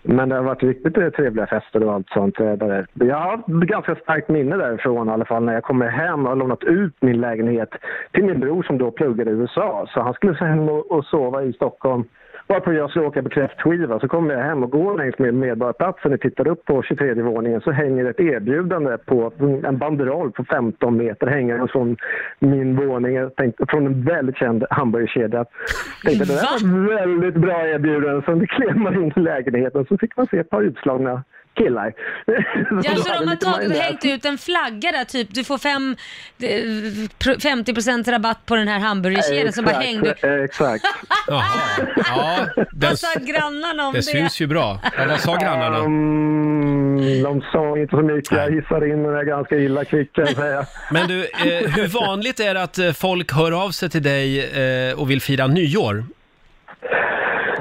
Speaker 15: Men det har varit riktigt eh, trevliga fester och allt sånt. eh, Där. Jag har ett ganska starkt minne därifrån i alla fall när jag kommer hem och har lånat ut min lägenhet till min bror som då pluggade i USA. Så han skulle så hem och, och sova i Stockholm. Varpå jag skulle åka på kräftskiva så kommer jag hem och går längs med Medborgarplatsen och tittar upp på 23 våningen så hänger ett erbjudande på en banderoll på 15 meter hängande från min våning. Jag tänkte, från en väldigt känd hamburgerkedja. Jag Tänkte, det där var ett väldigt bra erbjudande. Sen klev man in i lägenheten så fick man se ett par utslagna killar. <laughs>
Speaker 4: Ja,
Speaker 15: Som
Speaker 4: så
Speaker 15: hade
Speaker 4: de har
Speaker 15: lite
Speaker 4: tagit och
Speaker 15: majonnäs.
Speaker 4: hängt ut en flagga där typ, du får fem, eh, pro- 50% rabatt på den här hamburgerkedjan som bara
Speaker 15: Exakt,
Speaker 4: hängde.
Speaker 15: Exakt.
Speaker 1: Ja, den,
Speaker 4: Vad sa grannarna om det?
Speaker 1: det syns ju bra. Ja, vad sa grannarna?
Speaker 15: Mm, de sa inte så mycket. Jag hissar in den här ganska illa kvickt kan jag säga.
Speaker 1: Men du, eh, hur vanligt är det att eh, folk hör av sig till dig eh, och vill fira nyår?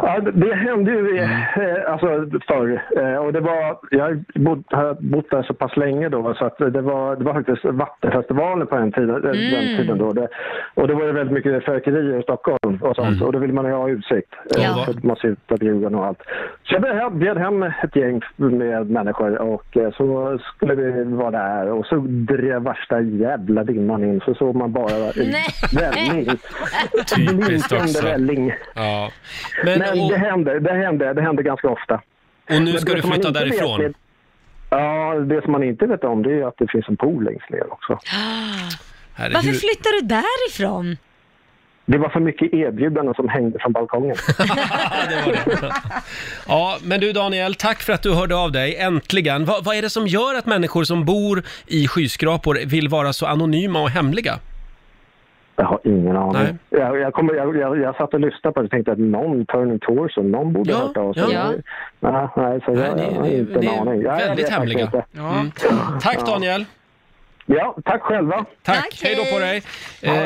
Speaker 15: Ja, det- det hände
Speaker 3: Mm.
Speaker 15: ju eh, alltså, förr. Eh, Och det var, jag har bott, har bott där så pass länge då så att det var, det var faktiskt vattenfestivalen på den tiden. eh, Den
Speaker 3: Mm.
Speaker 15: tiden då. Det, och då var det väldigt mycket fyrverkerier i Stockholm och sånt. Och då ville man ju ha utsikt.
Speaker 3: Mm.
Speaker 15: eh,
Speaker 3: Ja.
Speaker 15: Så att man ser ut över Djurgården och allt. Så jag bjöd hem- bjöd hem ett gäng med människor och eh, så skulle vi vara där och så drev värsta jävla dimman in så såg man bara en
Speaker 3: Nej.
Speaker 15: välling.
Speaker 1: Typiskt också.
Speaker 15: Blinkande välling.
Speaker 1: Ja.
Speaker 15: Men,
Speaker 1: Men,
Speaker 15: det händer, det händer, det händer ganska ofta.
Speaker 1: Och nu
Speaker 15: Men
Speaker 1: ska
Speaker 15: det
Speaker 1: du
Speaker 15: som man
Speaker 1: flytta
Speaker 15: inte vet
Speaker 1: därifrån?
Speaker 15: är- ja, det som man inte vet om det är ju att det finns en pool längst ner också.
Speaker 1: Herregud.
Speaker 4: Varför flyttar du därifrån?
Speaker 15: Det var för mycket erbjudanden som hängde
Speaker 1: <laughs>
Speaker 15: från balkongen.
Speaker 1: Ja, men du Daniel, tack för att du hörde av dig. Äntligen. Vad- vad är det som gör att människor som bor i skyskrapor vill vara så anonyma och hemliga?
Speaker 15: Jag har ingen aning. Jag, jag, kommer, jag, jag, jag satt och lyssnade på det och tänkte att någon Turning Torsen, någon borde ha hört av sig.
Speaker 1: ja.
Speaker 15: Nej, nej, så jag, jag har inte
Speaker 1: ni
Speaker 15: en
Speaker 1: är
Speaker 15: aning. Ja, jag
Speaker 1: väldigt
Speaker 15: vet faktiskt
Speaker 1: hemliga.
Speaker 15: inte.
Speaker 1: Mm. Tack Daniel!
Speaker 15: Ja, tack själva!
Speaker 1: Tack, hej då på dig!
Speaker 15: Ja, det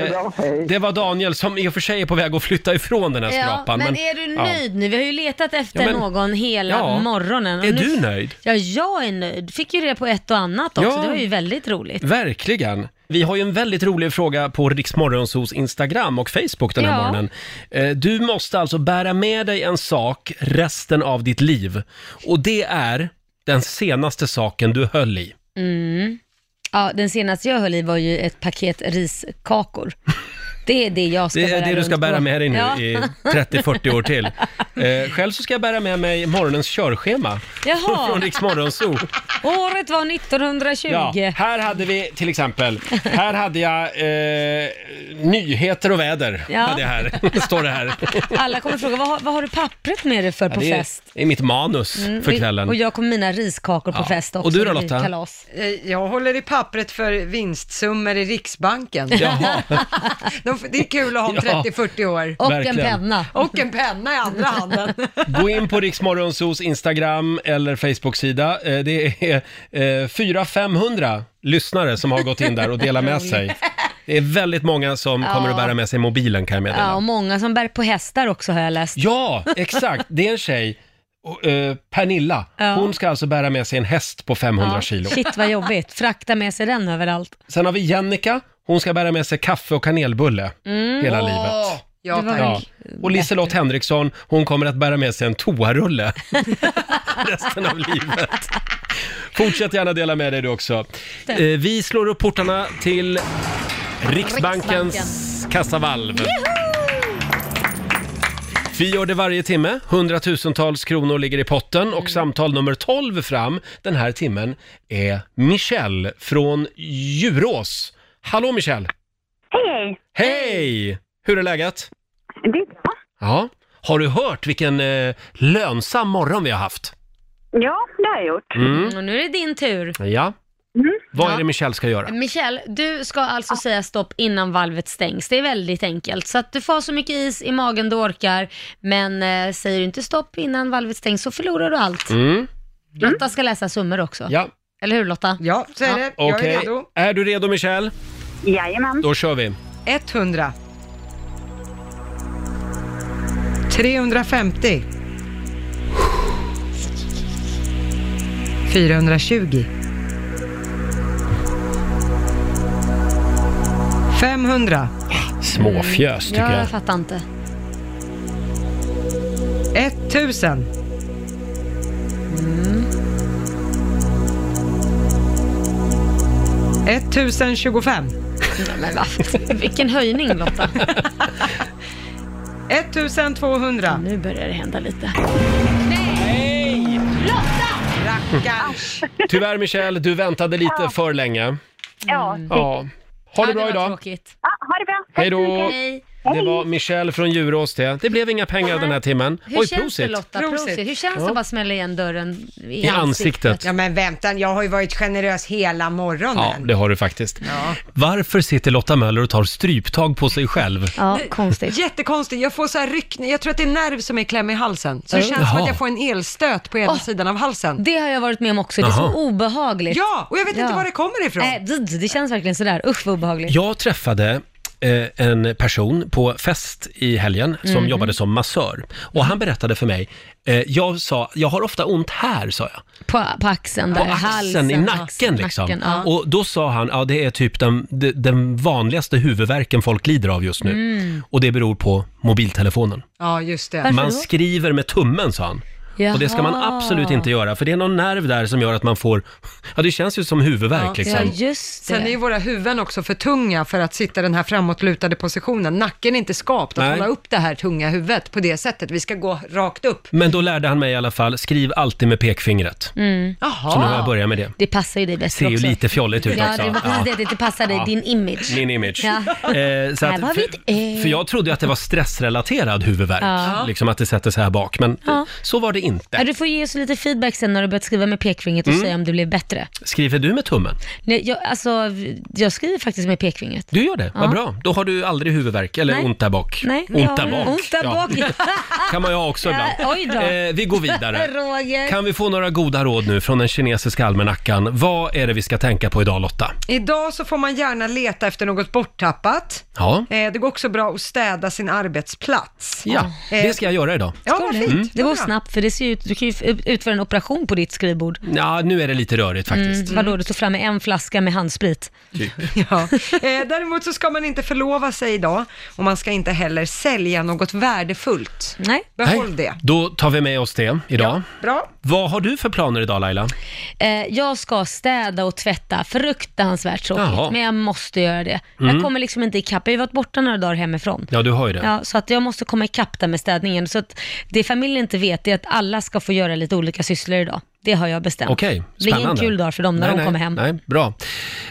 Speaker 15: är
Speaker 1: Eh, det var Daniel som i och för sig är på väg att flytta ifrån den här skrapan.
Speaker 4: men, är du
Speaker 1: ja.
Speaker 4: nöjd nu? Vi har ju letat efter
Speaker 1: Ja, men-
Speaker 4: någon hela
Speaker 1: Ja.
Speaker 4: morgonen. Och
Speaker 1: Är
Speaker 4: nu-
Speaker 1: du nöjd?
Speaker 4: Ja, jag är nöjd. Fick ju reda på ett och annat också.
Speaker 1: Ja.
Speaker 4: Det var ju väldigt
Speaker 1: <laughs>
Speaker 4: roligt.
Speaker 1: Verkligen. Vi har ju en väldigt rolig fråga på Riksmorgonsos Instagram och Facebook den här
Speaker 4: Ja.
Speaker 1: morgonen. Eh, Du måste alltså bära med dig en sak resten av ditt liv. Och det är den senaste saken du höll i.
Speaker 4: Mm. Ja, den senaste jag höll i var ju ett paket riskakor. Det är det jag ska
Speaker 1: Det är
Speaker 4: bära
Speaker 1: det du ska
Speaker 4: runt
Speaker 1: bära
Speaker 4: på.
Speaker 1: med dig nu
Speaker 4: Ja.
Speaker 1: i 30-40 år
Speaker 4: <laughs>
Speaker 1: till. Eh, själv så ska jag bära med mig morgonens körschema <laughs>
Speaker 4: Jaha.
Speaker 1: från
Speaker 4: <laughs>
Speaker 1: Riksmorgonso.
Speaker 4: Året var 1920.
Speaker 1: Ja, här hade vi till exempel, här hade jag eh, nyheter och väder.
Speaker 4: Ja.
Speaker 1: Hade jag här. <laughs> Står det här.
Speaker 4: Alla kommer fråga, vad har, vad har du pappret med dig för
Speaker 1: Ja,
Speaker 4: på
Speaker 1: det, är,
Speaker 4: fest?
Speaker 1: det är mitt manus
Speaker 4: Mm,
Speaker 1: för
Speaker 4: och-
Speaker 1: kvällen.
Speaker 4: Och jag <laughs> kommer mina riskakor på
Speaker 1: Ja.
Speaker 4: fest också.
Speaker 1: Och du då,
Speaker 4: Det blir
Speaker 1: Lotta?
Speaker 4: Kalas.
Speaker 2: Eh, Jag håller i pappret för vinstsummor i Riksbanken.
Speaker 1: Jaha.
Speaker 2: <laughs> De, det är kul att ha om
Speaker 1: <laughs> Ja,
Speaker 2: 30-40 år.
Speaker 1: Och en verkligen.
Speaker 4: penna.
Speaker 2: Och en penna i andra
Speaker 4: <laughs>
Speaker 2: handen.
Speaker 1: Gå in på Riksmorgonsos Instagram eller Facebook-sida. Eh, Det är eh, 400-500 lyssnare som har gått in där och delat
Speaker 4: <laughs>
Speaker 1: med sig. Det är väldigt många som
Speaker 4: Ja.
Speaker 1: kommer att bära med sig mobilen kan jag meddela.
Speaker 4: Ja, och många som bär på hästar också har jag läst.
Speaker 1: Ja, exakt. Det är en tjej, och, eh, Pernilla.
Speaker 4: Ja.
Speaker 1: Hon ska alltså bära med sig en häst på 500
Speaker 4: Ja.
Speaker 1: kilo.
Speaker 4: Shit vad jobbigt, frakta med sig den överallt.
Speaker 1: Sen har vi Jennica. Hon ska bära med sig kaffe och kanelbulle
Speaker 4: Mm.
Speaker 1: hela
Speaker 4: Åh.
Speaker 1: livet.
Speaker 2: Ja,
Speaker 4: Det var
Speaker 1: Ja.
Speaker 4: väl-
Speaker 1: Och Liselott Henriksson, hon kommer att bära med sig en toarulle <laughs> resten av livet. Fortsätt gärna dela med dig du också. Eh, vi slår upp portarna till Riksbankens kassavalv. Vi gör det varje timme. Hundratusentals kronor ligger i potten och samtal nummer 12 fram den här timmen är Michelle från Djurås. Hallå Michelle!
Speaker 16: Hej, hej!
Speaker 1: Hej! Hur är läget?
Speaker 16: Det är bra.
Speaker 1: Ja. Har du hört vilken eh, lönsam morgon vi har haft?
Speaker 4: Ja, det har jag gjort.
Speaker 1: Mm.
Speaker 4: Och nu är det din tur.
Speaker 1: Ja.
Speaker 4: Mm.
Speaker 1: Vad är det Michelle ska göra?
Speaker 4: Michelle, du ska alltså säga stopp innan valvet stängs. Det är väldigt enkelt. Så att du får så mycket is i magen du orkar, men eh, säger du inte stopp innan valvet stängs så förlorar du allt.
Speaker 1: Mm.
Speaker 4: Lotta ska läsa summor också.
Speaker 1: Ja.
Speaker 4: Eller hur Lotta?
Speaker 2: Ja, så är det. Jag
Speaker 1: Okej.
Speaker 2: är redo.
Speaker 1: Är du redo Michelle?
Speaker 2: Jajamän.
Speaker 1: Då kör vi.
Speaker 2: 100. 350. 420. 500.
Speaker 1: Småfjös tycker
Speaker 4: Mm. ja,
Speaker 1: jag.
Speaker 4: jag fattar inte.
Speaker 2: 1000. Mm. 1025.
Speaker 4: Men va? Vilken höjning
Speaker 2: <laughs>
Speaker 4: Lotta.
Speaker 2: 1200.
Speaker 4: Nu börjar det hända lite.
Speaker 1: Nej!
Speaker 4: Lotta!
Speaker 2: Rackars!
Speaker 1: Tyvärr Michelle, du väntade lite
Speaker 16: Ja.
Speaker 1: för länge.
Speaker 16: Ja.
Speaker 1: Ja. Ha det bra
Speaker 16: var
Speaker 1: idag.
Speaker 4: Tråkigt.
Speaker 16: Ja, ha det bra.
Speaker 1: Hej då!
Speaker 4: Hej.
Speaker 1: Det var Michelle från Djurås det. Det blev inga pengar den här timmen.
Speaker 4: Hur
Speaker 1: Oj,
Speaker 4: känns
Speaker 1: prosit!
Speaker 4: det Lotta? Prosit. Hur känns det
Speaker 1: Ja.
Speaker 4: att bara smälla igen dörren i,
Speaker 1: I ansiktet.
Speaker 2: Ja men vänta, jag har ju varit generös hela morgonen.
Speaker 1: Ja, det har du faktiskt. Varför sitter Lotta Möller och tar stryptag på sig själv?
Speaker 2: Nu- Jättekonstigt. Jag får så här ryckning. Jag tror att det är nerv som är kläm i halsen. Så det
Speaker 1: Mm.
Speaker 2: känns som
Speaker 1: Jaha.
Speaker 2: att jag får en elstöt på ena sidan av halsen.
Speaker 4: Det har jag varit med om också. Det är
Speaker 1: Jaha.
Speaker 4: så obehagligt.
Speaker 2: Ja, och jag vet inte var det kommer ifrån.
Speaker 4: Nej, det, det känns verkligen sådär. Usch vad obehagligt.
Speaker 1: Jag träffade eh, en person på fest i helgen som
Speaker 4: Mhm.
Speaker 1: jobbade som massör. Och han berättade för mig, eh, jag sa, jag har ofta ont här, sa jag.
Speaker 4: På, på axeln där.
Speaker 1: på axeln,
Speaker 4: Alltså,
Speaker 1: i nacken liksom.
Speaker 4: nacken, ja.
Speaker 1: Och då sa han, ja det är typ den, de- den vanligaste huvudvärken folk lider av just nu.
Speaker 2: Mm.
Speaker 1: Och det beror på mobiltelefonen.
Speaker 2: Ja, just det.
Speaker 1: man skriver med tummen sa han. Och det ska man
Speaker 2: Jaha.
Speaker 1: absolut inte göra, för det är någon nerv där som gör att man får, ja det känns ju som huvudvärk liksom.
Speaker 4: just
Speaker 2: Sen är ju våra huvuden också för tunga för att sitta i den här framåtlutade positionen. Nacken är inte skapt att
Speaker 1: Nej.
Speaker 2: hålla upp det här tunga huvudet på det sättet. Vi ska gå rakt upp.
Speaker 1: Men då lärde han mig i alla fall, skriv alltid med pekfingret.
Speaker 4: Mm.
Speaker 1: Så nu har jag börjat med det.
Speaker 4: Det passar ju dig bäst
Speaker 1: Ser ju
Speaker 4: också.
Speaker 1: lite fjolligt ut
Speaker 4: ja,
Speaker 1: också.
Speaker 4: det var precis
Speaker 1: Ja.
Speaker 4: det, att det inte passar dig,
Speaker 1: Ja.
Speaker 4: din image.
Speaker 1: Min image.
Speaker 4: Ja.
Speaker 1: Eh, så
Speaker 4: Här
Speaker 1: att,
Speaker 4: var vi ett
Speaker 1: för, för jag trodde ju att det var stressrelaterad huvudvärk,
Speaker 4: Ja.
Speaker 1: liksom att det sätter sig här bak, men
Speaker 4: Ja.
Speaker 1: så var det inte.
Speaker 4: Ja, Du får ge oss lite feedback sen när du börjat skriva med pekfingret och
Speaker 1: Mm.
Speaker 4: säga om det blev bättre.
Speaker 1: Skriver du med tummen?
Speaker 4: Nej, jag, alltså, jag skriver faktiskt med pekfingret.
Speaker 1: Du gör det,
Speaker 4: Ja.
Speaker 1: vad bra. Då har du aldrig huvudvärk eller
Speaker 4: Nej.
Speaker 1: ont där bak.
Speaker 4: Nej,
Speaker 1: ont där
Speaker 4: jag-
Speaker 1: bak.
Speaker 4: Ont där bak.
Speaker 1: Ja. <laughs> kan man ju ha också ibland.
Speaker 4: Ja, oj då.
Speaker 1: Eh, vi går
Speaker 4: <laughs>
Speaker 1: vidare.
Speaker 4: Roger.
Speaker 1: Kan vi få några goda råd nu från den kinesiska almanackan? Vad är det vi ska tänka på idag Lotta?
Speaker 2: Idag så får man gärna leta efter något borttappat.
Speaker 1: Ja,
Speaker 2: Eh, Det går också bra att städa sin arbetsplats.
Speaker 1: ja
Speaker 2: Eh,
Speaker 1: det ska jag göra idag.
Speaker 2: Ja, vad fint.
Speaker 1: Mm.
Speaker 4: Det går snabbt, för det ser ju ut, du kan ju f- utföra en operation på ditt skrivbord.
Speaker 1: Ja, nu är det lite rörigt faktiskt.
Speaker 4: Mm, vadå, du tog fram med en flaska med handsprit? <laughs>
Speaker 1: Typ.
Speaker 2: Ja. Eh, däremot så ska man inte förlova sig idag och man ska inte heller sälja något värdefullt.
Speaker 4: Nej.
Speaker 2: Behåll
Speaker 1: Nej,
Speaker 2: det.
Speaker 1: Då tar vi med oss det idag.
Speaker 2: Bra.
Speaker 1: Vad har du för planer idag Laila?
Speaker 4: Eh, jag ska städa och tvätta, fruktansvärt tråkigt,
Speaker 1: Jaha.
Speaker 4: men jag måste göra det.
Speaker 1: Mm.
Speaker 4: Jag kommer liksom inte ikapp, jag har ju varit borta några dagar hemifrån.
Speaker 1: Ja, du har ju det.
Speaker 4: Ja, så att jag måste komma ikapp där med städningen. Så att det familjen inte vet är att alla ska få göra lite olika sysslor idag. Det har jag bestämt.
Speaker 1: Okej,
Speaker 4: Det blir ingen
Speaker 1: spännande.
Speaker 4: kul dag för dem när
Speaker 1: nej,
Speaker 4: de
Speaker 1: nej,
Speaker 4: kommer hem.
Speaker 1: Nej, bra.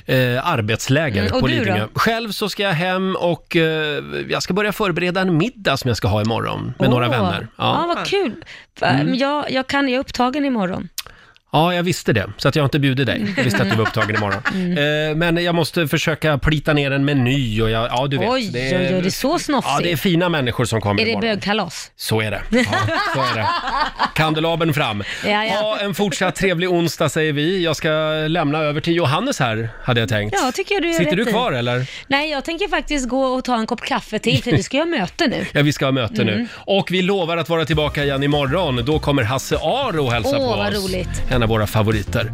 Speaker 1: Eh, arbetsläger
Speaker 4: Mm, och
Speaker 1: på
Speaker 4: du då?
Speaker 1: Lidingö. Själv så ska jag hem och eh, jag ska börja förbereda en middag som jag ska ha imorgon med några
Speaker 4: Åh.
Speaker 1: vänner.
Speaker 4: Ja,
Speaker 1: Ja.
Speaker 4: vad kul. Fa-
Speaker 1: Mm.
Speaker 4: men Jag, jag kan, jag är upptagen imorgon.
Speaker 1: ja, jag visste det, så att jag inte bjudit dig. Jag visste att du var upptagen
Speaker 4: <laughs>
Speaker 1: imorgon.
Speaker 4: Mm.
Speaker 1: Eh, men jag måste försöka plita ner en meny och jag, ja, du vet.
Speaker 4: Oj, oj, oj, det är så snofsigt.
Speaker 1: Ja, det är fina människor som kommer
Speaker 4: Är det
Speaker 1: imorgon.
Speaker 4: bögkalas?
Speaker 1: Så är det. Ja, så är det.
Speaker 4: <laughs>
Speaker 1: Kandelabern fram.
Speaker 4: Ja, ja.
Speaker 1: Ha en fortsatt trevlig onsdag säger vi. Jag ska lämna över till Johannes här, hade jag tänkt.
Speaker 4: Ja, tycker jag du gör
Speaker 1: Sitter
Speaker 4: rätt
Speaker 1: du
Speaker 4: i.
Speaker 1: kvar eller?
Speaker 4: Nej, jag tänker faktiskt gå och ta en kopp kaffe till, för vi ska ju ha möte nu.
Speaker 1: Ja, vi ska ha möte nu.
Speaker 4: Mm.
Speaker 1: Och vi lovar att vara tillbaka igen imorgon. Då kommer Hasse Aro hälsa
Speaker 4: Åh,
Speaker 1: på
Speaker 4: vad
Speaker 1: oss.
Speaker 4: roligt.
Speaker 1: En av våra favoriter.